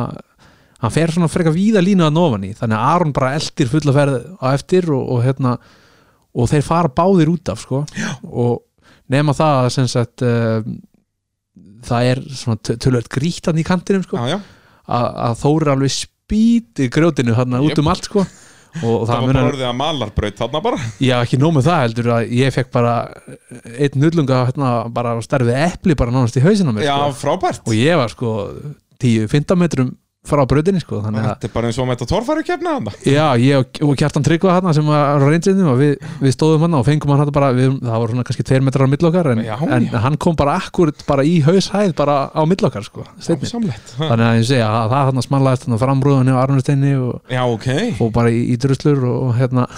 S2: hann fer svona frekar víða lína að ofan í þannig að Aron bara eldir fulla ferð á eftir og, og hérna og þeir fara báðir út af sko já. og nema það að sem sagt uh, það er svona töl- tölvöld grítan í kantinum sko
S1: Já, já.
S2: að að Þóri alveg spýti grjótinu þarna
S1: Jöp.
S2: út um allt sko og
S1: Það var
S2: það
S1: bara
S2: munar,
S1: orðið að malarbraut þarna bara.
S2: ég hef ekki nóg með það heldur að ég fekk bara einn nullunga hérna, bara starfið epli bara nánast í hausina mér
S1: Já,
S2: sko.
S1: frábært.
S2: og ég var sko 10-15 metrum frá brautinni sko þannig að
S1: Þetta er bara eins og með þetta torfæru kefna þarna.
S2: já, ég og- og Kjartan Tryggva hann sem var reyndinnum og við, við stóðum hann og fengum hann hann bara, við, það voru svona kannski 2 metrar á mill okkar en,
S1: Já,
S2: en
S1: já.
S2: hann kom bara akkurat bara í haushæð bara á mill okkar sko Steinninn.
S1: Samlegt.
S2: þannig að ég segja að það hann smallaðist hann framrúðunni og Arnursteinni og,
S1: Já, ok.
S2: og bara í, í druslur og, og hérna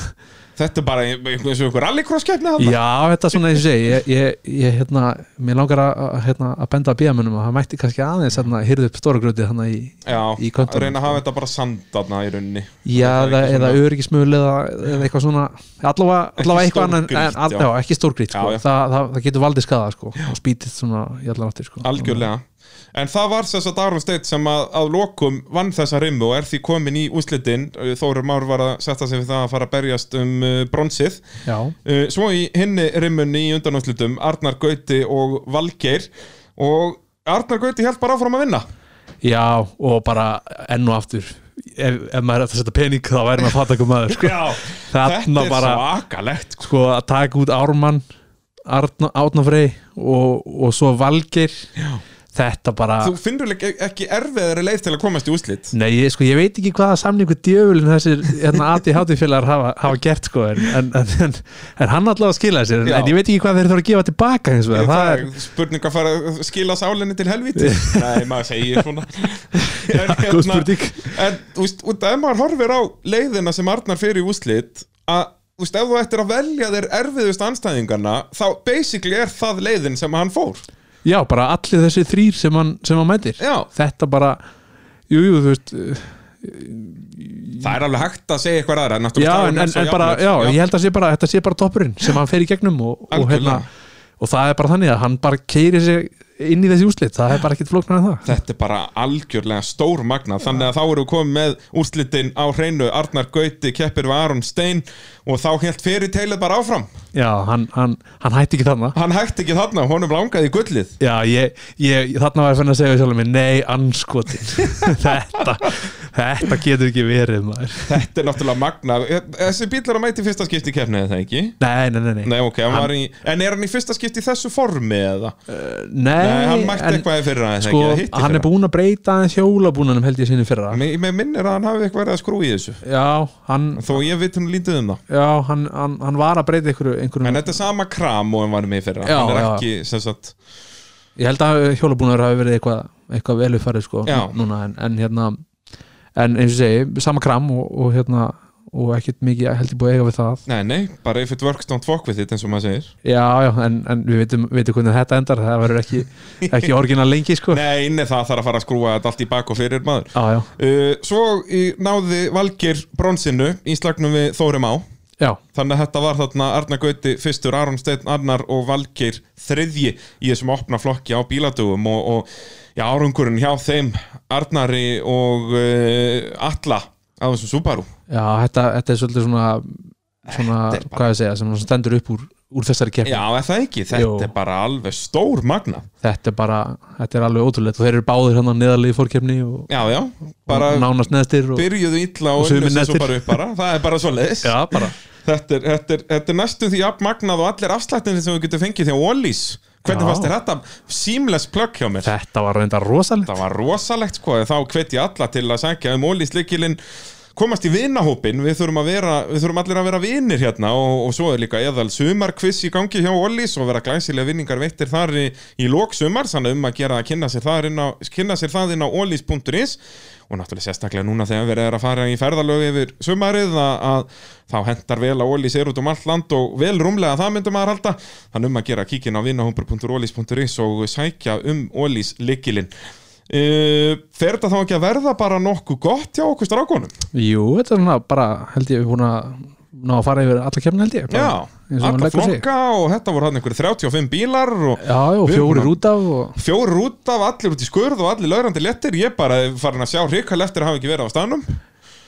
S1: Þetta er bara ein- eins og ykkur rallycross kefna þarna.
S2: Já, þetta er svona eins og ég segi ég, ég, ég, hérna, mér langar að, að, hérna, að benda að bíðamönnum að það mætti kannski aðeins hérna, hyrðu upp stóra gröti þannig í
S1: Já,
S2: í köntunum,
S1: reyna að hafa þetta bara sandarna í rauninni
S2: Já,
S1: Það er
S2: eða,
S1: ekki
S2: eða
S1: svona-
S2: öryggismölu eða, eða eitthvað svona allavega, allavega eitthvað annan
S1: stórgrýtt,
S2: en, all,
S1: já.
S2: já. ekki stórgrýtt sko.
S1: Já, já.
S2: Það, það, það getur valdið skada sko. og spítið svona í allar áttir sko.
S1: Algjörlega En það var þess að Darun Steit sem að, að lokum vann þessa rimmu og er því komin í úslitin Þóru Már var að setja sig við það að fara að berjast um uh, bronsið
S2: Já,
S1: uh, Svo í hinni rimmunni í undanúslitum Arnar Gauti og Valgeir og Arnar Gauti held bara áfram að vinna
S2: já, og bara enn og aftur ef, ef maður er að setja pening þá væri maður að fatta eitthvað maður sko.
S1: Þetta
S2: Þarna
S1: er
S2: bara-
S1: svakalegt sko.
S2: sko að taka út Ármann Arna, Átnafrey og, og svo Valgeir já. þetta bara
S1: Þú finnur ekki, ekki erfiðari leið til að komast í úslit
S2: Nei, ég, sko, ég veit ekki hvaða samlingu djöfulin þessir hérna, ADHD-félagar hafa, hafa gert sko, en, en, en, en, en hann allavega skilaði sér en,
S1: Já.
S2: en ég veit ekki hvað þeir þurfa að gefa tilbaka hins vegar, það er
S1: spurning að fara að skila sálinni til helvíti Nei, maður segir svona En hérna,
S2: góð spurning.
S1: En, þú veist, út að ef maður horfir á leiðina sem Arnar fer í úslit að, þú veist, ef þú ættir að velja þér erfiðust anstæðingarna þá basically er það leiðin sem hann fór
S2: Já, bara allir þessi þrýr sem hann, sem hann mætir
S1: Já,
S2: þetta bara, jú, jú, þú veist uh,
S1: það er alveg hægt að segja eitthvað aðra
S2: já, en, en, en bara, já, ég held að sé bara, þetta sé bara toppurinn sem hann fer í gegnum og, og, hérna,
S1: Algjörlega.
S2: og það er bara þannig að hann bara keiri sig inn í þessi úslit, það er bara ekkert flóknar en það
S1: Þetta er bara algjörlega stór magna þannig að þá eru komið með úrslitin á hreinu Arnar Gauti, keppir við Aron Stein og þá helt fyrir teilið bara áfram
S2: Já, hann, hann, hann hætti ekki þarna
S1: Hann hætti ekki þarna, honum langaði í gullið
S2: Já, ég, ég, þarna var ég fann að segja sjálfum mig, nei, anskotin þetta, þetta getur ekki verið maður.
S1: Þetta er náttúrulega magna Þessi bíl er að mæti fyrsta skipti í keppni eða ekki?
S2: Nei, nei, nei, nei,
S1: Nei, ok, hann var í En er hann í fyrsta skipti í þessu formi eða?
S2: nei,
S1: Nei, hann mætti
S2: en,
S1: eitthvað í fyrra eða
S2: sko,
S1: ekki, eða hitt í
S2: hann er
S1: fyrra.
S2: búin að breyta aðeins hjólabúnanum held ég sinni í fyrra
S1: Mér mér minnir að hann hafi eitthvað verið að skrúi í þessu
S2: Já, hann,
S1: Þó ég veit hann lítið um það
S2: já, hann, hann, hann var að breyta einhverju, einhverjum,
S1: En þetta er sama kram og hann var með í fyrra
S2: Já,
S1: Hann er
S2: já.
S1: ekki, sem sagt
S2: ég held að hjólabúnaður hafi verið eitthvað, eitthvað velu farið sko,
S1: Já.
S2: núna, en, en hérna en eins og ég segi, sama kram og, og hérna, og ekkert mikið held ég búið að eiga við það
S1: Nei, nei, bara if it works don't fuck with it eins og maður segir
S2: Já, já, en, en við veitum, veitum hvernig þetta endar það verður ekki, ekki orginal lengi sko.
S1: Nei, inni það þarf að fara að skrúa þetta allt í bak og fyrir maður
S2: Já, já,
S1: uh, Svo í, náði Valgir bronsinu í slagnum við Þórum á
S2: já,
S1: Þannig að þetta var þarna Arna Gauti fyrstur, Aron Steinn Arnar og Valgeir þriðji í þessum opna flokki á bíladugum og, og já, árangurinn hjá þeim Arnari og uh, Alla á þessum Subaru
S2: já þetta, þetta er svolítið svona, svona
S1: Þetta er bara-
S2: hvað ég að segja, sem stendur upp úr, úr þessari keppni
S1: Já, er það ekki? Þetta
S2: Jú.
S1: er bara alveg stór magna
S2: þetta er bara, þetta er alveg ótrúlegt og þeir eru báðir hann að neðarlega í fórkefni og,
S1: Já, já, bara
S2: og nánast neðstir og,
S1: byrjuðu illa
S2: Og
S1: og
S2: sumir
S1: unnu sér svo
S2: nettir.
S1: bara upp bara Það er bara svo leiðis
S2: já, bara,
S1: þetta, er- þetta, er- þetta er næstu því apmagnað og allir afslættinir sem þú getur fengið því að Wallis Hvernig
S2: Já.
S1: fannst þér þetta? Seamless plug hjá mér
S2: þetta var reynda rosalegt
S1: Þetta var rosalegt sko, þá hvet ég alla til að sækja um Wallis lykilinn komast í vinahópin, við þurfum, að vera, við þurfum allir að vera vinir hérna og, og svo er líka eðal sumarkviss í gangi hjá Wallis og vera glæsilega vinningar veittir þar í, í lok sumar, þannig um að gera að kynna sér, þar inn á, kynna sér það inn á wallis.is og náttúrulega sérstaklega núna þegar verið er að fara í ferðalög yfir sumarið að, að þá hendar vel að Ólís er út um allt land og vel rúmlega það myndum maður halda þannig um að gera kíkin á vinahómpur.ólís.is og sækja um Ólís likilinn uh, fer þetta þá ekki að verða bara nokkuð gott hjá okkur strákonum?
S2: jú, þetta er svona bara, held ég, við búin að ná að fara yfir alla keppni held ég bara,
S1: Já,
S2: eins og maður
S1: alla
S2: leggur sig.
S1: flokka og þetta voru hann einhverju 35 bílar og Við
S2: já, já,
S1: erum búin
S2: fjórir
S1: að-
S2: út af og,
S1: fjórir út af, allir út í skurð og allir laurandi lettir, ég bara er farin að sjá hrikal eftir að hafa ekki verið á stanum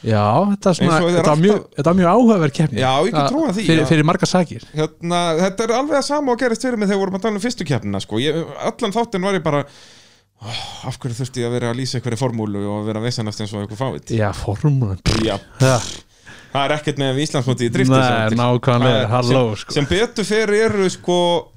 S2: já, þetta er svona,
S1: Eins og þeir
S2: þetta
S1: alltaf-
S2: er mjög, þetta var mjög áhugaverð keppni
S1: Já, ég get
S2: Að-
S1: trúað því, já.
S2: fyrir, fyrir marga sakir
S1: hérna, þetta er alveg að sama og gerist fyrir mig þegar vorum að tala um fyrstu keppnina sko. ég, allan þáttinn var ég bara oh, af hverju þurfti ég að vera að lýsa einhverju formúlu og vera vesanast eins og einhver fávit
S2: já, formúlan
S1: Já,
S2: Já,
S1: það er ekkert með Íslandsmóti í drifti sem
S2: Nei,
S1: þetta er. Það
S2: nákvæmlega,
S1: er-
S2: halló
S1: sem,
S2: sko.
S1: sem betur fer eru sko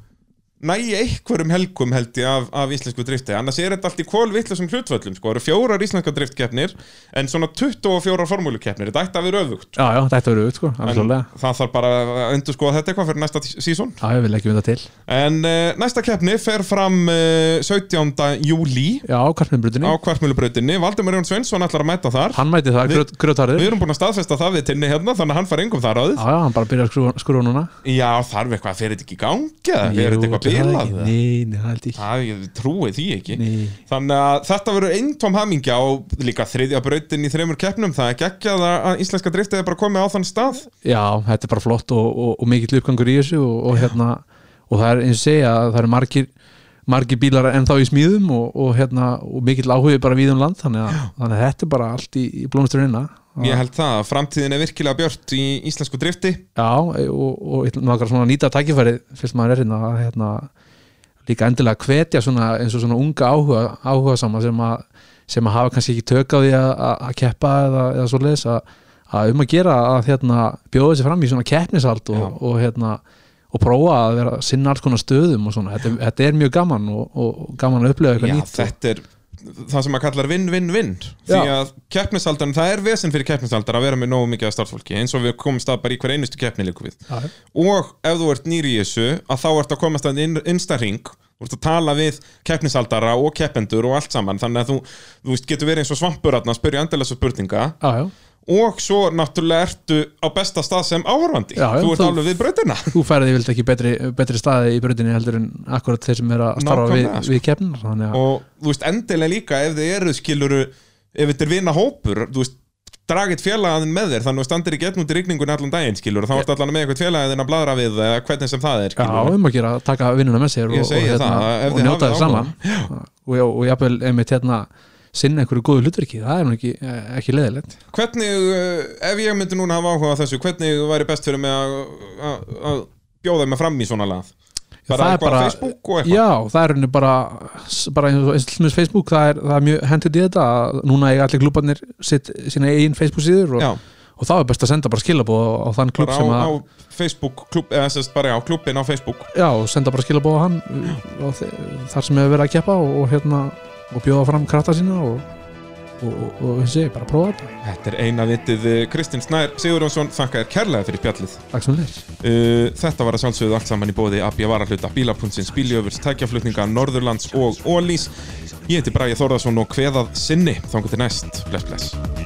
S1: nægi einhverjum helgum held ég af, af íslensku drifti, annars er þetta allt í kólvitlusum hlutvöllum, sko, það eru fjórar íslenska driftkeppnir en svona 24 formúlukeppnir þetta ætti að vera öfugt
S2: Já, já, þetta verður auðvitað, sko,
S1: en
S2: alveg
S1: það þarf bara að endur sko þetta eitthvað fyrir næsta sísón
S2: Já, ég vil ekki vinda til
S1: En uh, næsta keppni fer fram uh, 17. júli
S2: Já,
S1: á
S2: Karpinbrutinni,
S1: Kvartmjölubrautinni. Valdemar Jón Sveinsson ætlar að mæta þar.
S2: hann mæti það,
S1: Við-
S2: grjót- grjótarður
S1: Við erum búin að staðfesta það við tinni hérna, þannig að hann far engum þar áður.
S2: Já, já, hann bara byrjar að skrúa- skrúa núna
S1: Já, þarf eitthvað, fer þetta ekki í gangi eða
S2: Jú,
S1: fer þetta eitthvað bilað?
S2: ætli það ekki.
S1: eða?
S2: Nei, nei, það held ég
S1: Það, ég trúi því ekki.
S2: ekki Nei.
S1: Þannig að þetta verður eintóm hamingja og líka þriðja brautin í þreymur keppnum. Það er geggjað að- að íslenska driftið er bara komið á þann stað.
S2: Já, þetta er bara flott og, og, og mikill uppgangur í þessu og, og hérna og það er eins og segja að það eru margir margir bílar ennþá í smíðum og, og hérna, og mikill áhugi bara víðum land þannig að, þannig að þetta er bara allt í, í hérna. blómsturina
S1: Ég held það að framtíðin er virkilega björt í íslensku drifti.
S2: Já, og, og ég ætla nú að svona nýta tækifærið fyrst maður er hérna, að, hérna líka endilega hvetja svona, eins og svona unga áhuga, áhuga sama sem að, sem að hafa kannski ekki tök á því að, að að keppa eða, eða svo leiðis að, að um að gera að hérna, bjóða sér fram í svona keppnisald
S1: Já.
S2: og, og hérna og prófa að vera að sinna alls konar stöðum og svona, þetta, er- þetta er mjög gaman og, og gaman að upplega eitthvað
S1: Já,
S2: nýtt og,
S1: þetta er það sem maður kallar vinn-vinn-vinn því
S2: Já.
S1: að keppnisaldan, það er vesen fyrir keppnisaldar að vera með nógu mikið af starffólki eins og við komum stað bara í hver einustu keppni líku við
S2: Já,
S1: og ef þú ert nýri í þessu að þá ert að komast að inn, innsta ring þú ert að tala við keppnisaldara og keppendur og allt saman þannig að þú, þú veist, getur verið eins og svampur þarna að spyrja endalessa spurninga
S2: já, já,
S1: og svo náttúrulega ertu á besta stað sem áhörfandi
S2: Já, já,
S1: þú ert
S2: þú-
S1: alveg við brautina
S2: þú færði vilt ekki betri, betri staði í bröndinni heldur en akkurat þeir sem er að starfa við,
S1: Nákvæmlega, sko.
S2: við keppnir þannig að
S1: og þú veist endilega líka ef þið eru skiluru ef þetta er vina hópur þú veist dragið félagaðin með þér þannig að þú standir ekki einn út í rigningun allan daginn skilur og þá ertu allan með eitthvað félagaðin að bladra við eða hvernig sem það er
S2: Já,
S1: skilur
S2: um að gera, taka vinnuna með sér og,
S1: Ég
S2: og,
S1: segi
S2: hérna,
S1: það, ef
S2: og
S1: þið
S2: njóta
S1: hafið
S2: þér saman og, og, og jafnvel einmitt hérna sinna einhverju góðu hlutverki, það er nú ekki, eh, ekki leðilegt
S1: hvernig, uh, ef ég myndi núna hafa áhuga á þessu hvernig væri best fyrir mig að- að að bjóða mig fram í svona lað bara
S2: Það er
S1: eitthvað
S2: bara-
S1: Facebook og eitthvað
S2: Já, það er henni bara, s- bara eins og eins og til dæmis Facebook, það er, það er mjög hendut í þetta að núna eiga allir klúbarnir sitt, sína eigin Facebook síður og,
S1: Já,
S2: og þá er best að senda bara skilabóð á, á þann klúb
S1: bara á,
S2: sem
S1: á
S2: að
S1: Facebook klub, eða sérst bara á klubbin á Facebook
S2: Já, og senda bara skilabóð á hann á þe- þar sem hefur verið að keppa og, og hérna og bjóða fram krafta sína og, og, og, og eins og ég, bara prófa þetta
S1: Þetta er eina vitið eh, Kristinn Snær Sigurjónsson þakka þér kærlega fyrir spjallið
S2: Takk sem leir
S1: Uh, þetta var að sjálfsögðu allt saman í bóði AB Varahluta, Bílapunnsins, Bíljöfurs, Tækjaflutninga, Norðurlands og Ólís. Ég heiti Bragi Þórðarsson og hveðað sinni. Þangu til næst. Bless, bless.